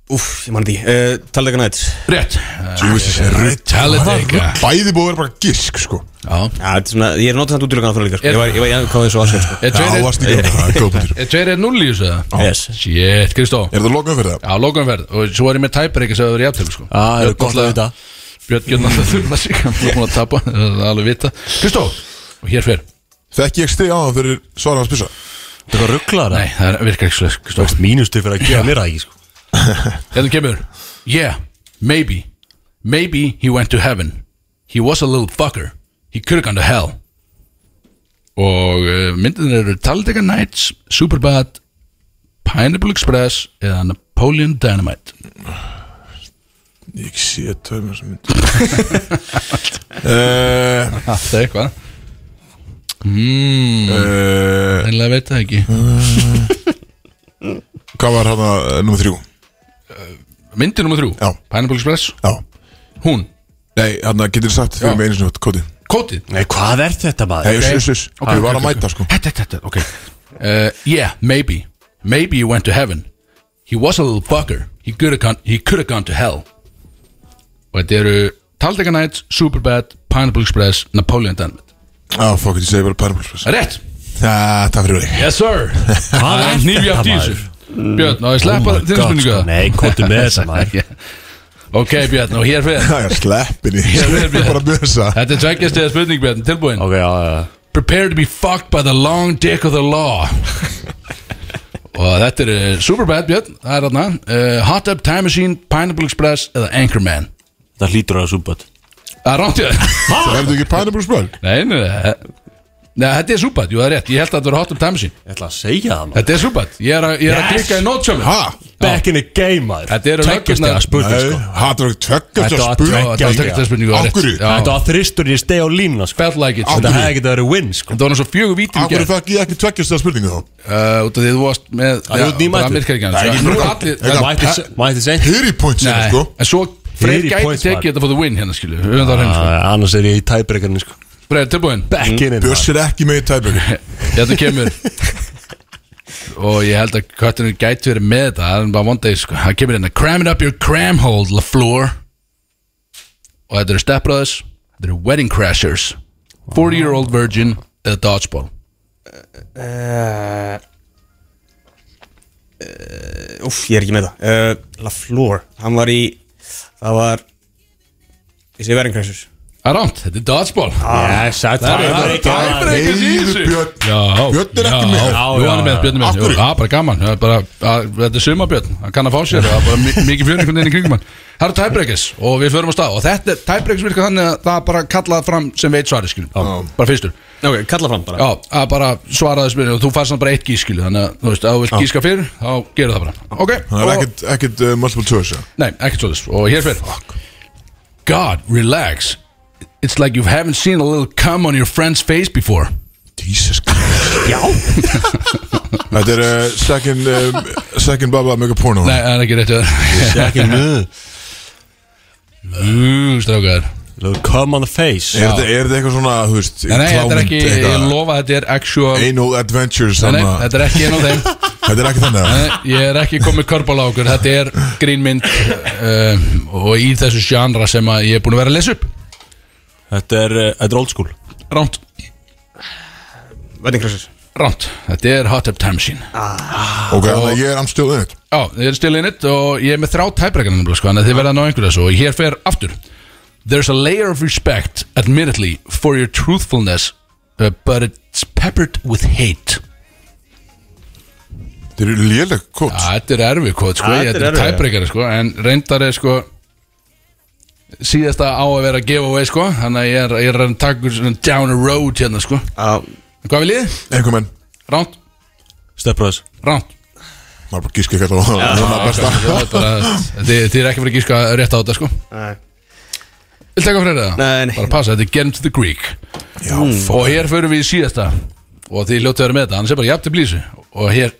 Speaker 4: Úff, ég mann því uh, Tallega nætt
Speaker 2: Rétt,
Speaker 7: Jesus, ég er reynd
Speaker 2: Talladega
Speaker 7: Bæði búið að vera bara gisk sko
Speaker 2: Já.
Speaker 4: Já, þetta er svona, ég er notið samt útlökan að fyrir líka sko.
Speaker 2: Er-
Speaker 4: Ég var, ég var, ég var, ég var, ég var
Speaker 2: Er
Speaker 7: Já, það varst ekki Það er góð punktur.
Speaker 2: tveir er null í þessu eða?
Speaker 4: Yes
Speaker 2: Shit, Kristó
Speaker 7: Er það lokað um fyrir það?
Speaker 2: Já, lokaumferð og svo er ég með tæpar ekki sem það verið jafntölu sko
Speaker 3: Já, það er
Speaker 2: Björn
Speaker 3: gott að
Speaker 2: náttúrulega-
Speaker 3: vita
Speaker 2: Björn Gjörn alltaf þurfa sig hann er búin að tapa, það er alveg vita Kristó, og hér fyrir
Speaker 7: Þekki ég stið á það fyrir svara hans pissa
Speaker 3: Þetta er rugglar
Speaker 2: Nei, það er virkar ekki slösk Kristó
Speaker 3: Mínustu fyrir að gera mér það ekki sko
Speaker 2: Hérna kemur Yeah, maybe Maybe he went to heaven He was a little fucker He could have gone to hell Og uh, myndin eru Talladega Nights, Superbad Pineapple Express eða Napoleon Dynamite
Speaker 7: Ég sé tveimur sem mynd Eh,
Speaker 2: Það er eitthvað
Speaker 7: eh,
Speaker 2: Einlega veit það ekki
Speaker 7: Hvað var hana nummer þrjú?
Speaker 2: Myndi nummer þrjú
Speaker 7: Já.
Speaker 2: Pineapple Express
Speaker 7: Já
Speaker 2: Hún
Speaker 7: Nei, hann getur sagt
Speaker 2: Já.
Speaker 7: fyrir mig einu sinni Kóti
Speaker 2: Kótið
Speaker 3: Nei, hvað er þetta maður?
Speaker 7: Nei, uss, uss, uss
Speaker 2: Ok,
Speaker 7: Ég
Speaker 2: ok,
Speaker 7: var að
Speaker 2: ok.
Speaker 7: mæta sko
Speaker 2: Þetta, þetta, þetta, ok uh, Yeah, maybe Maybe he went to heaven He was a little fucker He could have gone, he could have gone to hell Og þetta eru Taldeca Nights, Superbad, Pineapple Express, Napoleon Dynamite
Speaker 7: Já, fokk, ég segi bara Parmals
Speaker 2: Rétt
Speaker 7: Já, takk fyrir mig
Speaker 2: Yes sir
Speaker 3: Hvað er
Speaker 2: Nýfi af
Speaker 3: þetta,
Speaker 2: tísu
Speaker 3: maður? Mm.
Speaker 2: Björn, á ég sleppa
Speaker 3: my
Speaker 2: þinn
Speaker 3: God,
Speaker 2: spurningu
Speaker 3: sko.
Speaker 2: það
Speaker 3: Nei, komdu með þetta, maður.
Speaker 2: Ok Björn, og hér fyrir
Speaker 7: Það er sleppinni Sleppinni bara með þessa
Speaker 2: Þetta er tveggjast eða spurning Björn, tilbúin
Speaker 3: Ok, já, já, já
Speaker 2: Prepare to be fucked by the long dick of the law Og þetta er uh, Superbad Björn, það er þarna uh, Hot Tub Time Machine, Pineapple Express eða Anchorman
Speaker 3: Það hlýtur að það súböt
Speaker 2: Það er rámt ég
Speaker 7: Það hefðu ekki Parmals spöl
Speaker 2: Nei, nei, nei Nei, þetta er Superbad, jú það er rétt, ég held að þetta var Hot Tub Time Machine
Speaker 3: Ég ætla að segja það maður
Speaker 2: Þetta er Superbad, ég er að, ég er að
Speaker 3: Yes.
Speaker 2: klikka í nótsjómi
Speaker 7: Ha?
Speaker 3: Back in the game maður
Speaker 2: Þetta eru
Speaker 3: Tveggjast
Speaker 2: löggurnar-
Speaker 3: eða spurning
Speaker 7: Nei,
Speaker 3: sko
Speaker 7: það var tveggjast
Speaker 3: Þetta
Speaker 7: að
Speaker 3: var
Speaker 7: spöl
Speaker 3: tveggja-
Speaker 2: Það var tökkt að spurningu það
Speaker 7: Af
Speaker 2: er rétt.
Speaker 7: hverju?
Speaker 2: Já,
Speaker 3: Þetta var þristur í steg á línuna sko
Speaker 2: Felt like it
Speaker 7: Af
Speaker 2: Þetta
Speaker 3: Þetta
Speaker 7: hverju?
Speaker 3: hefði ekki verið win sko
Speaker 2: var náttúrulega fjögur víti í
Speaker 7: Akkur
Speaker 2: gerð
Speaker 7: fekk ég ekki tveggjast að spurningu þá
Speaker 2: uh, Út af því þú varst með
Speaker 3: Það er út nýmættur.
Speaker 2: Það virkar ekki
Speaker 7: Það
Speaker 2: annars
Speaker 7: er
Speaker 2: Nú sko. eru allir
Speaker 7: ekki nokkuð. Þetta var-
Speaker 3: Mætti se- Mætti segja
Speaker 7: Hiri point sem
Speaker 2: Nei,
Speaker 7: sko
Speaker 2: en svo Freyr
Speaker 3: Fyrir
Speaker 2: gæti
Speaker 3: points,
Speaker 2: tekið
Speaker 3: maður.
Speaker 2: þetta for the win hérna skilu Höfum það á hreinu sko
Speaker 3: Ah, Annars er ég í tæbreykarni sko
Speaker 2: Freyr, tilbúin
Speaker 3: Back in it
Speaker 7: Björs er ekki með í tæbjögg
Speaker 2: Þetta kemur Og ég held að köttunum gæti verið með þetta Það er bara one day sko Það kemur hérna Cram it up your cram hole, LaFleur Og þetta eru Step Brothers Þetta eru Wedding Crashers 40 year old virgin Eða Dodgeball
Speaker 4: Úff, ég er ekki með það uh, LaFleur, hann var í Það var Ég segi Veringræsurs
Speaker 2: Það er rámt, þetta er Dodgeball
Speaker 4: Ah.
Speaker 3: Yes, það
Speaker 2: Það er
Speaker 3: er
Speaker 2: það er ekki
Speaker 7: Heiður
Speaker 2: síðan
Speaker 7: Björn
Speaker 2: Já,
Speaker 7: Björn er ekki
Speaker 2: já,
Speaker 7: með.
Speaker 2: já, Jú, hann er með, Björn er
Speaker 7: Af
Speaker 2: með Jú,
Speaker 7: hverju?
Speaker 2: Já, bara gaman, það er bara, að, þetta er sumabjörn Hann kann að fá sér, það er bara mi- mikið fjör einhvern veginn í kringum hann Það eru tæbreykis og við förum á stað Og þetta, tæbreykis virkar þannig að það er bara kallað fram sem veit svarið, skilum Bara fyrstur
Speaker 4: Ok, kalla fram bara
Speaker 2: Já, að bara svaraði spyrir og þú færst hann bara eitt gís, skilum Þannig að, þú veist, ef þú vilt gíska fyrir, þá gerðu það bara Ok,
Speaker 7: Það er
Speaker 2: og-
Speaker 7: ekkert- ekkert uh, multiple choice já.
Speaker 2: Nei, ekkert svo þess Og hér fyrir God, relax It's like you haven't seen a little cum on your friend's face before
Speaker 7: Jesus Christ Já Þetta er uh, second, um, second Baba Mega Porno
Speaker 2: Nei, það er ekki rétt
Speaker 3: Það er ekki nöð
Speaker 2: Ú, strákar
Speaker 3: Look, Come on the face
Speaker 7: Er þetta er þetta eitthvað svona, þú veist
Speaker 2: Nei, nei, þetta er
Speaker 7: klámynd,
Speaker 2: ekki, ég
Speaker 7: eitthvað,
Speaker 2: lofa að þetta er actual Nei,
Speaker 7: Anal Adventures
Speaker 2: nei,
Speaker 7: þarna?
Speaker 2: þetta er ekki einn á þeim
Speaker 7: Þetta er ekki þannig að-
Speaker 2: Nei, Ég er ekki komið körbál á okkur Þetta er grínmynd uh, Og í þessu sjánra sem að ég er búin að vera að lesa upp
Speaker 3: Þetta er eh, þetta er old school
Speaker 2: Ránt,
Speaker 4: Veringræsurs
Speaker 2: ránt Þetta er Hot Tub Time Machine
Speaker 7: Ok, þannig að ég er amstöð um þetta
Speaker 2: Já, þið eru stilið innit og ég er með þrá tæbrekarnir nefnilega sko, en þið verða að ná einhverja svo og hér fer aftur There's a layer of respect, admittedly, for your truthfulness uh, But it's peppered with hate
Speaker 7: Þeir eru léleg kóts
Speaker 2: Ja, Þetta er erfið kvot sko,
Speaker 4: Ja,
Speaker 2: ég-
Speaker 4: þetta
Speaker 2: þetta
Speaker 4: er
Speaker 2: er
Speaker 4: erfið.
Speaker 2: tæbreykari sko En reyndar er sko Síðasta á að vera að gefa away sko Þannig að ég er, ég er að taka svona down a road hérna sko
Speaker 4: að
Speaker 2: Hvað vil ég?
Speaker 7: Einhver menn,
Speaker 2: Ránt,
Speaker 3: Stepbræðis
Speaker 2: ránt
Speaker 7: maður bara gíska ekki alltaf Það er maður besta
Speaker 2: Þið er ekki fyrir að gíska rétt á þetta sko
Speaker 4: Nei.
Speaker 2: Vil taka fyrir það?
Speaker 4: Nei, nei.
Speaker 2: Bara passa, þetta er Get to the Greek Já, Og hér förum við í síðasta Og þið ljóttu að vera með þetta, annars er bara jafn til blísu Og hér,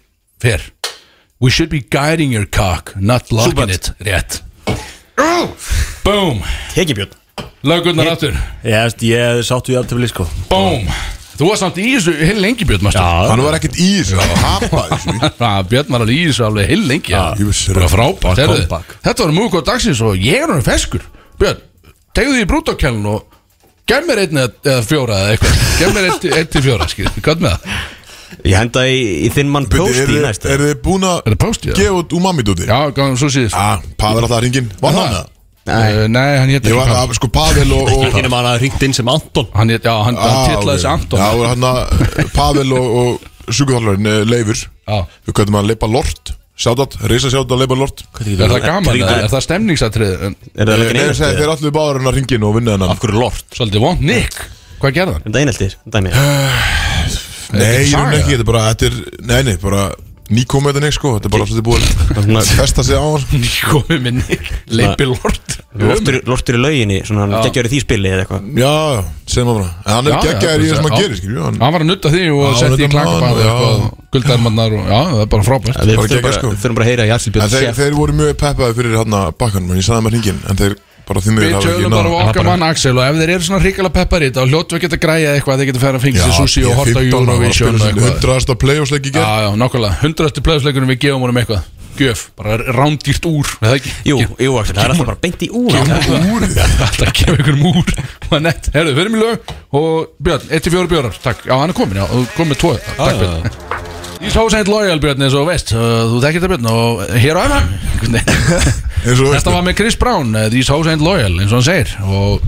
Speaker 2: fer We should be guiding your cock, not blocking it Rétt Boom,
Speaker 4: tekibjörn
Speaker 2: lögurnar aftur
Speaker 3: Ég veist, ég sáttu ég aftur við sko
Speaker 2: Boom Þú var samt í þessu heil lengi Björn Mastu
Speaker 7: Hann var ekkert í þessu, hann hapaði þessu
Speaker 2: Björn var alveg í þessu alveg heil lengi
Speaker 7: Ég vissi
Speaker 2: Bara
Speaker 7: það.
Speaker 2: frábært
Speaker 3: Bara
Speaker 2: heyrðu.
Speaker 3: comeback.
Speaker 2: Þetta var múið góð dagsins og ég er hann feskur Björn, tegðu því í brútokjælun og Gef mér einn eða eða fjóra eða eitthvað Gef mér einn til- einn til fjóra, skil, hvað með það?
Speaker 4: ég henda í, í þinn mann
Speaker 7: Bíddu,
Speaker 4: post í
Speaker 7: eru-
Speaker 4: næstu
Speaker 7: Eru þið búin
Speaker 2: Er
Speaker 7: að
Speaker 2: það post í það?
Speaker 7: gefa út umami dóti?
Speaker 2: Já, gáðum svo síðist
Speaker 7: Já, Pavel alltaf ringin Var hann það?
Speaker 2: Nei, nei hann hétt
Speaker 7: Ah, Ég
Speaker 2: ekki
Speaker 7: var
Speaker 2: Pabbi.
Speaker 7: að, sko, Pavel og og-
Speaker 3: Ekki nema hann að ringt inn sem Anton
Speaker 2: Hann hétt, já, hann
Speaker 7: Ah,
Speaker 2: ah,
Speaker 7: ok.
Speaker 2: tillaði þessi Anton
Speaker 7: Já, hann að Pavel og, og sjúkuþálarinn Leifur
Speaker 2: Já.
Speaker 7: Við köttum að leipa lort Sjátat, reysa sjátat að leipa lort
Speaker 2: Er það gaman, eða? er það stemningsatrið En
Speaker 4: er það
Speaker 7: Nei,
Speaker 4: ekki
Speaker 7: nei,
Speaker 4: einheltir
Speaker 7: þeir allir báður hennar ringin og vinna hennar
Speaker 3: Af hverju lort?
Speaker 2: svolítið vond Nick, hvað gerði hann?
Speaker 4: er það einheltir dæmi
Speaker 7: Nei,
Speaker 2: ekki
Speaker 7: ég
Speaker 2: saga.
Speaker 7: er ekki, þetta er bara Þetta er, nei, nei, bara Nýkomið þetta neik, sko Þetta er bara alltaf búin að festa sig á hann sko.
Speaker 2: Komið með Nick, leipi lort
Speaker 4: lortur, lortur í lauginni svona hann geggjöri því spili eða eitthvað
Speaker 7: Já, já, segjum það bara En hann
Speaker 2: Já,
Speaker 7: er geggjær
Speaker 2: já,
Speaker 7: í það sem hann
Speaker 2: já.
Speaker 7: gerir, skiljum Hann
Speaker 2: Hann var að nutta því og
Speaker 7: Já,
Speaker 2: setti í
Speaker 7: nudda
Speaker 2: klakabæði
Speaker 7: maður, já.
Speaker 2: og guldarmannar og já, það er bara frábært
Speaker 4: við
Speaker 7: Bara
Speaker 4: þurfum
Speaker 7: geggjað,
Speaker 4: bara,
Speaker 7: sko.
Speaker 4: sko. bara að heyra í Axel
Speaker 7: En
Speaker 4: Björn
Speaker 7: þeir,
Speaker 4: Sef
Speaker 7: þeir voru mjög peppaði fyrir hérna bakkanum En ég sagði maður ringin En þeir bara því miður
Speaker 2: Við
Speaker 7: hafa ekki
Speaker 2: tjóðum bara á
Speaker 7: náð.
Speaker 2: okkar mann Axel og ef þeir eru svona hrikalega peppar í þetta og hljótu við geta græja eitthvað þeir geta færa að fengja sér sushi
Speaker 7: ég
Speaker 2: og
Speaker 7: er
Speaker 2: horta
Speaker 7: 15 ára, var að
Speaker 2: Eurovision
Speaker 7: spila
Speaker 2: og
Speaker 7: sinni
Speaker 2: eitthvað
Speaker 7: 100. playoffsleik í
Speaker 2: Já,
Speaker 7: gerð
Speaker 2: já, nákvæmlega, hundrastu plöðsleikunum við gefum honum eitthvað Gjöf, bara rándýrt úr eða ekki?
Speaker 4: jú, jú Axel það er alltaf bara beint í úr
Speaker 2: Úr, alltaf gefa ykkur úr og nett, herru, fyrir mig lög og Björn, 1-4 bjórar, takk, já hann er komin já, þú kom með 2, takk Björn Ég sá sænt lojal Björn eins og þú veist uh, þú þekkir þetta Björn og hér á efna
Speaker 7: Eins og
Speaker 2: Þetta var með Chris Brown, eh, These Hoes Ain't Loyal, eins og hann segir og,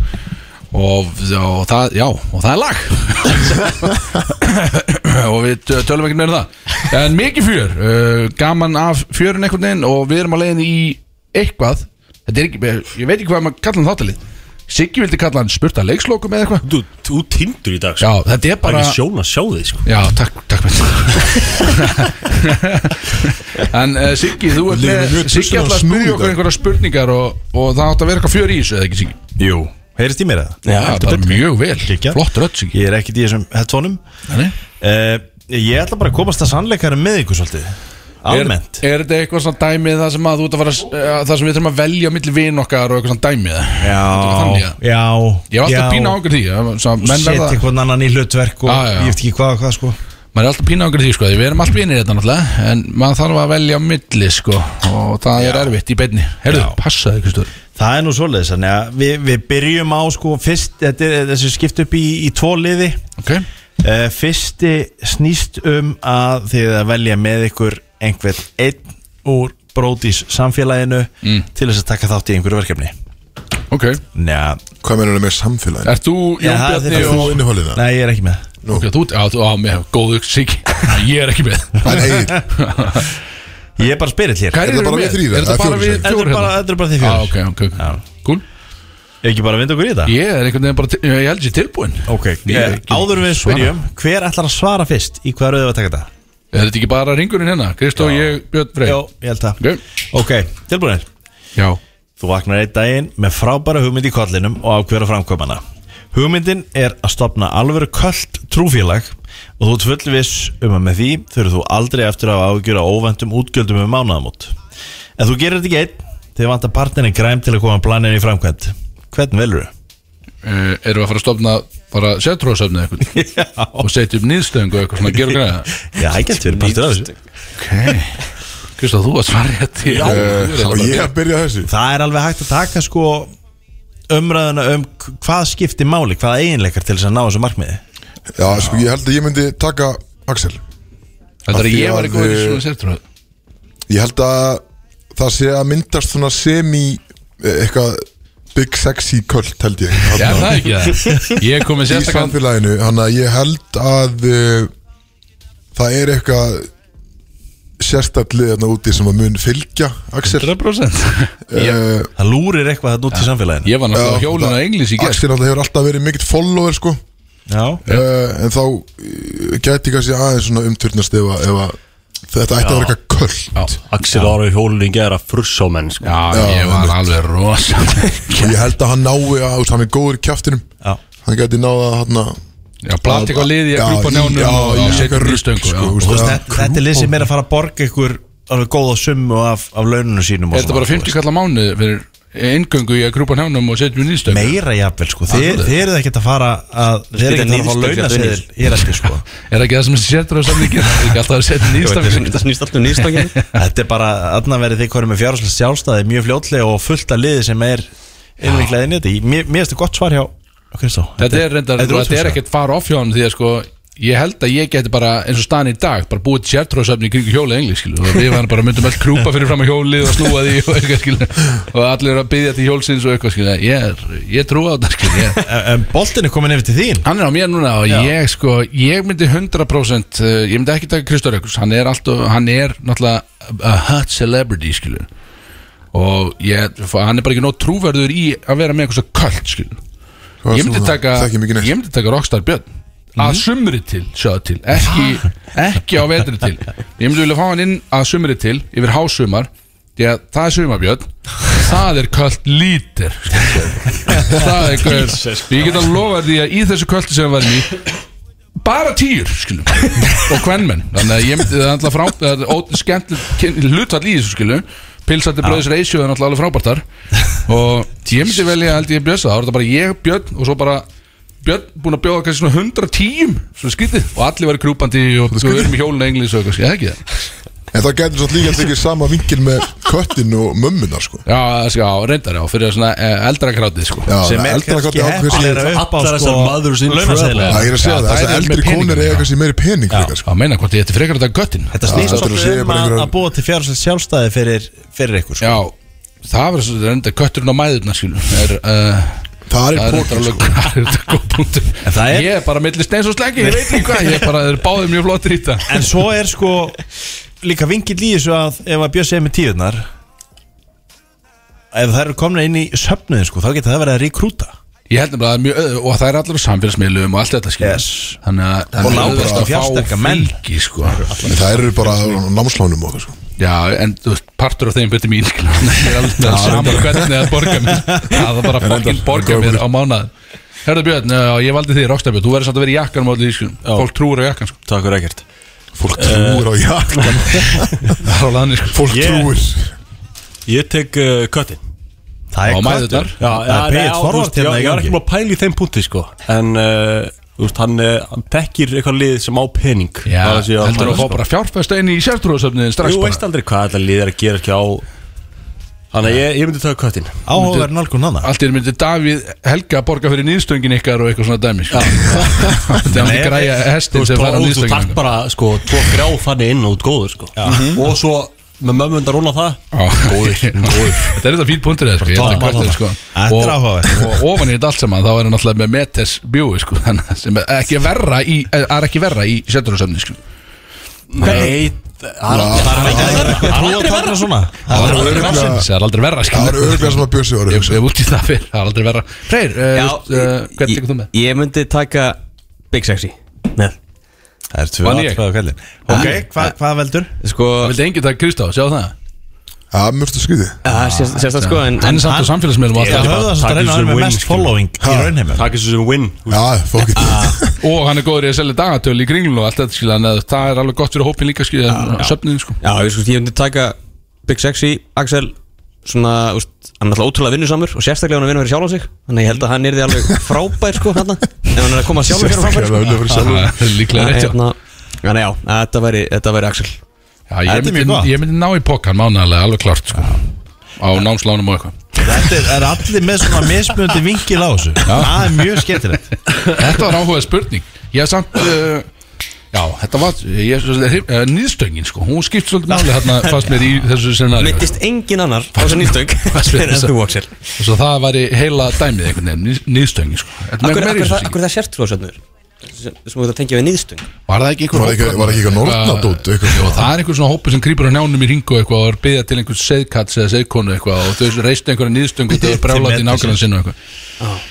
Speaker 2: og, og, það, já, og það er lag og við tö- tölum ekkert meira um það en mikið fjör, uh, gaman af fjörun einhvern veginn og við erum að leiðin í eitthvað, þetta er ekki ég veit ekki hvað maður kalla hann þáttalið Siggi vildi kalla hann spurta leikslokum eða eitthvað
Speaker 3: Þú, þú tindur í dag
Speaker 2: Já,
Speaker 3: sko
Speaker 2: þetta er
Speaker 3: Það er
Speaker 2: bara
Speaker 3: ekki sjón að sjá þig sko
Speaker 2: Já, takk, takk fyrir En uh, Siggi, þú ert
Speaker 7: Líður
Speaker 2: með
Speaker 7: mjög
Speaker 2: Siggi
Speaker 7: tussinn
Speaker 2: ætla að
Speaker 7: að snúða í
Speaker 2: spyrja
Speaker 7: dag.
Speaker 2: okkur einhverja spurningar og, og það átt að vera eitthvað fjör í þessu eða ekki Siggi
Speaker 8: Jú, heyrist í mér eða?
Speaker 2: Já, það er mjög vel,
Speaker 8: Kikja.
Speaker 2: flott rödd Siggi
Speaker 8: Ég er ekkert í þessum hettónum
Speaker 2: Nei.
Speaker 8: uh, Ég ætla bara að komast að sannleikara með ykkur svolítið Almennt
Speaker 2: Er, er þetta eitthvað svona dæmið það sem að þú ert að fara uh, það sem við þurfum að velja á milli vin okkar og eitthvað svona dæmið þannig,
Speaker 8: Já,
Speaker 2: ja.
Speaker 8: já
Speaker 2: Ég var alltaf
Speaker 8: já.
Speaker 2: pína águr því að- svona, menn
Speaker 8: Setja
Speaker 2: verða,
Speaker 8: einhvern annan í hlutverk og
Speaker 2: Já, já.
Speaker 8: Sko, ég veit ekki hvað og hvað sko
Speaker 2: maður er alltaf pína águr því sko, því við erum allt vinir þetta náttúrulega en maður þarf að velja á milli sko og það er erfitt í beinni Herðu,
Speaker 8: Já.
Speaker 2: passaði Kristur
Speaker 8: Það er nú svoleiðis, þannig að við, við byrjum á sko fyrst, þetta er þessi skipt upp í, í tvo liði
Speaker 2: okay.
Speaker 8: uh, Fyrsti snýst um að þið að velja með ykkur einhvern einn úr brótis samfélaginu
Speaker 2: Mm.
Speaker 8: til þess að taka þátt í einhverju verkefni
Speaker 2: Okay.
Speaker 8: Njá,
Speaker 7: Hvað mennur með samfélagin?
Speaker 2: Er þú
Speaker 8: Já,
Speaker 2: Jón Bjarni
Speaker 8: þetta
Speaker 7: Er
Speaker 8: er
Speaker 2: og
Speaker 7: þú innihólið það?
Speaker 8: nei ég er ekki með
Speaker 2: Ok, þú, á, þú, á, mér, góðu sík Ég er ekki með
Speaker 7: En Egil,
Speaker 8: Ég er bara spyrill hér
Speaker 2: Hvað
Speaker 7: þetta bara
Speaker 2: með?
Speaker 7: við þrír,
Speaker 2: Er þetta
Speaker 7: eða
Speaker 2: bara
Speaker 7: fjórir
Speaker 2: við
Speaker 7: sem?
Speaker 8: Þetta er
Speaker 2: fjórir
Speaker 8: bara,
Speaker 2: hérna?
Speaker 8: þetta er bara þið
Speaker 2: Já,
Speaker 8: fjóður
Speaker 2: ok, ok,
Speaker 8: Já.
Speaker 2: ok Kúl
Speaker 8: Ekki bara að vinda okkur í þetta
Speaker 2: Ég er einhvern veginn bara, til- ég held sér tilbúin
Speaker 8: Ok,
Speaker 2: Ég-
Speaker 8: ég, áður en við spyrjum Hver ætlar að svara fyrst í hvað rauðu að taka þetta?
Speaker 2: Er þetta ekki bara ringurinn hérna? Kristó, ég, Björn Frey
Speaker 8: Jó, ég held það
Speaker 2: Ok,
Speaker 8: Ok, tilbúinir
Speaker 2: já
Speaker 8: Þú vaknar einn daginn með frábæra hugmynd í kollinum og ákveður að framkvæma hana. Hugmyndin er að stopna alvöru kallt trúfélag og þú ert fullviss um að með því þurfur þú aldrei eftir að ágjöra óvendum útgjöldum um mánaðamót. En þú gerir þetta ekki einn þegar vantar partnerinn græm til að koma planinu í framkvæmt. Hvern velur þú?
Speaker 2: Uh, erum við að fara að stofna bara setrósöfni eitthvað og setja upp nýðstöðingu eitthvað svona gerur græða
Speaker 8: Já, ég gett verið partur af þessu.
Speaker 2: ok, Kristó þú hérna að svara rétt já,
Speaker 7: Eh, Og ég að byrja þessu
Speaker 8: Það er alveg hægt að taka sko umræðuna um k- hvað skiptir máli, hvað eiginleikar til þess að ná þessu markmiði.
Speaker 7: Já, sko, ég held að ég myndi taka Axel
Speaker 2: þetta er
Speaker 7: Af
Speaker 2: að
Speaker 7: því
Speaker 2: ég var
Speaker 7: að,
Speaker 2: eitthvað í
Speaker 7: eh,
Speaker 2: svona setróð
Speaker 7: Ég held að það sé að myndast svona semi eh, eitthvað Big sexy cult held ég
Speaker 2: Já,
Speaker 7: Þarna-
Speaker 2: það er ekki það Ég kom með
Speaker 7: í
Speaker 2: sérstakann
Speaker 7: samfélaginu Þannig að ég held að uh, það er eitthvað sérstaklega þarna úti sem að mun fylgja Axel
Speaker 2: 100% Ég,
Speaker 7: uh,
Speaker 8: Það lúrir eitthvað þarna út í samfélaginu
Speaker 2: ég var náttúrulega
Speaker 7: Já,
Speaker 2: hjólun á
Speaker 7: það-
Speaker 2: englis í gerð
Speaker 7: Axel alltaf hefur alltaf verið mikill follower sko
Speaker 8: Já,
Speaker 7: uh, en þá uh, gæti kannski aðeins svona umturnast ef, að- ef að þetta ætti að vera eitthvað köll
Speaker 3: Axel ára í hólning er að frussa á menn sko.
Speaker 2: Já, ég var alveg rosa
Speaker 7: og ég held að hann nái að þú veist, hann er góður í kjæftinum
Speaker 8: já
Speaker 7: hann gæti náða að hann
Speaker 2: Já, platt eitthvað liði að grúpa njánum
Speaker 7: já,
Speaker 2: og
Speaker 7: í
Speaker 2: setja
Speaker 7: eitthvað
Speaker 2: í
Speaker 7: rugl,
Speaker 2: stöngu
Speaker 7: sko,
Speaker 2: já.
Speaker 7: þú
Speaker 8: Þú veist,
Speaker 7: veist,
Speaker 8: þetta, þetta er lið sem er að fara að borga ykkur alveg góða summu af, af laununum sínum og
Speaker 2: Er þetta
Speaker 8: svona,
Speaker 2: bara
Speaker 8: þú
Speaker 2: 50 kallar mánuð fyrir eingöngu í að grúpa njánum og setja í
Speaker 8: veist.
Speaker 2: nýstöngu?
Speaker 8: meira jafnvel sko þið, þið eru ekkert að fara að þið eru ekkert að fara
Speaker 4: nýðstökk
Speaker 8: að launa
Speaker 4: hérna
Speaker 8: sér hér eftir sko
Speaker 2: Er ekki það sem sértur á samlíkir? Það er ekki alltaf að setja nýstöngu
Speaker 4: Þetta snýst alltaf nýðstakinn
Speaker 8: þetta er bara aðna verið þið hverju með fjárhalslega sjálfstæði mjög fljótlega og fullt af liði sem er innviklaði inn í þetta Ég- mér mér finnst þetta gott svar hjá Kristó
Speaker 2: Þetta er reyndar, sko,
Speaker 8: þetta er
Speaker 2: þetta er
Speaker 8: útfjársa.
Speaker 2: ekkert fara off hjá hann því að sko Ég held að ég geti bara, eins og staðan í dag bara búið sértróðsöfni í kringu hjólið engli skilu og við varum bara myndum öll krúpa fyrir fram að hjólið og snúa því og eitthvað skilu og allir eru að byggja til hjólsins og eitthvað skilu ég, er- ég trúa á þetta skilu ég,
Speaker 8: en, en boltin er komin yfir til þín
Speaker 2: Hann er á mér núna og ég sko ég myndi 100% uh, ég myndi ekki taka Kristóður Ekkus hann er, alltaf, hann er náttúrulega a hot celebrity skilur og ég, hann er bara ekki nóg trúverður í að vera með eitthvað svo kvöld skilur ég myndi taka
Speaker 7: þekki
Speaker 2: ég
Speaker 7: mikið neitt Mhm.
Speaker 2: myndi taka Rockstar Björn að sumri til, sjáðu til ekki, ekki á vetri til ég myndi vilja fá hann inn að sumri til yfir hásumar því að það er sumarbjörn það er kvöld lítir það er kvöld ég get að lofa því að í þessu kvöldi sem við varum í bara týr skilum og kvennmenn þannig að ég myndi það er alltaf frá það er ó- skemmtilegt hlutfall í þessu skilum pilsandi bröðis reisjó er náttúrulega alveg frábærtar og ég myndi velja held ég bjösa þá er þetta bara ég, Björn og svo bara Björn búin að bjóða kannski svona 100 tím svona skrítið og allir væri grúpandi og við erum í hjólinu englis og eitthvað ég ekki það
Speaker 7: en það gæti svo líka tekið sama vinkil með köttin og mömmunar sko
Speaker 2: já, það sko, já, reyndar já fyrir svona eh, eldra grátið sko
Speaker 7: Já,
Speaker 8: sem
Speaker 7: það
Speaker 8: er
Speaker 7: eldra
Speaker 8: kannski
Speaker 7: gátu ákveðið sig-
Speaker 8: heppilegra upp á
Speaker 3: Allar
Speaker 8: sko
Speaker 3: þessar mothers in trouble.
Speaker 8: launaseðla
Speaker 7: Já, ég er að segja
Speaker 2: Já,
Speaker 7: það,
Speaker 2: það
Speaker 7: þess að
Speaker 2: er með
Speaker 7: eldri
Speaker 2: peningana,
Speaker 7: konur
Speaker 2: já.
Speaker 7: eiga kannski meiri pening fyrir það sko.
Speaker 2: að meina hvort ég ætti frekar þetta göttin
Speaker 8: þetta snýst
Speaker 7: þetta er að
Speaker 8: svolítið
Speaker 7: segja
Speaker 8: um
Speaker 7: bara
Speaker 8: að
Speaker 7: einhverjum-
Speaker 8: að búa til fjárhalslega sjálfstæði fyrir, fyrir ykkur sko.
Speaker 2: já, það verður svo reyndar kötturinn á mæðurna skilum er uh,
Speaker 7: Það er
Speaker 2: Það er
Speaker 7: pókin
Speaker 2: þetta
Speaker 7: sko.
Speaker 2: alveg það er þetta góð punktur
Speaker 8: það er-
Speaker 2: Ég er bara millir steins og sleggi, ég veit ekki hvað Ég er bara, þeir eru báðir mjög flottir í þetta
Speaker 8: En svo er sko líka vingill í þessu að ef að Björn segir með tíðunar ef það eru komna inn í söfnuðin sko, þá getur það verið að rekrúta
Speaker 2: Ég held nefnilega að það er mjög öð, og það er allir á samfélagsmiðlum og allt þetta skil
Speaker 8: Yes.
Speaker 2: Þannig að það
Speaker 7: Og
Speaker 2: er
Speaker 7: lágvaxta
Speaker 2: auðvelt
Speaker 8: fjársterka
Speaker 2: fá
Speaker 8: menn.
Speaker 2: fylgi sko.
Speaker 7: En Það eru bara á námslánum og það sko
Speaker 2: Já, en þú veist, partur af þeim byrti mín skil Það er alveg saman hvernig það borga mér Það er bara fokkin borga mér á mánuð Herðu Björn, já, ég valdi því Rockstabjörn, þú verður samt að vera í jakkanum á allir sko. Fólk trúur á jakkan sko.
Speaker 3: Takk fyrir ekkert
Speaker 7: Fólk trúir á jakkan
Speaker 2: Það er á laðinni sko.
Speaker 7: Fólk
Speaker 3: Ég-
Speaker 7: trúir
Speaker 3: Ég tek uh, köttin
Speaker 8: Það
Speaker 2: Á
Speaker 8: er
Speaker 2: mæðurnar.
Speaker 8: kvartur Það er
Speaker 3: nei,
Speaker 8: peitt
Speaker 3: á, þú veist,
Speaker 8: forvart
Speaker 3: ég,
Speaker 8: hérna í
Speaker 3: ég var ekki
Speaker 8: gangi
Speaker 3: búin að pæla í þeim punkti sko En uh, þú veist, hann, uh, hann tekir eitthvað lið sem á pening
Speaker 2: Já,
Speaker 3: Það er að segja að
Speaker 2: heldur
Speaker 3: hann-
Speaker 2: að fá bara fjárfesta inn í sértrúðasöfniðin strax
Speaker 3: Þú
Speaker 2: bara.
Speaker 3: sko. veist aldrei hvað þetta lið er að gera ekki á Þannig að ég, ég myndi taka köttin
Speaker 8: Áhugaverð nálgun hana
Speaker 2: Allt í einu myndi Davíð Helga borga fyrir nýðstöngin ykkar og eitthvað svona dæmi sko. Þetta er hann græja
Speaker 3: Þú
Speaker 2: hestin
Speaker 3: veist,
Speaker 2: sem fara
Speaker 3: bara, þú takk
Speaker 2: nýðstöngin
Speaker 3: bara sko, tvo grá þannig inn og út góður sko.
Speaker 7: Mhm.
Speaker 3: og svo með mömmundar rúna það
Speaker 2: Þetta er þetta fín punktur eða sko. Ég held að
Speaker 8: Bara
Speaker 2: hvert er, sko.
Speaker 8: Þetta er áhugavert.
Speaker 2: og ofan í þetta allt saman þá er hann alltaf með Metes bjói sko, þannig að sem er ekki verra í, eh, er ekki verra í seturhúsöfni sko.
Speaker 3: Nei, það er
Speaker 8: Það er aldrei verið svona
Speaker 2: það er
Speaker 7: örugglega-
Speaker 2: aldrei verra það er aldrei verra sko.
Speaker 7: Það eru örglega sem að bjössi var að
Speaker 2: Ég
Speaker 7: hugsa.
Speaker 2: ég hef út í það fyrr, það er aldrei verra Freyr, uh, uh, hvernig tekur þú með?
Speaker 4: eh, Ég myndi taka Big Sexy Nei
Speaker 8: Það er tvö
Speaker 2: Vann ég?
Speaker 8: atkvæði á kallin Ok, hva- hvað veldur?
Speaker 4: Sko
Speaker 2: Það vildi enginn taka Kristá, sjá það
Speaker 7: Já, mjögstu skrítið
Speaker 2: Ah,
Speaker 4: Það sést það sko en
Speaker 2: Hann er samt á samfélagsmiðlum og allt
Speaker 8: Það
Speaker 2: þetta.
Speaker 8: höfða
Speaker 3: taka
Speaker 8: að reyna að
Speaker 3: þessu
Speaker 8: vera með
Speaker 3: win,
Speaker 8: mest
Speaker 3: skilur.
Speaker 8: following í raunheimum
Speaker 3: Takk þessu sem win
Speaker 7: Já, fólk
Speaker 2: Og hann er góður í að selja dagatölu í kringlun og allt þetta skilja Þannig að það er alveg gott fyrir hópin líka skilja Söfniðin sko
Speaker 4: Já, ég, sko, ég myndi taka Big Sexy, Axel svona, úst, hann er alltaf ótrúlega vinnusamur og sérstaklega hann er að vinna fyrir sjálfan sig þannig að ég held að hann er því alveg frábær sko hann ef hann er að koma sjálfan sér á frábær
Speaker 7: Sérstaklega
Speaker 4: sko.
Speaker 7: að vinna fyrir sjálfan sig.
Speaker 2: Það er Líklega
Speaker 4: Þannig að,
Speaker 2: rétt já.
Speaker 4: hérna, þannig að já, að þetta væri, þetta væri Axel
Speaker 2: Já, ég,
Speaker 8: Þetta er mjög
Speaker 2: myndi,
Speaker 8: gott.
Speaker 2: ég myndi ná í pokkan mánaðarlega alveg klart sko Á námslánum og eitthvað
Speaker 8: Þetta er- er allir með svona mismunandi vinkil á þessu Það er mjög skemmtilegt
Speaker 2: Þetta var áhugað spurning Ég hef samt uh, Já, þetta var, ég, eh, nýðstöngin sko, hún skipt svolítið máli hérna fast mér í þessu scenari
Speaker 4: mittist engin annar á þessar nýstöng
Speaker 2: Fyrir
Speaker 4: en
Speaker 2: þessa-
Speaker 4: þú Axel
Speaker 2: Svo það væri heila dæmið einhvern veginn, nýð- nýðstöngin sko Þetta
Speaker 4: Akkur,
Speaker 2: meira í
Speaker 4: akkur,
Speaker 2: þessu
Speaker 4: það,
Speaker 2: sýn.
Speaker 4: akkur það sértrúasöfnur sem sem þú ert að tengja við nýðstöng
Speaker 2: Var það ekki einhver
Speaker 7: Var ekki-
Speaker 2: hópur-
Speaker 7: var ekki eitthvað nornadót, eitthvað?
Speaker 2: Jú, það er einhver svona hópur sem krýpur á njánum í ringu eitthvað og er byggja til einhvers seðkats eða seðkonu eitthvað og þau reistu einhverja nýðstöngu og þau er brjálat í nákvæmlega sinna eitthvað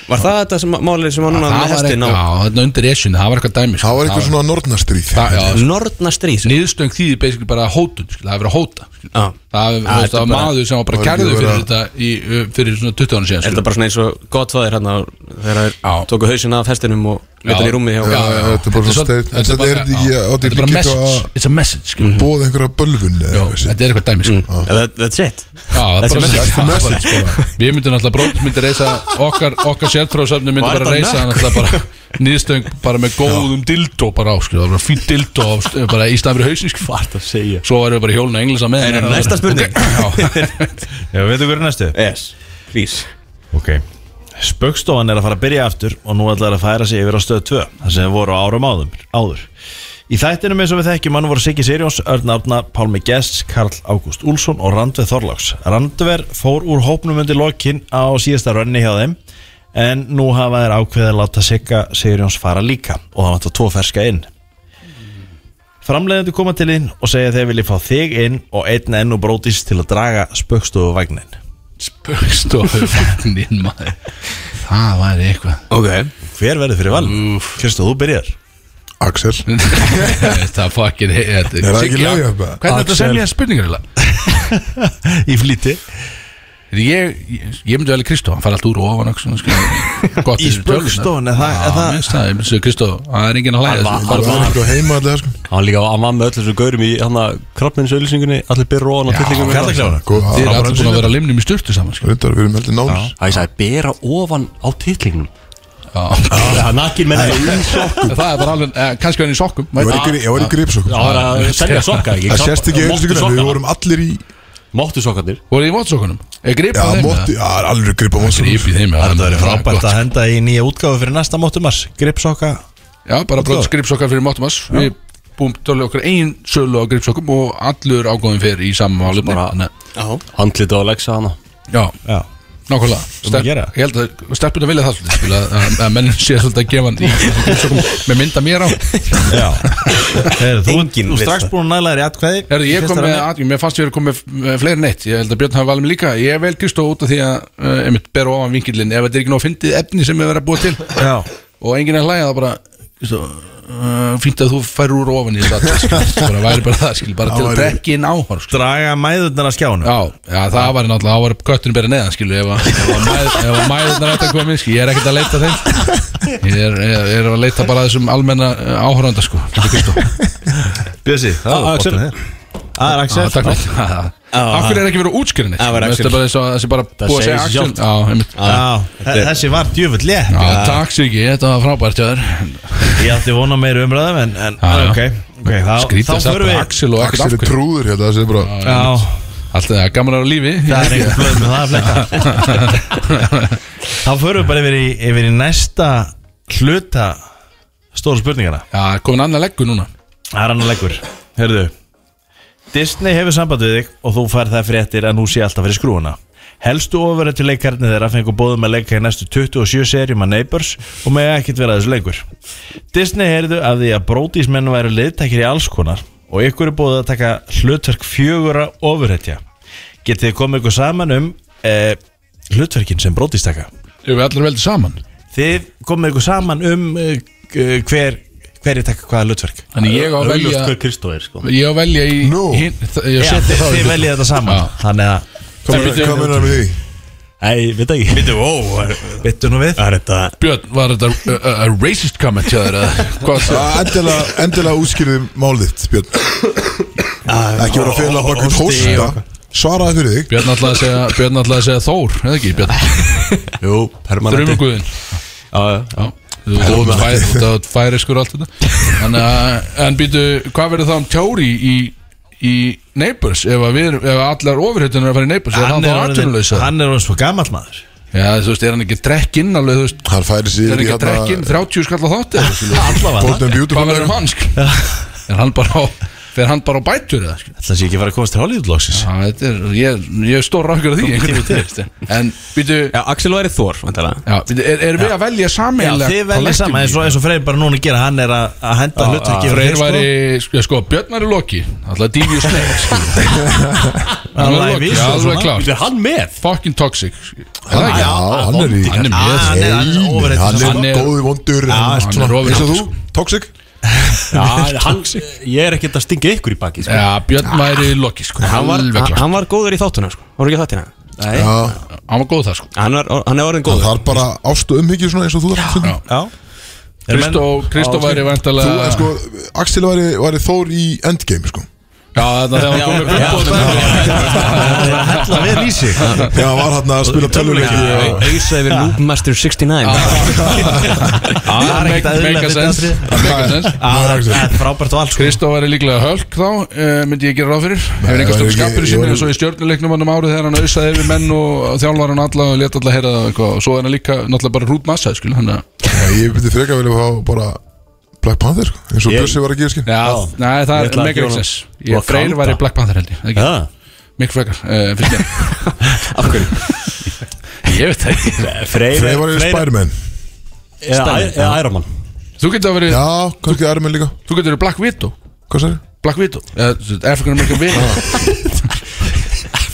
Speaker 4: Var það þetta sem málið sem var núna
Speaker 2: Það
Speaker 4: með
Speaker 2: var
Speaker 4: hestin
Speaker 2: eitthvað,
Speaker 4: á
Speaker 2: já, þetta undir esjunni, það var eitthvað dæmi sko.
Speaker 7: Það var eitthvað svona nornastríð
Speaker 2: Það- já,
Speaker 4: Norna stríð
Speaker 2: Nýðstöng þýði basically bara hótun skil, Það hefur verið að hóta skil.
Speaker 4: Já.
Speaker 2: Það hefur- þú veist,
Speaker 4: þetta
Speaker 2: það var
Speaker 4: bara-
Speaker 2: maður sem var bara
Speaker 7: Það hefur
Speaker 2: kærðu
Speaker 7: ekki
Speaker 2: fyrir
Speaker 7: verið
Speaker 2: þetta í, uh, fyrir svona 20 ára síðan
Speaker 4: Er þetta
Speaker 2: skil.
Speaker 4: bara svona eins og gott það er hérna þegar
Speaker 2: Já.
Speaker 4: þeir tóku hausinn af hestinum og
Speaker 2: Já.
Speaker 4: leta hann í rúmi hjá
Speaker 7: Já, já, þetta er bara svona
Speaker 2: svol-
Speaker 7: stein- en þetta er
Speaker 2: bara- já,
Speaker 7: ekki- þetta
Speaker 2: Þetta er
Speaker 7: er
Speaker 2: bara
Speaker 7: líka
Speaker 2: message
Speaker 7: eitthvað-
Speaker 2: It's a message skil.
Speaker 7: Bóð einhverja bölvun
Speaker 2: Mhm.
Speaker 7: eða
Speaker 2: Já,
Speaker 7: eitthvað sem-
Speaker 2: Þetta er eitthvað dæmi
Speaker 7: Mm.
Speaker 2: skil.
Speaker 4: Yeah, that, That's it
Speaker 2: Já, það er
Speaker 4: Þessi
Speaker 2: bara
Speaker 4: message. sko.
Speaker 2: message Við myndum alltaf brótt myndi reysa okkar, okkar sértróðsöfni myndi
Speaker 4: Var
Speaker 2: bara
Speaker 4: þetta
Speaker 2: reysa
Speaker 4: nökk?
Speaker 2: alltaf bara nýðstöng bara með góðum dildó bara áskil, það var bara fín dildó á, st- bara í staðan fyrir hausin skil.
Speaker 8: Hvað er það að segja?
Speaker 2: Svo erum við bara hjólun að englisa með
Speaker 4: Það er næsta spurning
Speaker 8: Já, veitu hverju næstu?
Speaker 4: Yes, please
Speaker 8: Ok Spöggstofan er að fara að byrja aftur og nú ætlar að færa sig yfir á stöð 2 þar sem þau voru á árum áður, áður. Í þættinum eins og við þekkjum hann voru Siggi Sirjóns, Örn Árna, Pálmi Gests, Karl Ágúst Úlsson og Randver Þorláks Randver fór úr hópnum undir lokin á síðasta rönni hjá þeim en nú hafa þeir ákveðið að láta Sigga Sirjóns fara líka og það vantar tvo ferska inn Framleiðandi koma til þín og segja að þeir vilja fá þig inn og einn enn og brótis til að draga spöggstofu
Speaker 2: Spöggstofu fagnin maður Það væri eitthvað
Speaker 8: Hver verður fyrir val? Kristó, þú byrjar
Speaker 7: Axel
Speaker 2: Það fokkin heit
Speaker 7: Er það ekki leið upp
Speaker 2: Hvernig er þetta að semja spurningar eiginlega?
Speaker 8: Í flýti
Speaker 2: Ég, ég, ég myndi velja Kristó, hann fær allt úr og ofan öxlina, skil. Gott
Speaker 8: Í
Speaker 2: þessu tölurnar.
Speaker 8: spöggstofunni, það-
Speaker 2: Já,
Speaker 8: það-
Speaker 2: mér finnst það- ég myndi segja, Kristó, það er enginn að hlæja
Speaker 3: Hann
Speaker 2: þessu,
Speaker 7: Það
Speaker 2: bara-
Speaker 7: var eitthvað heima allir sko
Speaker 3: Hann var líka að maður með öll þessu gaurum í hann að krabbinnsauðlýsingunni Allir byrra ofan á tillingum
Speaker 8: Karlaklána
Speaker 7: Góð,
Speaker 2: Þið er
Speaker 7: það var
Speaker 2: allir búin að vera limnum í styrtu saman sko. skil.
Speaker 7: Reyndar, við erum heldur nánir
Speaker 3: Það ég sagði, bera ofan á titlingnum
Speaker 2: Já.
Speaker 3: Það er nakkin menn í sokkum
Speaker 2: Það er bara alveg, eh, kannski hann í sokkum
Speaker 7: Ég
Speaker 2: veit
Speaker 7: var í
Speaker 2: ekki.
Speaker 7: gri- Ég var í gripsokk
Speaker 3: Það var að selja sokka ekki
Speaker 7: Það sérst ekki einu
Speaker 3: Máttu
Speaker 7: sigur Við
Speaker 3: sokkana.
Speaker 7: vorum allir í
Speaker 3: Máttu sokkarnir
Speaker 2: Voru þið í vótsokkunum? Er grip
Speaker 7: Já,
Speaker 2: á þeim?
Speaker 7: mótti Já, það er alveg grip á mótti
Speaker 2: Grip í þeim, já
Speaker 8: Það verður frábært
Speaker 2: gott.
Speaker 8: að henda í nýja útgáfu fyrir næsta mótumars Gripsokka
Speaker 2: Já, bara brot gripsokkar fyrir móttum ass Við búum tölja okkar einn sölu á gripsokkum og allur ágóðin fer í saman málefni
Speaker 3: Bara-
Speaker 2: Þannig-
Speaker 3: Handlita á Alexa hana
Speaker 2: Já,
Speaker 8: Já
Speaker 2: nákvæmlega Stelp-
Speaker 8: gera.
Speaker 2: Ég held að stelpun að vilja það svolítið skil, að- að- að menn sé svolítið að gefa hann í þessum gripsokkum með mynda mér á
Speaker 8: Já Heru, Þú ert-
Speaker 4: Enginn
Speaker 8: þú
Speaker 4: vill
Speaker 8: strax
Speaker 4: það.
Speaker 8: búin að næla þér í atkvæði
Speaker 2: Herðu, ég kom
Speaker 8: Fyrsta
Speaker 2: með,
Speaker 8: raunin.
Speaker 2: að, mér fannst ég verið komið með fleiri neitt Ég held að Björn hafi valið mig líka Ég vel Kristó út af því að uh, einmitt bera ofan vinkillin Ef þetta er ekki nóg fyndið efni sem við verðum að búa til
Speaker 8: Já
Speaker 2: og enginn er að hlæja það bara Kristó, uh, fínt að þú fær úr ofan í þetta skil, bara væri bara það skil, bara til að drekki inn áhör skil.
Speaker 8: Draga mæðurnar að skjánu
Speaker 2: já, já, það var náttúrulega, þá var kötturinn bera neðan skil, ef að- ef að mæð- ef að mæðurnar ætti að koma inn, skil, ég er ekkert að leita þeim ég er, ég er að leita bara að þessum almenna áhöranda sko, fyrir Kristó
Speaker 8: Bjössi, það
Speaker 3: Ah,
Speaker 8: var
Speaker 3: Axel.
Speaker 8: bóttin þér Það Ah, er
Speaker 2: Já,
Speaker 8: Axel
Speaker 2: Ah, takk fyrir það. Af hverju er ekki verið útskýrinni?
Speaker 4: Það var Axel.
Speaker 2: Það er bara eins og þessi bara búið að segja
Speaker 3: segir sig
Speaker 2: Axel
Speaker 3: sjálft.
Speaker 2: Já, einmitt
Speaker 8: Já, þe- þessi var djöfull létt
Speaker 2: Ah. Já, Takk Siggi, þetta var frábært hjá þér
Speaker 8: Ég átti vona meir umræðum en, en
Speaker 2: Já, já.
Speaker 8: ok, okay þá, þá
Speaker 2: Skrítið að
Speaker 8: förum
Speaker 2: það
Speaker 8: við
Speaker 2: Axel og ekkert
Speaker 7: Axel
Speaker 2: af
Speaker 7: er
Speaker 2: hverju
Speaker 7: trúður hérna Það sé bara
Speaker 8: Já,
Speaker 2: Alltaf það, gaman að vera á lífi
Speaker 8: það er einhvern blöð með það að flekka Þá förum við bara yfir í, yfir í næsta hluta stóru spurningana
Speaker 2: Já, komin annar leggur núna
Speaker 8: Það er annar leggur Herðu Disney hefur samband við þig og þú fær það fréttir að nú sé alltaf fyrir skrúuna Helstu ofurrættu leikarnir þeirra fengur bóðum að leika í næstu 27 serjum að Neighbors og með ekkert vera þessu lengur Disney heyrðu að því að brótísmenn væru liðtækir í alls konar og ykkur er bóðið að taka hlutverk fjögura ofurrættja Getið þið komið ykkur saman um eh, hlutverkin sem brótístaka
Speaker 2: Erum við allir veldið saman
Speaker 8: Þið komið ykkur saman um eh, eh, hver, hver er taka hvaða hlutverk
Speaker 2: Þannig ég á að velja
Speaker 3: Augljóst hver Kristó er sko
Speaker 2: Ég á að velja í
Speaker 7: Nú.
Speaker 2: hin, þ- Ég
Speaker 8: Já,
Speaker 2: setja
Speaker 8: þið,
Speaker 2: það í
Speaker 8: þið
Speaker 2: hlutina.
Speaker 8: veljið þetta saman
Speaker 2: Já.
Speaker 8: Þannig að
Speaker 7: Hvað meina- hvað meinar við því?
Speaker 3: Nei, veit ekki Vittu, ó
Speaker 8: Byttu nú við
Speaker 3: Það er þetta
Speaker 2: Björn, var þetta uh, uh, uh, racist comment hjá þér eða Hvað
Speaker 7: Já,
Speaker 2: það?
Speaker 7: Endilega, endilega útskýrðum málið þitt, Björn Ekki voru að fela bak við hósta Svaraði fyrir þig
Speaker 2: Björn ætlaði að segja Björn ætlaði að segja Þór, eða ekki Björn
Speaker 3: Jú, permanenti
Speaker 2: Drumuguðin
Speaker 3: Já, já.
Speaker 2: Þú færi skur allt þetta En, uh, en býtu, hvað verður það um tjóri í, í Neighbors ef, að við, ef allar ofurhjötunar er að fara í Neighbors er hann
Speaker 8: Hann
Speaker 2: þá
Speaker 8: er orðin-
Speaker 2: atvinnuleysa
Speaker 8: hann er orðin svo gammal maður
Speaker 2: Já, þú veist, er hann ekki drekkinn alveg, þú veist
Speaker 7: Hann færi
Speaker 2: Er
Speaker 7: sér
Speaker 2: hann
Speaker 7: í
Speaker 2: ekki að drekka inn
Speaker 7: hérna
Speaker 2: 30 skall á þátti eða, skilur?
Speaker 8: Allavega,
Speaker 7: Golden Beautiful
Speaker 2: Hvað verður um hann, skil? Er hann bara á Fer hann bara á bætur eða, skil?
Speaker 8: ætla sé ekki að fara að komast til Hollywoodlóksins
Speaker 2: Já, þetta er, ég, ég er stór rákur að því einhvern veginn. En, býtu
Speaker 4: Já, Axel væri Þór, vantilega
Speaker 2: Já, býtu, er, er við að velja
Speaker 8: Já,
Speaker 2: sameinlega
Speaker 8: þið velja saman eins og, eins og Freyr bara núna gera Hann er að að henda hlutur ekki
Speaker 2: Freyr væri, sko, sko Björn væri Loki Alltaf Dífi og Sneg, skil sko. Hann
Speaker 8: Alveg
Speaker 2: væri Loki,
Speaker 8: vísu og
Speaker 2: alveg
Speaker 8: svona.
Speaker 2: klár
Speaker 3: er hann með
Speaker 2: Fucking toxic skilur. Er það ekki?
Speaker 7: Já, hann er í
Speaker 2: Hann er með,
Speaker 8: hann
Speaker 2: Hann
Speaker 7: Nei, Hann
Speaker 8: er- hann er overrated.
Speaker 7: er
Speaker 2: er-
Speaker 7: góði vondur en
Speaker 2: hann
Speaker 7: allt
Speaker 2: er
Speaker 7: svona.
Speaker 2: overrated,
Speaker 7: Eins og þú,
Speaker 2: sko.
Speaker 7: toxic
Speaker 3: Já, hann, ég er ekkert að stinga ykkur í baki sko.
Speaker 2: Já, Björn væri Loki, sko
Speaker 4: hann var,
Speaker 2: Alveg
Speaker 4: hann,
Speaker 2: klár
Speaker 4: hann var góður í þáttuna, sko Hann var ekki að þáttina
Speaker 7: Já,
Speaker 2: Hann var góð það, sko
Speaker 4: Hann, var, hann er orðin
Speaker 7: Það
Speaker 4: góður
Speaker 7: þarf bara ást og umhyggju svona eins og þú þarft stundum.
Speaker 8: Já Eru menn-
Speaker 2: Kristó, Kristó væri
Speaker 7: Þú,
Speaker 2: vantalega
Speaker 7: en sko, Axel væri, væri Þór í Endgame, sko
Speaker 2: Já, þannig að það var komið
Speaker 8: Hella vel í sig
Speaker 7: Já, hann var hann að spila tölvuleiki og-
Speaker 4: Auðsa yfir Loopmaster 69
Speaker 8: Það er
Speaker 2: uppbóðin
Speaker 8: ekkert eðlilega
Speaker 2: Ah, Make a
Speaker 8: fyrir
Speaker 2: sense Ah,
Speaker 8: atrið.
Speaker 2: Make a sense
Speaker 8: Það er- Ah, það er frábært val sko.
Speaker 2: Kristó væri líklega hölk þá, uh, myndi ég gera ráð fyrir Hefur
Speaker 7: það
Speaker 2: einhvers
Speaker 7: er
Speaker 2: stöðu
Speaker 7: ekki-
Speaker 2: skapur í
Speaker 7: ég
Speaker 2: sinni
Speaker 7: var-
Speaker 2: eins og í stjörnuleiknum hann um árið þegar hann auðsaði yfir menn og þjálfar hann alla og leta alla heyra það og eitthvað og svo er hann líka náttúrulega bara rút massa skil, hann að
Speaker 7: Já, Ég myndi frekar vilja fá bara Black Panther, sko, eins og Bjössi var að gefa skinn
Speaker 2: Já, nei, það
Speaker 3: Ég
Speaker 2: er
Speaker 3: ætla að
Speaker 2: mega
Speaker 3: gefa honum
Speaker 2: excess Ég freyr
Speaker 3: Wakanda.
Speaker 2: væri Black Panther held ég það ekki?
Speaker 3: Já.
Speaker 2: Mikk frekar, uh, finnst mér
Speaker 4: Af hverju?
Speaker 2: Ég veit það ekki
Speaker 3: Freyr
Speaker 7: Freyr var í Spiderman
Speaker 3: Eða Æramann
Speaker 2: Þú getur verið,
Speaker 7: Já, kannski Iron Man líka
Speaker 2: þú getur verið Black Widow
Speaker 7: Hvað sagði?
Speaker 2: Black Widow eða, þú veist, African American Widow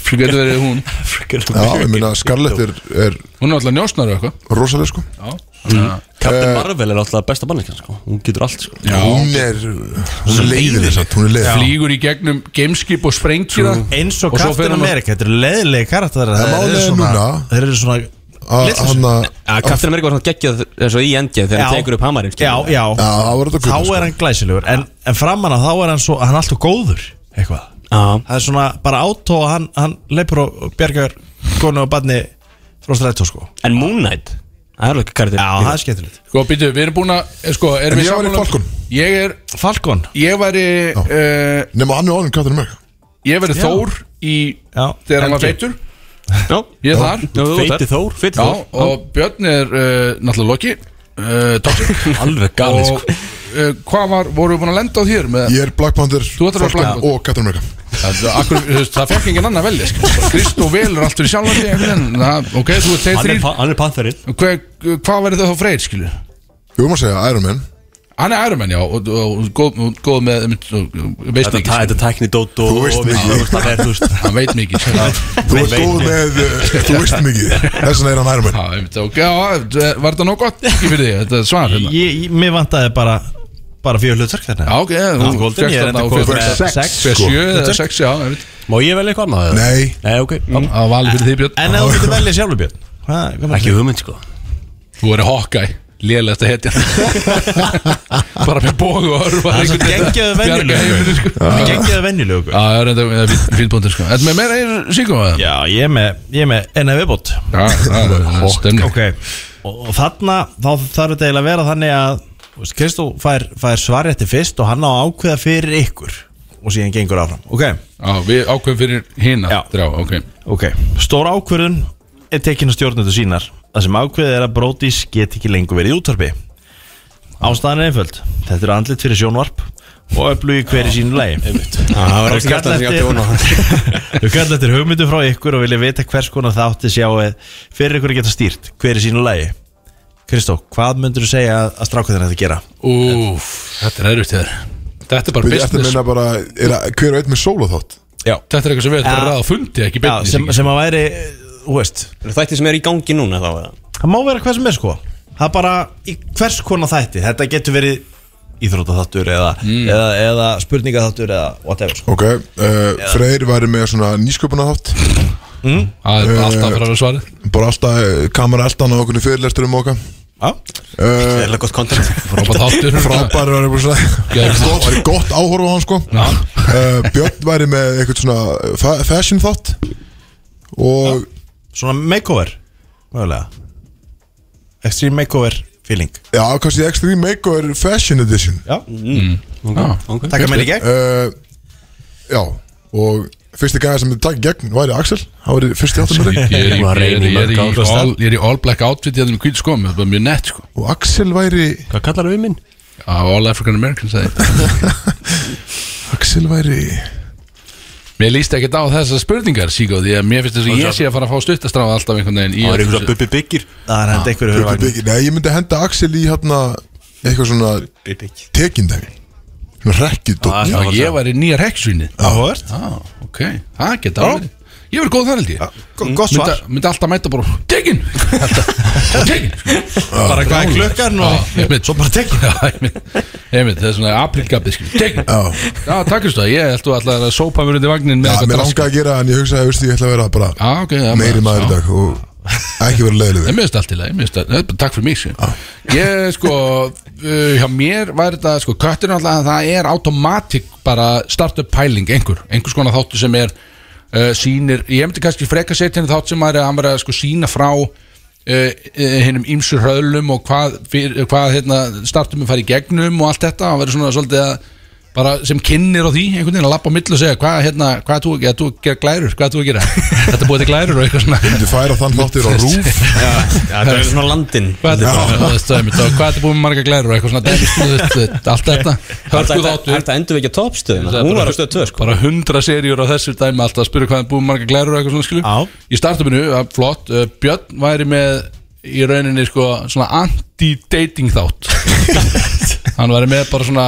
Speaker 2: Þú getur verið hún
Speaker 7: Já, ég meina Scarlett er, er
Speaker 2: Hún er alltaf njósnar og eitthvað
Speaker 7: rosaleg, sko
Speaker 3: Captain Marvel er alltaf besta manneskjan sko. Hún getur allt sko.
Speaker 7: Hún er, hún er leiðin satt, hún er leiðin
Speaker 2: Flýgur í gegnum gameskip og sprengir það
Speaker 8: Eins og
Speaker 2: Og svo fer
Speaker 8: Captain
Speaker 2: hann að-
Speaker 8: America Þetta eru leðilegi karakter
Speaker 7: En málið er núna-
Speaker 8: Þeir eru svona
Speaker 7: Að-
Speaker 8: litlir.
Speaker 7: hann að-
Speaker 4: Já, Captain America var svona geggjað eins og í endgeð þegar hann tekur upp hamarinn skilur.
Speaker 8: Já, já
Speaker 7: Já, það var þetta
Speaker 8: Þá
Speaker 7: gutt, sko.
Speaker 8: er hann glæsilegur En, en framan að þá er hann svo Hann er alltaf góður Eitthvað
Speaker 4: Já.
Speaker 8: Það er svona bara átó og Hann, hann leipur og og bjargar Konu og barni Frá strætó sko
Speaker 4: En Moon Knight Það er alveg karakter
Speaker 8: Já, það er skemmtilegt
Speaker 2: Sko, býtu, við erum búin að eh, sko, erum við
Speaker 7: En ég væri
Speaker 2: sammála um-
Speaker 7: Falcon.
Speaker 2: Ég er,
Speaker 8: Falcon
Speaker 2: ég væri uh,
Speaker 7: Nefna hann er orðin Captain America
Speaker 2: Ég væri
Speaker 8: Já.
Speaker 2: Þór í
Speaker 8: Já
Speaker 2: Þegar hann var
Speaker 8: Endgame.
Speaker 2: feitur
Speaker 4: Já.
Speaker 2: Ég er þar
Speaker 4: Já, þú ert
Speaker 3: Feiti
Speaker 4: þar.
Speaker 3: Þór
Speaker 4: Feiti
Speaker 2: Já,
Speaker 4: Þór
Speaker 2: og Björn er uh, náttúrulega Loki uh, Toxic
Speaker 4: Alveg galið
Speaker 2: Og
Speaker 4: sko
Speaker 2: uh, hvað var, voru við búin að lenda á þér með
Speaker 7: Ég er Black Panther,
Speaker 2: ert að vera Black
Speaker 7: Falcon
Speaker 2: Panther.
Speaker 7: og Captain America
Speaker 2: Það, akkur, þú veist, það fekk engin annað velja sko. Kristó velur allt fyrir sjálfan sig einhvern veginn. Það- Ok, þú ert þeir
Speaker 3: Hann er,
Speaker 2: þrýr
Speaker 3: pa- hann er Pantherinn
Speaker 2: Hve- Hvað verður það þá freyr, skilur?
Speaker 7: Við vorum að segja Iron Man
Speaker 2: Hann er Iron Man, já, og, og, og góð, og góð með, einmitt, og- og- veist
Speaker 3: Þetta
Speaker 2: mikið,
Speaker 3: er
Speaker 2: skilur.
Speaker 3: tækni dót og
Speaker 7: Þú veist
Speaker 3: og-
Speaker 7: mikið.
Speaker 3: þú veist, Það er þú veist
Speaker 2: hann veit mikið. sko. skilur.
Speaker 7: Þú ert góð með, uh, þú veist mikið Þess vegna er hann Iron Man
Speaker 2: Já, einmitt, ok, já, var þetta nóg gott ekki fyrir þig, þetta er svar hérna.
Speaker 8: Ég, ég, mér vantaði bara Bara fjögur hlutverk þarna
Speaker 2: Já, ok, þú
Speaker 8: Golden,
Speaker 2: fékkst
Speaker 8: ég er
Speaker 2: þarna
Speaker 8: enda
Speaker 2: og
Speaker 8: góð
Speaker 2: fékkst
Speaker 8: með
Speaker 2: með
Speaker 8: sex,
Speaker 2: sex, eða
Speaker 8: sko.
Speaker 2: sjö eða
Speaker 8: Hlutverk.
Speaker 2: sex, já, einmitt.
Speaker 3: Má ég velja eitthvað annað? eða?
Speaker 7: Nei,
Speaker 3: Nei, ok
Speaker 4: Mm.
Speaker 2: Það var valið fyrir þig, Björn.
Speaker 8: En ef þú getur velja sjálfur Björn Hvað- hvað
Speaker 3: Ekki hugmynd sko
Speaker 2: Þú verður Hawkeye, lélegast að hetja Bara með bóðu og örfa
Speaker 8: Það er svo geggjaðu venjulegu Geggjaðu venjulegu
Speaker 2: sko. Já, það er enda það er fín- fín bóndur, sko Þetta með meira er síkum að
Speaker 8: Já, ég er með, ég er með enna viðbót
Speaker 2: Já, það er stemning
Speaker 8: Ok Og, og þarna, þá þarf þetta eiginlega að vera þannig að þú veist, Kristó fær, fær svarjætti fyrst og hann á að ákveða fyrir ykkur Og síðan gengur áfram Ok,
Speaker 2: Já, við ákveðum fyrir hina
Speaker 8: Já.
Speaker 2: Drá, ok
Speaker 8: ok Stór ákveðun er tekin að stjórnundu sínar Það sem ákveðið er að Brodís get ekki lengur verið í útvarpi Ástæðan er einföld Þetta eru andlit fyrir sjónvarp Og öflugi hver í sínu lagi
Speaker 4: Það var
Speaker 8: Og
Speaker 4: ekki
Speaker 8: kalla
Speaker 4: kallað sem ég átti
Speaker 8: eftir-
Speaker 4: von á
Speaker 8: Við kallum eftir hugmyndum frá ykkur og vilja vita hvers konar þátti sjá fyrir ykkur að geta stýrt, hver er sínu lagi Kristó, hvað myndur þú segja að, að stráka þetta að gera?
Speaker 2: Úf, þetta er erfitt þér Þetta er bara
Speaker 7: við ættum að
Speaker 2: business
Speaker 7: minna bara er, að- Hver og einn með solo þátt
Speaker 2: Þetta er eitthvað sem við ætlum
Speaker 8: Já.
Speaker 2: að ráða á fundi, ekki
Speaker 8: Já,
Speaker 2: beinni
Speaker 8: sem, sem að væri, þú veist
Speaker 4: Eru Þættir sem er í gangi núna þá eða?
Speaker 8: það má vera hvers sem er sko það er bara í hvers konar þætti þetta getur verið íþrótaþáttur eða, eða, eða spurningaþáttur eða whatever sko.
Speaker 7: Ok, uh, Freyr væri með svona nýsköpuna þátt
Speaker 2: Það
Speaker 9: Eh,
Speaker 2: er alltaf að fara að svara
Speaker 7: Bara alltaf eh, kamera eldan á okkur fyrirlestur um okkar
Speaker 4: Það er
Speaker 7: uh,
Speaker 4: alveg gott content
Speaker 2: Frábæð þáttur hérna.
Speaker 7: Frábær væri bara svona
Speaker 2: Geðveikt.
Speaker 7: Gott- Væri gott áhorfa á hann sko
Speaker 2: Já.
Speaker 7: uh, Björn væri með eitthvað svona fa fashion þátt Og
Speaker 8: svona makeover mögulega extreme makeover feeling
Speaker 7: já, kannski X3 Makeover Fashion Edition
Speaker 8: já,
Speaker 2: Já.
Speaker 8: taka mér í gegn
Speaker 7: uh, Já, og fyrsti gæði sem þið takk gegn væri Axel, það væri fyrsti
Speaker 2: Ég
Speaker 7: áttumurinn
Speaker 2: er í-
Speaker 9: Var reyn í
Speaker 2: ég er í-
Speaker 9: mörg
Speaker 2: ég er
Speaker 9: ár,
Speaker 2: í
Speaker 9: veist
Speaker 2: all- ég er í all black outfit ég er með hvít sko, með bara mjög nett sko
Speaker 7: og Axel væri
Speaker 9: Hvað kallar við minn?
Speaker 2: Á all African American sagði ég.
Speaker 7: Axel væri
Speaker 2: Mér líst ekkert á þessar spurningar síkó því að mér finnst þess að ég sé að fara að fá stuttastráð alltaf einhvern veginn í
Speaker 3: Það er
Speaker 2: öllu
Speaker 3: einhverja
Speaker 2: þessu.
Speaker 3: bubbi byggir
Speaker 8: Það er hendt einhverju fyrir vagnin
Speaker 7: Nei, ég myndi henda Axel í hérna eitthvað svona tekindæmi svona rekkið dótt
Speaker 2: Já, ég var í nýja reksvinni
Speaker 8: Áhört
Speaker 2: ah, ok, það geta alveg Ég verið góð þar held ég
Speaker 8: Gott
Speaker 2: Myndi,
Speaker 8: svar
Speaker 2: myndi alltaf mæta bara Tekin Tekin
Speaker 8: Bara hvað er klukkan og
Speaker 2: Svo bara tekin Einmitt, það er svona aprilgabið Tekin
Speaker 7: Já,
Speaker 2: Já, takkist það, ég held þú allar að sópa mér undir vagnin með
Speaker 7: já
Speaker 2: eitthvað
Speaker 7: mér
Speaker 2: drask.
Speaker 7: langaði að gera það, en ég hugsaði veist, ég ætla að vera bara
Speaker 2: Já, ok, það er
Speaker 7: meiri
Speaker 2: bara-
Speaker 7: maður
Speaker 2: sko- Ah, já.
Speaker 7: í dag og ekki vera leiðilegur
Speaker 2: Nei, mér finnst allt í lagi, mér finnst allt, takk fyrir mig sko. Ég, sko, uh, hjá mér var þetta, sko, köttur náttúrulega það er automatic bara startup pæling einhver, einhvers konar þáttu sem er uh, sýnir, ég myndi kannski freka setja henni þátt sem maður er að hann verið að sko sína frá uh, uh, hennum ýmsu hraðlum og hvað, fyr, hvað hérna, startupin fari í gegnum og allt þetta, hann verið svona svolítið að bara sem kynir á því einhvern veginn að lappa á milli og segja hvað hérna, hvað þú að gera, þú að gera glærur, hvað þú að gera þetta er búið til glærur og eitthvað svona
Speaker 7: Þú færa þann þáttir á rúf
Speaker 4: Það er svona landinn
Speaker 2: Hvað er þetta? Það er stöðmynd og hvað er þetta búið með marga glærur og eitthvað svona dæmis, þú veist, þú veist, allt þetta
Speaker 4: Það
Speaker 2: hörkuð
Speaker 4: er
Speaker 2: áttur
Speaker 4: þetta endur við ekki að toppstöðina Hún var á stöð 2 sko
Speaker 2: bara hundra serjur á þessu dæmi alltaf að spyrja hvað er búið með marga glærur og eitthvað svona skilur
Speaker 8: Já.
Speaker 2: í startupinu, það er flott uh, Björn væri með í rauninni sko svona anti-dating þátt hann væri með bara svona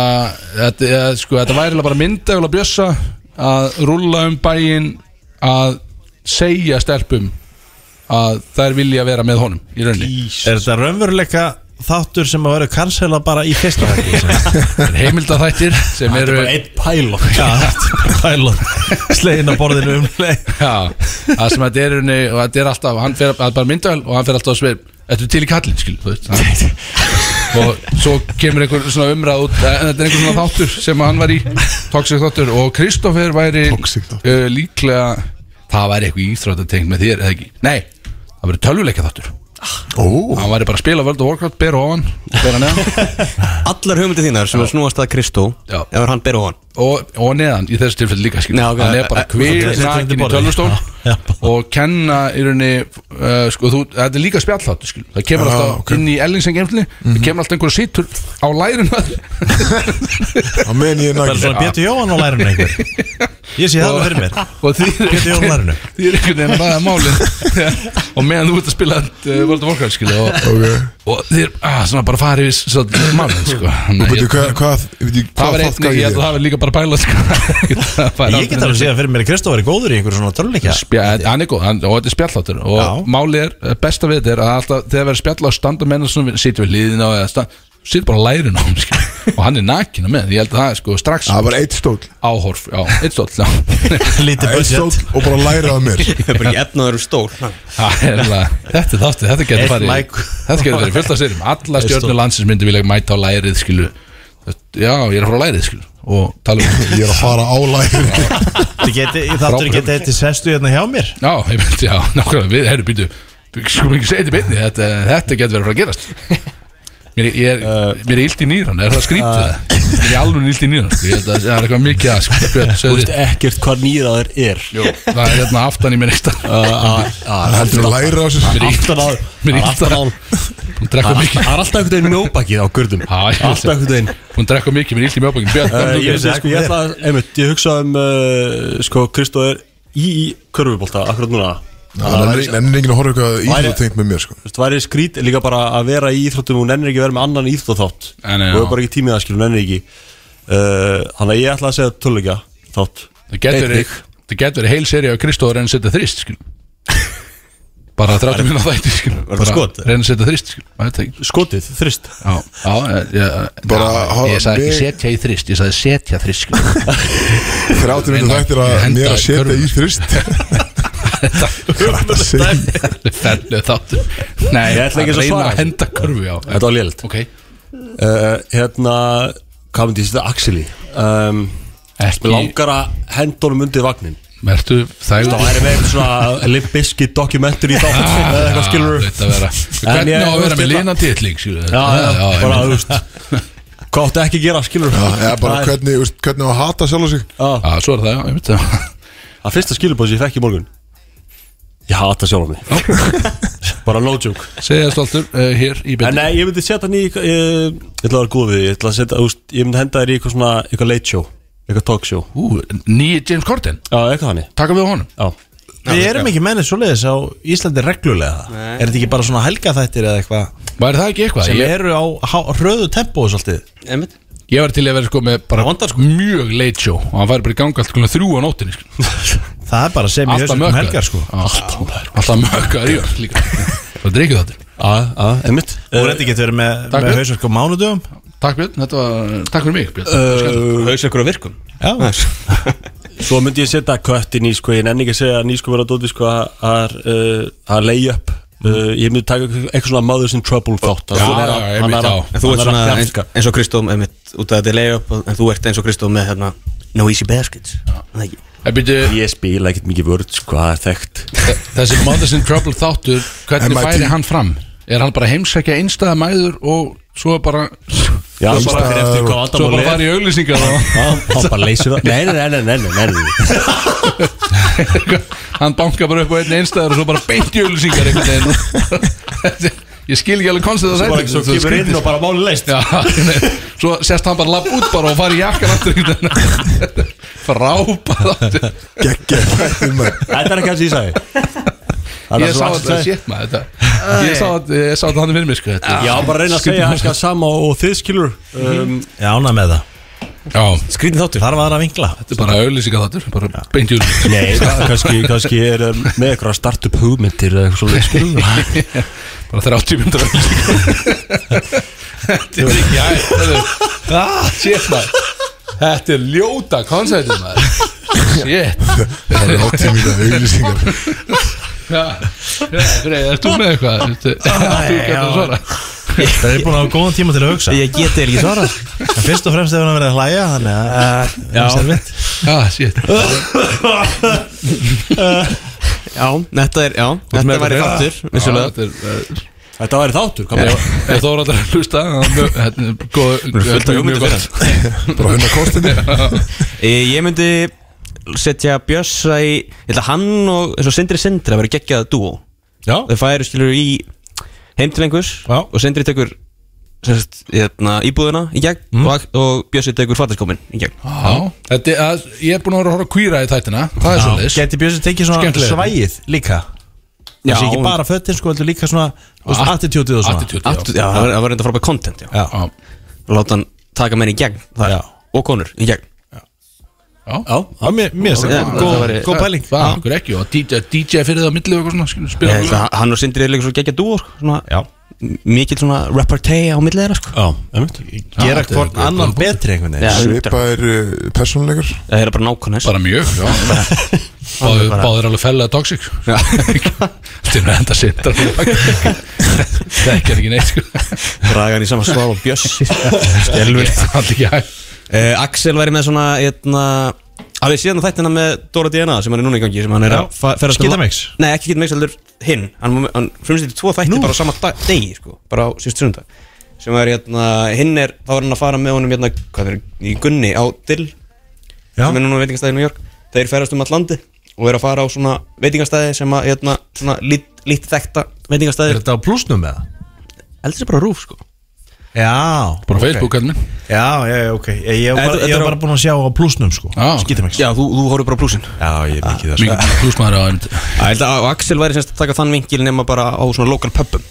Speaker 2: þetta, eða, sko, þetta væri eiginlega bara mynda og bjössa að rúlla um bæinn að segja stelpum að þær vilja vera með honum í rauninni
Speaker 8: Er þetta raunveruleika þáttur sem að vera kansela bara í fyrsta hætti
Speaker 2: heimildaþættir sem eru
Speaker 8: einn pælok Já, þetta er bara pælok Slegin á borðinu um leið
Speaker 2: já, það sem þetta er í rauninni og þetta er alltaf, hann fer að bara myndavel og hann fer alltaf að sveir, þetta er til í kallin skil, þú veist hann- og svo kemur einhver svona umræð út eh, þetta er einhver svona þáttur sem hann var í toxic þáttur og Kristoffer væri
Speaker 7: Toxic þáttur.
Speaker 2: uh, líklega það væri eitthvað íþróttatengt með þér eða ekki, nei, það væri tölvuleika þáttur
Speaker 7: Ó,
Speaker 2: hann væri bara að spila World of Warcraft, bera ofan bera neðan
Speaker 4: Allar hugmyndir þínar sem snúast að Kristó
Speaker 2: Já.
Speaker 4: Ef hann ber ofan
Speaker 2: og, og neðan í þessu tilfelli líka skil
Speaker 4: Já, ok.
Speaker 2: hann er bara
Speaker 4: Eh,
Speaker 2: kvið
Speaker 8: eh, eh,
Speaker 2: nakin í
Speaker 8: borðið.
Speaker 2: tölvustól
Speaker 8: Já, já.
Speaker 2: og kenna í rauninni uh, sko, þú, þetta er líka spjallhátt skil. það kemur
Speaker 7: Já,
Speaker 2: alltaf
Speaker 7: ok.
Speaker 2: inn í ellingsengemfni það kemur alltaf einhver sýtur á lærinu
Speaker 7: það menn ég
Speaker 8: Það er
Speaker 7: nægir
Speaker 8: svona Pétur Jóhann á lærinu einhver Ég sé það alveg fyrir mér
Speaker 2: og því er
Speaker 8: Pétur Jóhann á lærinu
Speaker 2: því er einhvern veginn að ræða málin og meðan þú ert að spila uh, World of Warcraft skil, og,
Speaker 7: Ok.
Speaker 2: og þér ah, svona bara farið við svo, málin sko. Þannig
Speaker 7: Þú
Speaker 2: að
Speaker 7: veitir
Speaker 2: ég-
Speaker 7: hvað, hvað, ég veit ekki
Speaker 2: það
Speaker 7: hvað
Speaker 2: var
Speaker 7: þátt
Speaker 2: einnig,
Speaker 7: gæði
Speaker 2: ég held að
Speaker 7: ég
Speaker 2: það var líka bara bæla sko. Það fær aldrei
Speaker 8: Ég get alveg
Speaker 2: neitt.
Speaker 8: séð fyrir mér að Kristóf er góður í einhverjum svona töluleika
Speaker 2: Spja, hann er góð, hann, og þetta er spjalláttur og
Speaker 8: Já.
Speaker 2: málið er, eh, besta við þetta er að alltaf, þegar verður spjall á standa menn sem sitja við liðina og standa, sitja bara á lærinu á honum, skil. og hann er nakina með, ég held að það er sko strax
Speaker 7: Það var eitt stóll
Speaker 2: áhorf, já, eitt stóll já.
Speaker 8: Lítið
Speaker 7: Eitt
Speaker 8: budget
Speaker 7: stóll og bara læraði mér
Speaker 4: Það er bara ekki efnaður um stól
Speaker 2: Það er alveg- þetta er þáttið, þetta getur
Speaker 8: Eitt
Speaker 2: farið
Speaker 8: like.
Speaker 2: þetta getur farið fullt af sérum, alla stjórnur landsins myndi vilja mæta á lærið skilu já, ég er að fara á lærið skilu og tala um
Speaker 7: Ég er að fara á lærin
Speaker 8: Þetta geti, þáttur geti eitt til sestu hérna hjá mér
Speaker 2: já, ég myndi, já, nákvæmlega, við erum býtu skulum ekki segja þetta í beinni, þetta, þetta getur verið að fara að gerast Mér, ég er,
Speaker 9: Uh,
Speaker 2: mér er illt í nýran, er það skrítið það? Mér er alveg illt í nýran, sko, ég held að það er eitthvað mikið að sko, björn,
Speaker 9: Þú
Speaker 2: sögðu
Speaker 9: veist eh, ekkert hvað nýraður er
Speaker 2: Jú, það er hérna aftan í mér eitt Mér
Speaker 9: Uh,
Speaker 3: Ah,
Speaker 7: Það heldur að læra á sér sko.
Speaker 2: er illt,
Speaker 9: Aftan á
Speaker 2: mér er illt
Speaker 9: aftan á-
Speaker 2: að hún drekka
Speaker 9: Það er
Speaker 2: mikið
Speaker 9: alltaf- það er alltaf einhvern veginn mjóbakið á gurdum
Speaker 2: Já, ég veit
Speaker 9: Alltaf
Speaker 2: það.
Speaker 9: ah, einhvern veginn
Speaker 2: Hún drekka mikið, mér er illt í mjögbókin Björn, hvað
Speaker 9: Eh,
Speaker 2: er
Speaker 9: Ég
Speaker 2: þú
Speaker 9: vissi, sko, ég ætla einmitt, ég hugsa um uh, sko, Kristó er í, í körfubólta akkurat núna
Speaker 7: Það er enginn að horfa eitthvað íþrótengt með mér sko
Speaker 9: Þú veist, væri skrít líka bara að vera í íþróttum og nennir ekki að vera með annan íþróttátt og
Speaker 2: Nei, nei, já.
Speaker 9: er bara ekki tímið að skilja, nennir ekki Uh, Þannig að ég ætla að segja tölvika þátt
Speaker 2: Það getur verið Það getur verið heil seri af Kristóður en setja þrist skil. Bara 30 minna þætti skil. Bara
Speaker 9: skot, eða?
Speaker 2: reyna að setja þrist skil. Maður veit það ekki.
Speaker 9: Skotið, þrist
Speaker 2: Já, já, ég- ég-
Speaker 7: Bara hafa
Speaker 2: já, Ég sagði ekki
Speaker 7: mig-
Speaker 2: setja í þrist Ég sagði setja þrist sko. skil.
Speaker 7: Þrjáttir minnum
Speaker 2: Reyna-
Speaker 7: þættir að
Speaker 2: henda
Speaker 7: mér að
Speaker 2: í
Speaker 7: setja
Speaker 2: körfu.
Speaker 7: í þrist Hvað er þetta að segja?
Speaker 2: Fennu þáttur Nei,
Speaker 9: Ég ætla ekki að
Speaker 2: reyna
Speaker 9: svara.
Speaker 2: að henda körfu já.
Speaker 9: Þetta var lélitt
Speaker 2: Ok,
Speaker 9: uh, Hérna, hvað myndi ég setja Axel í? Um,
Speaker 2: ekki
Speaker 9: Mér langar að henda honum undir vagnin
Speaker 2: Mertu þægur
Speaker 9: Það væri með eitthvað svona Limp Bizkit dokumentur í þátt eða eitthvað skilur
Speaker 2: Þetta vera
Speaker 9: En
Speaker 2: Hvernig
Speaker 9: ég-
Speaker 2: á að vera með
Speaker 9: ég-
Speaker 2: linanditling skil.
Speaker 9: Já, já, bara,
Speaker 2: einmitt.
Speaker 9: þú veist Hvað áttu ekki að gera, skilur
Speaker 7: Já, eða bara hvernig, þú veist, hvernig á að hata sjálf sig
Speaker 2: Já, svo er það, já, ég veit það
Speaker 9: að fyrsta skilubóð sem ég fekk í morgun Ég hata sjálf mig Bara no joke
Speaker 2: Segja stoltur uh, hér í
Speaker 9: En
Speaker 2: byrni
Speaker 9: nei, ég myndi setja hann í eitthvað- Ég, ég ætla að vera góð við því Ég ætla að setja, úst, ég myndi henda þér í eitthvað svona Eitthvað late show, eitthvað talk show
Speaker 2: Ú, nýji James Corden,
Speaker 9: Já, eitthvað hannig
Speaker 2: taka við á honum
Speaker 9: Já,
Speaker 8: Við erum ekki mennið svoleiðis á Íslandi reglulega Er þetta ekki bara svona helgaþættir eða eitthvað
Speaker 2: Væri það ekki eitthvað?
Speaker 8: sem
Speaker 2: Ég,
Speaker 8: eru á há- hröðu tempó og svolítið
Speaker 4: Einmitt.
Speaker 2: ég var til að vera sko með bara mjög late show og hann væri bara í ganga allt klukkan þrjú á nóttinni sko.
Speaker 8: Það er bara sem í
Speaker 2: Alltaf
Speaker 8: hausnum um helgar
Speaker 2: mökkaður
Speaker 8: sko
Speaker 2: Já, Alltaf mökkaður í öll líka Það drikkið þetta
Speaker 9: já, einmitt
Speaker 8: Þú er þetta getur verið með,
Speaker 2: Takk
Speaker 8: með
Speaker 2: fyrir.
Speaker 8: hausverk á mánudögum
Speaker 2: Takk Björn, þetta var Takk fyrir mig Björn Það
Speaker 8: Uh,
Speaker 2: var skemmtilegt.
Speaker 4: Hausverkur á virkum
Speaker 8: Já,
Speaker 9: Svo myndi ég setja köttin í sko Ég nenni ekki að segja að nýskum vera dóti sko að- Að uh, að lay up uh, Ég myndi taka eitthvað- eitthvað svona Mothers in Trouble þátt
Speaker 2: Já, já, já, einmitt, já.
Speaker 4: En þú ert svona eins,
Speaker 9: fjárska
Speaker 4: eins og Kristóm einmitt, út af þetta er layup en þú ert eins og Kristóm með hérna No easy baskets Það ekki.
Speaker 2: En byrju,
Speaker 9: Ég spila ekkert mikið vörð sko, það er þekkt
Speaker 2: Þessi Mothers in Trouble þáttur Hvernig
Speaker 7: MIT.
Speaker 2: færi hann fram? Er hann bara að heimsækja einstæða mæður og svo bara
Speaker 9: Já,
Speaker 2: Svo bara-
Speaker 9: fer eftir hvað
Speaker 2: Svo bara fara í auglýsingar og
Speaker 9: Hann bara leysir það Nei, nei, nei, nei, nei, nei
Speaker 2: hann bankar bara upp á einn einstæðar og svo bara beint í auglýsingar einhvern veginn Ég skil ekki alveg konstið að sæta
Speaker 8: svo kemur inn og bara máli leist
Speaker 2: Já, nei, svo sérst hann bara lapp út bara og fari í jakkan aftur einhvern veginn. Frábæð aftur
Speaker 7: Gekkja þættir maður
Speaker 9: Þetta er ekki hans ég sagði Það er
Speaker 2: Ég sá
Speaker 9: svo
Speaker 2: þetta,
Speaker 9: allt-
Speaker 2: shit maður þetta Ég sá þetta, ég sá þetta hann fyrir mig sko þetta.
Speaker 9: Já, bara reyna að segja eitthvað sama og þið skilur
Speaker 2: Mhm.
Speaker 9: um,
Speaker 8: Já, ánægð með það
Speaker 2: Já, þetta
Speaker 4: Skrýtin þáttur
Speaker 8: Þar var það að vinkla
Speaker 2: er bara auglýsingar þáttur Bara beint í auglýsingar
Speaker 9: Nei, það kannski, kannski er um, með eitthvað startup hugmyndir eða eitthvað svolítið
Speaker 4: Mm.
Speaker 9: skilur
Speaker 2: bara 30 minnur Þetta er ekki hægt þetta er- Ah, Shit maður Þetta er ljóta konceptið maður Shit
Speaker 7: Það er áttímið að auðlýsingar
Speaker 2: Greið, ert þú með eitthvað? Ertu- Þú getur að svara
Speaker 8: Það er búin að hafa góðan tíma til að hugsa
Speaker 4: Ég geti ekki svara
Speaker 8: En fyrst og fremst hefur hann verið að hlæja Þannig að eh, það er servitt
Speaker 2: Já, Ah, shit
Speaker 4: Já, þetta er, já, þetta var í þáttur Vissulega
Speaker 2: Þetta er eh,
Speaker 9: Þetta væri þáttur, hvað með
Speaker 2: Ef þú voru að hlusta Þetta er hérna, góð Þetta er mjög gott
Speaker 7: Bara hundar kostinni
Speaker 4: Eh, Ég ég myndi setja Bjössa í Ég ætla hann og eins og Sindri Sindri að vera geggjað dúo
Speaker 9: Já.
Speaker 4: Þau færu skilur í heim til einhvers
Speaker 9: Já.
Speaker 4: og Sindri tekur sérst, hérna, íbúðuna í gegn og, og Bjössi tekur fataskómin í gegn
Speaker 2: Já, þetta er að- Ég er búin að vera að horfa á kvíra í þættina Það er svolítið
Speaker 8: Geti Björnsson tekið svona
Speaker 2: Skemmtilega.
Speaker 8: svægið líka Það sé ekki bara föttin sko heldur líka svona þú veist, Attitude og svona
Speaker 4: Aftur, já, það var- það var reynda frábæð content já.
Speaker 2: Já,
Speaker 4: Láta hann taka menn í gegn þar, og konur í gegn
Speaker 2: já
Speaker 8: Já, mér
Speaker 4: Já,
Speaker 8: mér
Speaker 4: það
Speaker 8: finnst það
Speaker 4: væri-
Speaker 8: Góð pæling
Speaker 2: Það er okkur ekki og DJ, DJ fyrir það á milli og eitthvað svona skilur, spila
Speaker 4: Ég
Speaker 2: okkur.
Speaker 4: ætla að Hann og Sindri er líka svo geggjað dúo sko, svona,
Speaker 8: Já.
Speaker 4: m- Mikið svona repartee á milli þeirra sko.
Speaker 9: Já, einmitt
Speaker 8: Gera
Speaker 2: þetta er-
Speaker 8: hvort
Speaker 2: þetta er
Speaker 8: annan
Speaker 2: bara-
Speaker 8: betri einhvern veginn
Speaker 4: Það
Speaker 7: Svipaðir uh, persónuleikar
Speaker 4: er bara nákvæmnes
Speaker 2: Bara mjög, já Báðir, báðir alveg fellega toxic Þetta er nú enda sindar Það er ekki neitt sko
Speaker 4: Dragan í saman svar og Bjössi Skelvilt
Speaker 2: Það er ekki hægt
Speaker 4: uh, Axel væri með svona eitna, Alveg síðan á þættina með Dóra DNA sem hann er núna í gangi sem hann er að fa- ferðast um-
Speaker 8: Skitamix?
Speaker 4: Nei, ekki Skitamix, heldur hinn Hann, var með- hann frumstýtti tvo þætti bara á sama dag, degi sko, bara á síðust sundag sem er hérna, hinn er, þá var hann að fara með honum hérna, hvað er, í Gunni á Dill
Speaker 8: Já.
Speaker 4: sem er núna veitingastæði í New York þeir ferðast um all landi og eru að fara á svona veitingastæði sem að, hérna, svona lít, lít þekkta
Speaker 8: Er
Speaker 4: veitingastæði
Speaker 8: þetta á plusnum með það?
Speaker 4: heldur sér bara rúf, sko
Speaker 8: Já
Speaker 2: Bara
Speaker 8: ok.
Speaker 2: Facebook okay. minn
Speaker 8: Já, já, já, ok Ég, ég, var,
Speaker 4: Þetta-
Speaker 8: bara,
Speaker 4: þetta
Speaker 8: ég
Speaker 4: er
Speaker 8: var
Speaker 4: á-
Speaker 8: bara búin að sjá á plusnum sko
Speaker 2: Já.
Speaker 8: Skitamix
Speaker 4: Já, þú, þú horfir bara á plúsin
Speaker 8: já, ég er mikið það
Speaker 2: Mikið plusmaður á einmitt
Speaker 4: Ég held að Axel væri semst að taka þann vinkil nema bara á svona lokal pubum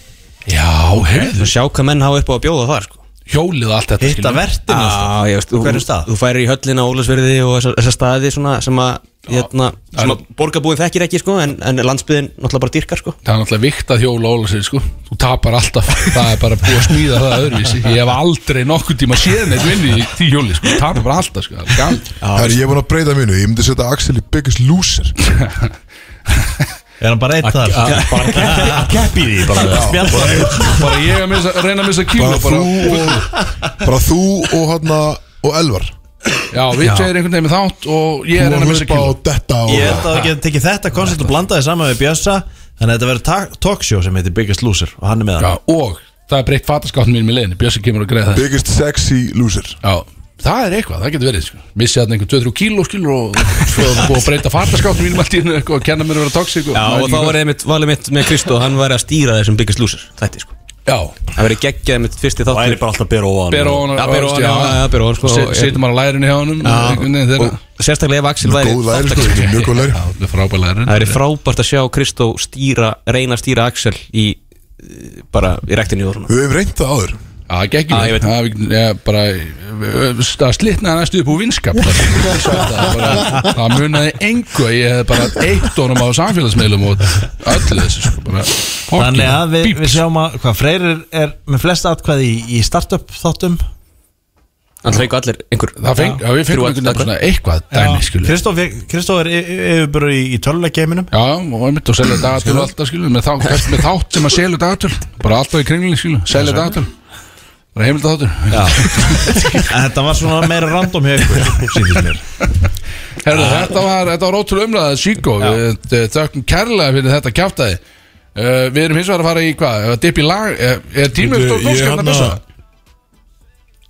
Speaker 2: Já, heyrðu
Speaker 4: og sjá hvað menn hafa upp á að bjóða þar sko
Speaker 2: Hjólið og allt þetta
Speaker 8: Hitta
Speaker 2: skilur.
Speaker 8: vertinu sko.
Speaker 4: ah, ég veist, þú,
Speaker 8: Hverjum stað?
Speaker 4: Þú færir í höllina á Ólasverði og þessa, þessa staði svona sem að hérna, sem að borgarbúin þekkir ekki sko en, en landsbyðin náttúrulega bara dýrkar sko
Speaker 2: Það er náttúrulega vikt að hjóla óla sér sko Þú tapar alltaf Það er bara búið að smíða það öðruvísi Ég hef aldrei nokkuð tíma séð neitt vinni í því hjóli sko Þú tapar bara alltaf sko Það er gaman
Speaker 7: Herri, ég var að breyta mínu Ég myndi setja Axel í Biggest Loser
Speaker 8: Er hann bara eitt þar? Bara kepp í því bara Spjalla
Speaker 2: Bara ég að missa, reyna að missa kíló
Speaker 7: Bara þú og Bara þú og hann og Elvar
Speaker 2: Já, við segir einhvern veginn með þátt og ég
Speaker 7: Þú
Speaker 2: er
Speaker 7: og
Speaker 2: reyna að missa
Speaker 7: hlupa á
Speaker 2: kíló
Speaker 7: þetta
Speaker 8: Ég
Speaker 7: og
Speaker 8: held að það getur tekið þetta koncept og blandaði saman við Bjössa Þannig að þetta verður ta- talkshow sem heitir Biggest Loser Og hann er með
Speaker 2: Já,
Speaker 8: hann
Speaker 2: og það er breytt fataskáttn mín með leiðinni Bjössi kemur að greiða það
Speaker 7: Biggest Sexy Loser
Speaker 2: Já, Það er eitthvað, það getur verið sko. Missið þarna einhver 2-3 kíló skilur og svo er búið að breyta fartaskáttum mínum allt í hennu og kenna mér að vera toxic og,
Speaker 4: Já, og þá var einmitt valið mitt með Kristó Hann væri að stýra þessum Biggest Loser Þetta sko
Speaker 2: Já,
Speaker 4: Það verið geggjað mitt fyrsti
Speaker 9: Það er
Speaker 4: þáttur
Speaker 9: bara alltaf að bera ofan
Speaker 2: bera
Speaker 9: og-
Speaker 2: ofan
Speaker 4: Já, bera ofan, já, já, bera ofan, sko,
Speaker 2: Sit-
Speaker 4: og-
Speaker 2: Situr maður á lærinu hjá honum og einhvern veginn þeirra-
Speaker 4: Og sérstaklega ef Axel væri
Speaker 7: Góð læri, sko,
Speaker 4: þátttakandi.
Speaker 7: þetta er mjög góð læri
Speaker 2: Já, það er frábæð lærin
Speaker 4: Það er frábært að sjá Kristó stýra Reyna að stýra Axel í eh, Bara í rektinu og svona
Speaker 7: Við höfum reynt það áður
Speaker 2: Já, það gekk
Speaker 4: Já, ég
Speaker 2: ekki
Speaker 4: veit.
Speaker 2: Það við- ég bara Það slitnaði næstu upp úr vinskap Það er sagt, það bara- það munaði engu að Ég hef bara eitt honum á samfélagsmiðlum og öllu þessu sko, bara,
Speaker 8: Þannig að við,
Speaker 2: Bíp.
Speaker 8: við sjáum að hvað Freyr er, er með flest atkvæði í, í startup þáttum
Speaker 4: Þannig fengu allir einhver
Speaker 2: Það feng, já, við fengum einhvern
Speaker 4: Þrjú
Speaker 2: veginn
Speaker 4: atkvæði.
Speaker 2: svona eitthvað dæmi skilu Já,
Speaker 8: Kristóf Kristóf er yfirbúru í, í töluleggeiminum
Speaker 2: og einmitt og selja dagatölu alltaf skilu með, þá, kannski með þátt sem að selja dagatölu bara alltaf í kringlinni skilu, selja dagatölu bara heimilda þáttur
Speaker 8: En þetta var svona meira random hjá ykkur sýndist mér.
Speaker 2: Herðu,
Speaker 4: Ah.
Speaker 2: þetta var, þetta var ótrúlega umræðað Sýko, við eh, þökkum kærlega fyrir þetta kjáftæði uh, Við erum hins vegar að fara í hvað, ef að dipp í lag Er, er tímur
Speaker 7: Bíddu,
Speaker 2: stór
Speaker 7: ég
Speaker 2: nóskjöfn að
Speaker 7: hérna-
Speaker 2: bussa?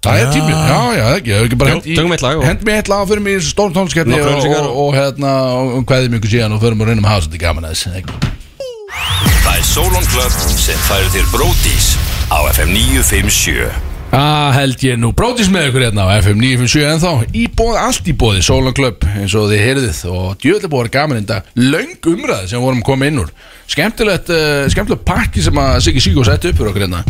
Speaker 2: Það er tímur, já, já, það ekki, hefur ekki bara
Speaker 4: Jú,
Speaker 2: hent í-
Speaker 4: tökum eitt lag og-
Speaker 2: Hent mér eitt lag og förum í þessu stór tónskjöfni
Speaker 4: Nokkrar
Speaker 2: og,
Speaker 4: auglýsingar
Speaker 2: og, og hérna, og hvaðið mjög síðan og förum og reynum að hafa svolítið gaman að þess
Speaker 5: Það er Solon Club sem færir þér Bródís á FM 957
Speaker 2: Það Ah, held ég nú brótis með ykkur hérna á FM 957 en þá í bóð, allt í bóði Sólan Club eins og þið heyrðið og djöðlega búið að vera gaman enda löng umræð sem vorum komið inn úr skemmtilegt, uh, skemmtilegt pakki sem að Siggi Siggo setti upp fyrir okkur hérna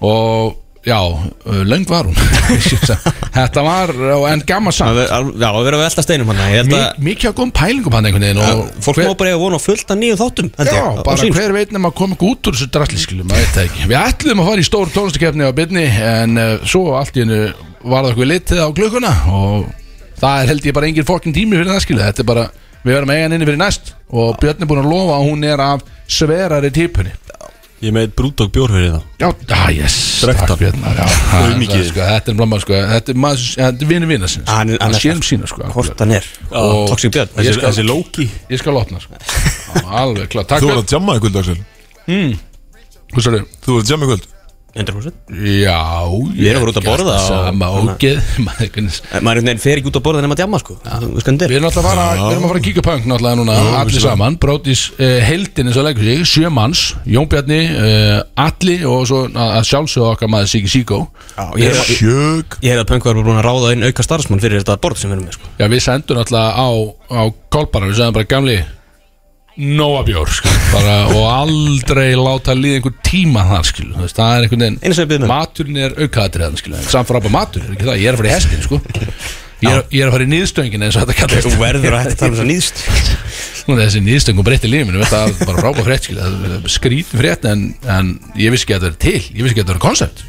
Speaker 2: og já, uh, löng var hún þetta var uh, en gaman
Speaker 4: Það
Speaker 2: samt
Speaker 4: ver- al- Já, við erum að velta steinum hann Ég held
Speaker 2: Mi,
Speaker 4: að
Speaker 2: mikið á góðum pælingum hann einhvern veginn og
Speaker 4: Fólk
Speaker 2: hver-
Speaker 4: má bara eiga vona á fullt af nýjum þáttum held ég,
Speaker 2: Já,
Speaker 4: á- á
Speaker 2: bara
Speaker 4: sínu.
Speaker 2: hver veit nema að koma ekki út úr þessu drasli skilum, maður veit það ekki Við ætluðum að fara í stór tónlistakefni á byrni en uh, svo allt í hennu var það okkur litið á klukkuna og það er held ég bara engin fokkin tími fyrir það skilu Þetta er bara, við verðum eigan inni fyrir næst og Björn er búin að lofa að hún er af sverari típunni
Speaker 9: Ég með brúdók bjór fyrir það
Speaker 2: Já, ah, yes,
Speaker 9: Drekkt hann.
Speaker 2: takk Björn já, það er
Speaker 9: mikið.
Speaker 2: það, sko, Þetta er blama, sko, þetta er maður, þetta er vinnu vinna sinna
Speaker 4: Hann er- hann er-
Speaker 2: Sjálf sína, sko
Speaker 4: Hvort hann er
Speaker 2: Og-
Speaker 4: Toxic Björn
Speaker 2: Ég
Speaker 9: Þessi,
Speaker 2: skal-
Speaker 9: þessi Loki
Speaker 2: Ég skal opna, sko Alveg, klart, takk
Speaker 7: Þú var
Speaker 2: Björn
Speaker 7: að jamma í kvöld, Axel
Speaker 2: Hvað sagðirðu?
Speaker 7: Þú var að jamma í kvöld
Speaker 4: 100%
Speaker 2: Já,
Speaker 4: Við erum bara út að borða
Speaker 2: og
Speaker 4: og-
Speaker 2: Sama
Speaker 4: Þannig-
Speaker 2: ógeð maður einhvern-
Speaker 4: Eh, Maður einhvern veginn fer ekki út á borðin nema að djamma sko Þú veist hvernig
Speaker 2: Við
Speaker 4: þetta er
Speaker 2: erum alltaf að fara, við erum að fara að kíka punk náttúrulega núna Allir saman, Brótis uh, heldin eins og leikur sig, sjö manns Jón Bjarni, uh, Alli og svo að sjálfsögðu okkar maður Siki Siko
Speaker 4: Ég heyrði að-
Speaker 7: Sjög
Speaker 4: Ég hefði að Pönkvar var búin að ráða inn auka starfsmann fyrir þetta borð sem við erum með sko
Speaker 2: Já, við sendum náttúrulega á, á kolbanar, við sendum bara gamli Nóa bjór sko, bara, og aldrei láta líða einhver tíma þar skilu, þú veist, það er einhvern
Speaker 4: Einu sem við
Speaker 2: veginn
Speaker 4: biðum um.
Speaker 2: maturinn er aukaðatriðan skilu, samt frábæð matur, er ekki það, ég er að fara í hestin sko Ég er, ég er að fara í nýðstöngin eins og þetta kallast
Speaker 4: Þú verður að hætta að tala um þess að nýðst
Speaker 2: Nú, þessi nýðstöngum breytti lífinu það var bara rápa frétt skilja, skrítum frétt en, en ég vissi ekki að það er til ég vissi ekki að það er koncept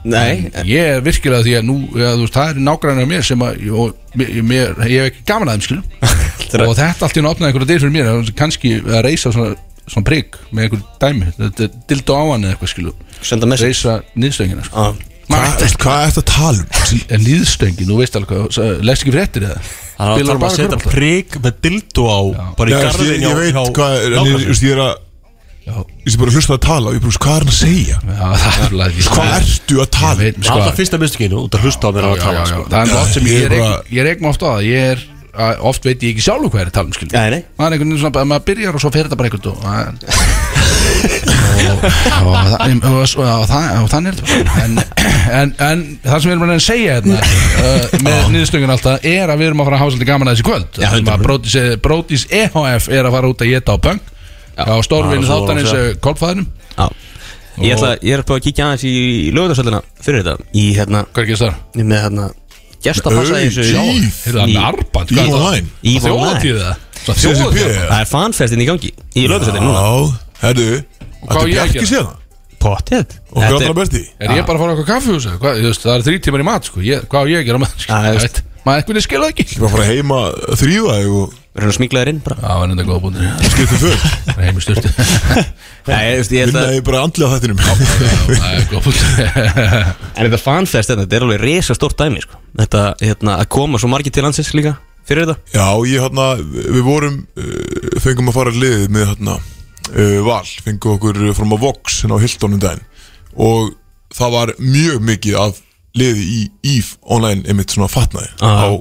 Speaker 4: Nei,
Speaker 2: ég er virkilega því að nú ja, veist, það er nágræna mér sem að og, mér, ég hef ekki gaman að þeim skilja og þetta allt í hann opnaði einhverja dyr fyrir mér að kannski að reysa svona, svona prigg með einhver dæmi, þetta er dildo á hann eða eitthvað skilja,
Speaker 4: senda message
Speaker 2: reysa nýðstöngina sko.
Speaker 4: Já.
Speaker 7: Hvað ertu að tala um? Axel?
Speaker 2: en nýðstöngi, nú veist alveg hvað leggst ekki fréttir eða
Speaker 9: Það er að
Speaker 2: Spilar
Speaker 9: tala um
Speaker 2: bara
Speaker 9: að setja
Speaker 2: körfubolta?
Speaker 9: prik með dildo á Bara
Speaker 7: Já,
Speaker 9: í
Speaker 7: þú veist, Ég
Speaker 9: garðin
Speaker 7: ég veit hvað er, en ég- þú veist, ég er að Ég sé bara að hlusta að tala og ég bara, þú veist, hvað er hann að segja?
Speaker 2: Já, það er alveg ekki-
Speaker 7: Hvað ertu að
Speaker 2: Ég
Speaker 7: tala um?
Speaker 2: veit, sko,
Speaker 9: Alltaf fyrsta mistökinu út að hlusta á mér
Speaker 2: já,
Speaker 9: að
Speaker 2: já,
Speaker 9: tala
Speaker 2: já,
Speaker 9: sko.
Speaker 2: það er nú oft sem ég
Speaker 7: Ég er
Speaker 2: reik,
Speaker 7: bara-
Speaker 2: ég reik mig oft á það ég er, að, oft veit ég ekki sjálfur hvað er að tala um skilur
Speaker 4: Nei, nei.
Speaker 2: það er einhvern veginn svona að maður byrjar og svo fer þetta bara einhvern og, og, og, og, og, og, og, það- og þannig er þetta bara. en, en, en það sem við erum að reyna að segja hérna, uh, með niðurstöngin alltaf er að við erum að fara að hafa svolítið gaman að þessi kvöld Það sem að Brodís, Brodís EHF E er að fara út að geta á punk á eh, stórvinu
Speaker 9: það er svo
Speaker 2: þáttanins
Speaker 9: að
Speaker 2: kolfæðinum
Speaker 4: Já Ég ætla, ég er að prófa að kíkja aðeins í lögutarsöldina fyrir þetta Í hérna,
Speaker 2: hvað er ekki þess þar?
Speaker 4: með hérna Gestapassa í
Speaker 7: Au,
Speaker 4: þessu
Speaker 7: Íf.
Speaker 2: Heyrðu, hann er arband, hvað er það?
Speaker 4: Evil
Speaker 7: Ívalæn
Speaker 4: Eye.
Speaker 2: Þjóðatíð það?
Speaker 7: CCP
Speaker 2: Þjóðatíð
Speaker 4: Það er fanfestin í gangi Í lögutarsöldin núna
Speaker 7: Já, herru
Speaker 2: á ég
Speaker 7: Þetta
Speaker 2: að
Speaker 7: Bjarki
Speaker 2: gera?
Speaker 7: séðan
Speaker 4: Pottið
Speaker 7: Og hvað er að berti?
Speaker 2: Er ég bara að fara á eitthvað kaffihús? eða hvað? Þú veist, Það er þrý tímar í mat sko. ég, Hvað á ég að gera með
Speaker 4: Já,
Speaker 2: það?
Speaker 4: ég
Speaker 2: Veit, maður einhvern veginn skilur það ekki
Speaker 7: Ég var að fara heima að þrýfa þig og
Speaker 4: Við erum að smíkla þér inn bara
Speaker 2: Það var enda góða búinir
Speaker 7: skipta um föt
Speaker 2: Heimi styrtu
Speaker 4: Nei, ég veist, ég held
Speaker 7: Vinna
Speaker 4: að
Speaker 7: ég bara andlega á þættinum
Speaker 2: Það er góða búinir
Speaker 4: En þetta fanfest, þetta er alveg resa stórt dæmi sko. Þetta, hérna, að koma svo margir til landsins líka Fyrir þetta
Speaker 7: Já, ég hérna, við vorum uh, Fengum að fara liðið með hérna uh, Val, um fengum okkur fram á Vox Hérna á Hiltonum daginn Og það var mjög mikið af liði í EVE online einmitt svona fatnaði á,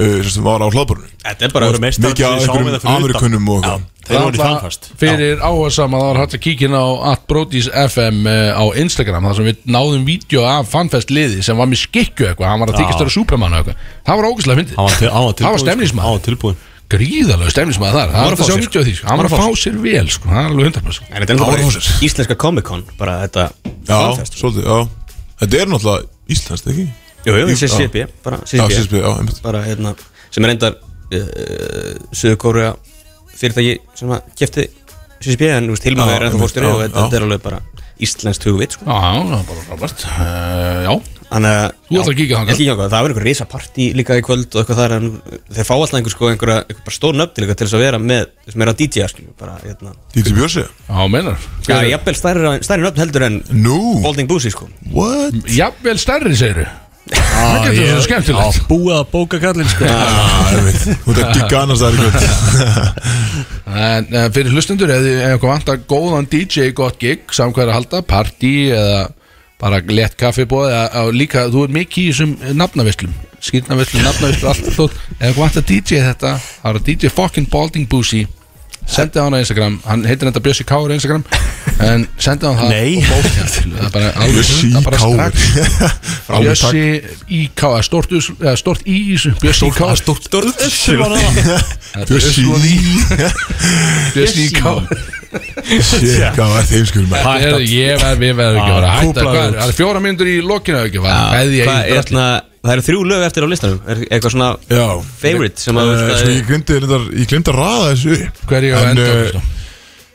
Speaker 7: uh, sem var á hlaðborunum
Speaker 9: Þetta er bara að vera meist
Speaker 7: mikið af einhverjum Amerikunum og eitthvað
Speaker 9: Þeir voru í
Speaker 2: Það
Speaker 9: þangfast
Speaker 2: fyrir áhersam að það var hægt að kíkja inn á atbrotis.fm eh, á Instagram þar sem við náðum vídeo af fanfest liði sem var með skikku eitthvað, hann var að þykist þar að supermanna eitthvað það var ógæslega fyndið, það
Speaker 9: sko.
Speaker 2: var
Speaker 9: Hann
Speaker 2: stemnismæð
Speaker 9: var tilbúin
Speaker 2: gríðalög stemnismæð þar, það var að sjá vídeo af því sko. hann var að fá sér vel, sko. það er alveg 100%
Speaker 4: En þetta er
Speaker 7: Ára
Speaker 4: náttúrulega
Speaker 7: húsins.
Speaker 4: bara íslenska Comic Con Bara þetta
Speaker 7: Já, svolítið, já Þetta er náttúrulega íslenskt, ekki?
Speaker 4: Jú, jú,
Speaker 7: já.
Speaker 4: CCP Bara
Speaker 7: Já,
Speaker 4: CCP
Speaker 7: síspi, já, einmitt
Speaker 4: Bara hérna Sem er endar uh, Suðurkóru Fyrirtæki sem að kefti CCP En þú veist, Hilma
Speaker 7: Já,
Speaker 4: er ennþá
Speaker 7: einmitt,
Speaker 4: fórstjóri
Speaker 7: já,
Speaker 4: Og þetta
Speaker 7: já.
Speaker 4: þetta er alveg bara íslenskt hugvit sko.
Speaker 2: Já, það var bara frábært uh, Já,
Speaker 4: Þannig að
Speaker 2: Þú ætlar að kíkja þangað.
Speaker 4: Ég kíkja þangað, það verður einhver risa partí líka í kvöld og eitthvað þar en þeir fá alltaf einhver sko einhverja einhver bara stór nöfn til eitthvað til þess að vera með sem er að DJ-a skiljum bara hérna
Speaker 7: DJ Björsi
Speaker 2: já, meinar
Speaker 4: Já, jafnvel stærri, stærri nöfn heldur en
Speaker 7: Nú,
Speaker 4: Holding Boosie sko
Speaker 7: what?
Speaker 2: Mm. Jafnvel stærri, segir Það getur svo skemmtilegt
Speaker 9: Búið að bóka kallinn sko
Speaker 7: Ah, einmitt Þú ert ekki ganast það er í kvöld
Speaker 2: En uh, fyrir hlustendur, ef þið eitthvað vantar góðan DJ, gott gig, samkvæður að halda, partí eða bara lett kaffibóð eða, eða líka, þú er mikið í þessum nafnavislum, skýrnavislum, nafnavislum, allt þótt, ef eitthvað vantar DJ þetta, það er DJ fucking Balding Boosie, sendið hann á Instagram, hann heitir þetta Bjössi Káur á Instagram, en sendið hann það
Speaker 9: Nei.
Speaker 2: og bókjart, það er bara alveg,
Speaker 7: Bjössi
Speaker 2: það er bara
Speaker 7: Káur.
Speaker 2: strax, Bjössi í Káur, stort, us- eða stort í þessu, Bjössi í Káur, stort,
Speaker 9: Stort össur var það
Speaker 7: Björsi
Speaker 2: Bjössi í Káur.
Speaker 7: Shit, hvað var þeim skil með
Speaker 2: Hættat Ég verð, við verðum ekki að vera hættat
Speaker 9: kúplaðu
Speaker 2: Hvað er,
Speaker 9: út.
Speaker 2: það er fjóra myndur í lokinu ekki að fara
Speaker 4: Hvað
Speaker 2: Veðja í
Speaker 4: er
Speaker 2: drasli
Speaker 4: hérna Það eru þrjú lög eftir á listanum er eitthvað svona
Speaker 9: Eh,
Speaker 7: Já
Speaker 4: favorite sem að
Speaker 7: Eh,
Speaker 4: uh,
Speaker 7: Sko ég glimti reyndar, ég glimti að raða þessu upp.
Speaker 2: Hverju á
Speaker 7: En,
Speaker 2: enda
Speaker 7: eh,
Speaker 2: Kristó?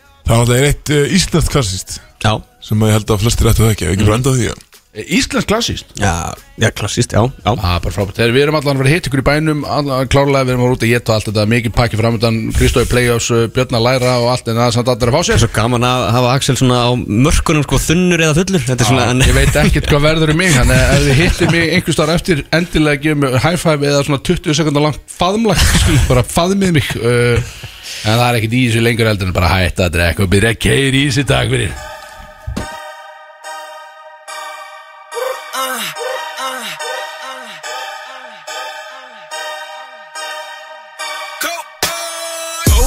Speaker 7: Það er náttúrulega eitt eh, íslenskt klassist
Speaker 4: Já,
Speaker 7: sem að ég held að flestir ættu það ekki, ef ekki
Speaker 2: Mm.
Speaker 7: bara enda á því að-
Speaker 2: Íslensk klassíst
Speaker 4: já, já, klassist, já, já
Speaker 2: Það er bara frábært Þegar við erum allan að vera hitt ykkur í bænum allan- Klárlega við erum að rúta ég og allt þetta Mikið pakki framöndan Kristói Playoffs uh, Björn að læra og allt En það er samt allir að fá
Speaker 4: Það er
Speaker 2: sér
Speaker 4: svo gaman að hafa Axel svona á mörkunum sko þunnur eða fullur Þetta er svona
Speaker 2: Já,
Speaker 4: en,
Speaker 2: Ég veit ekkert hvað verður um mig Þannig að ef þið hittir mig einhvers þar eftir Endilega gefur mig high five Eða svona 20 sekundar langt faðmlag Skil bara faðmið mig uh, En það er ekkert í þessu lengur eldur En bara hætta að drekka Og byrja að keiri í þessi dag fyrir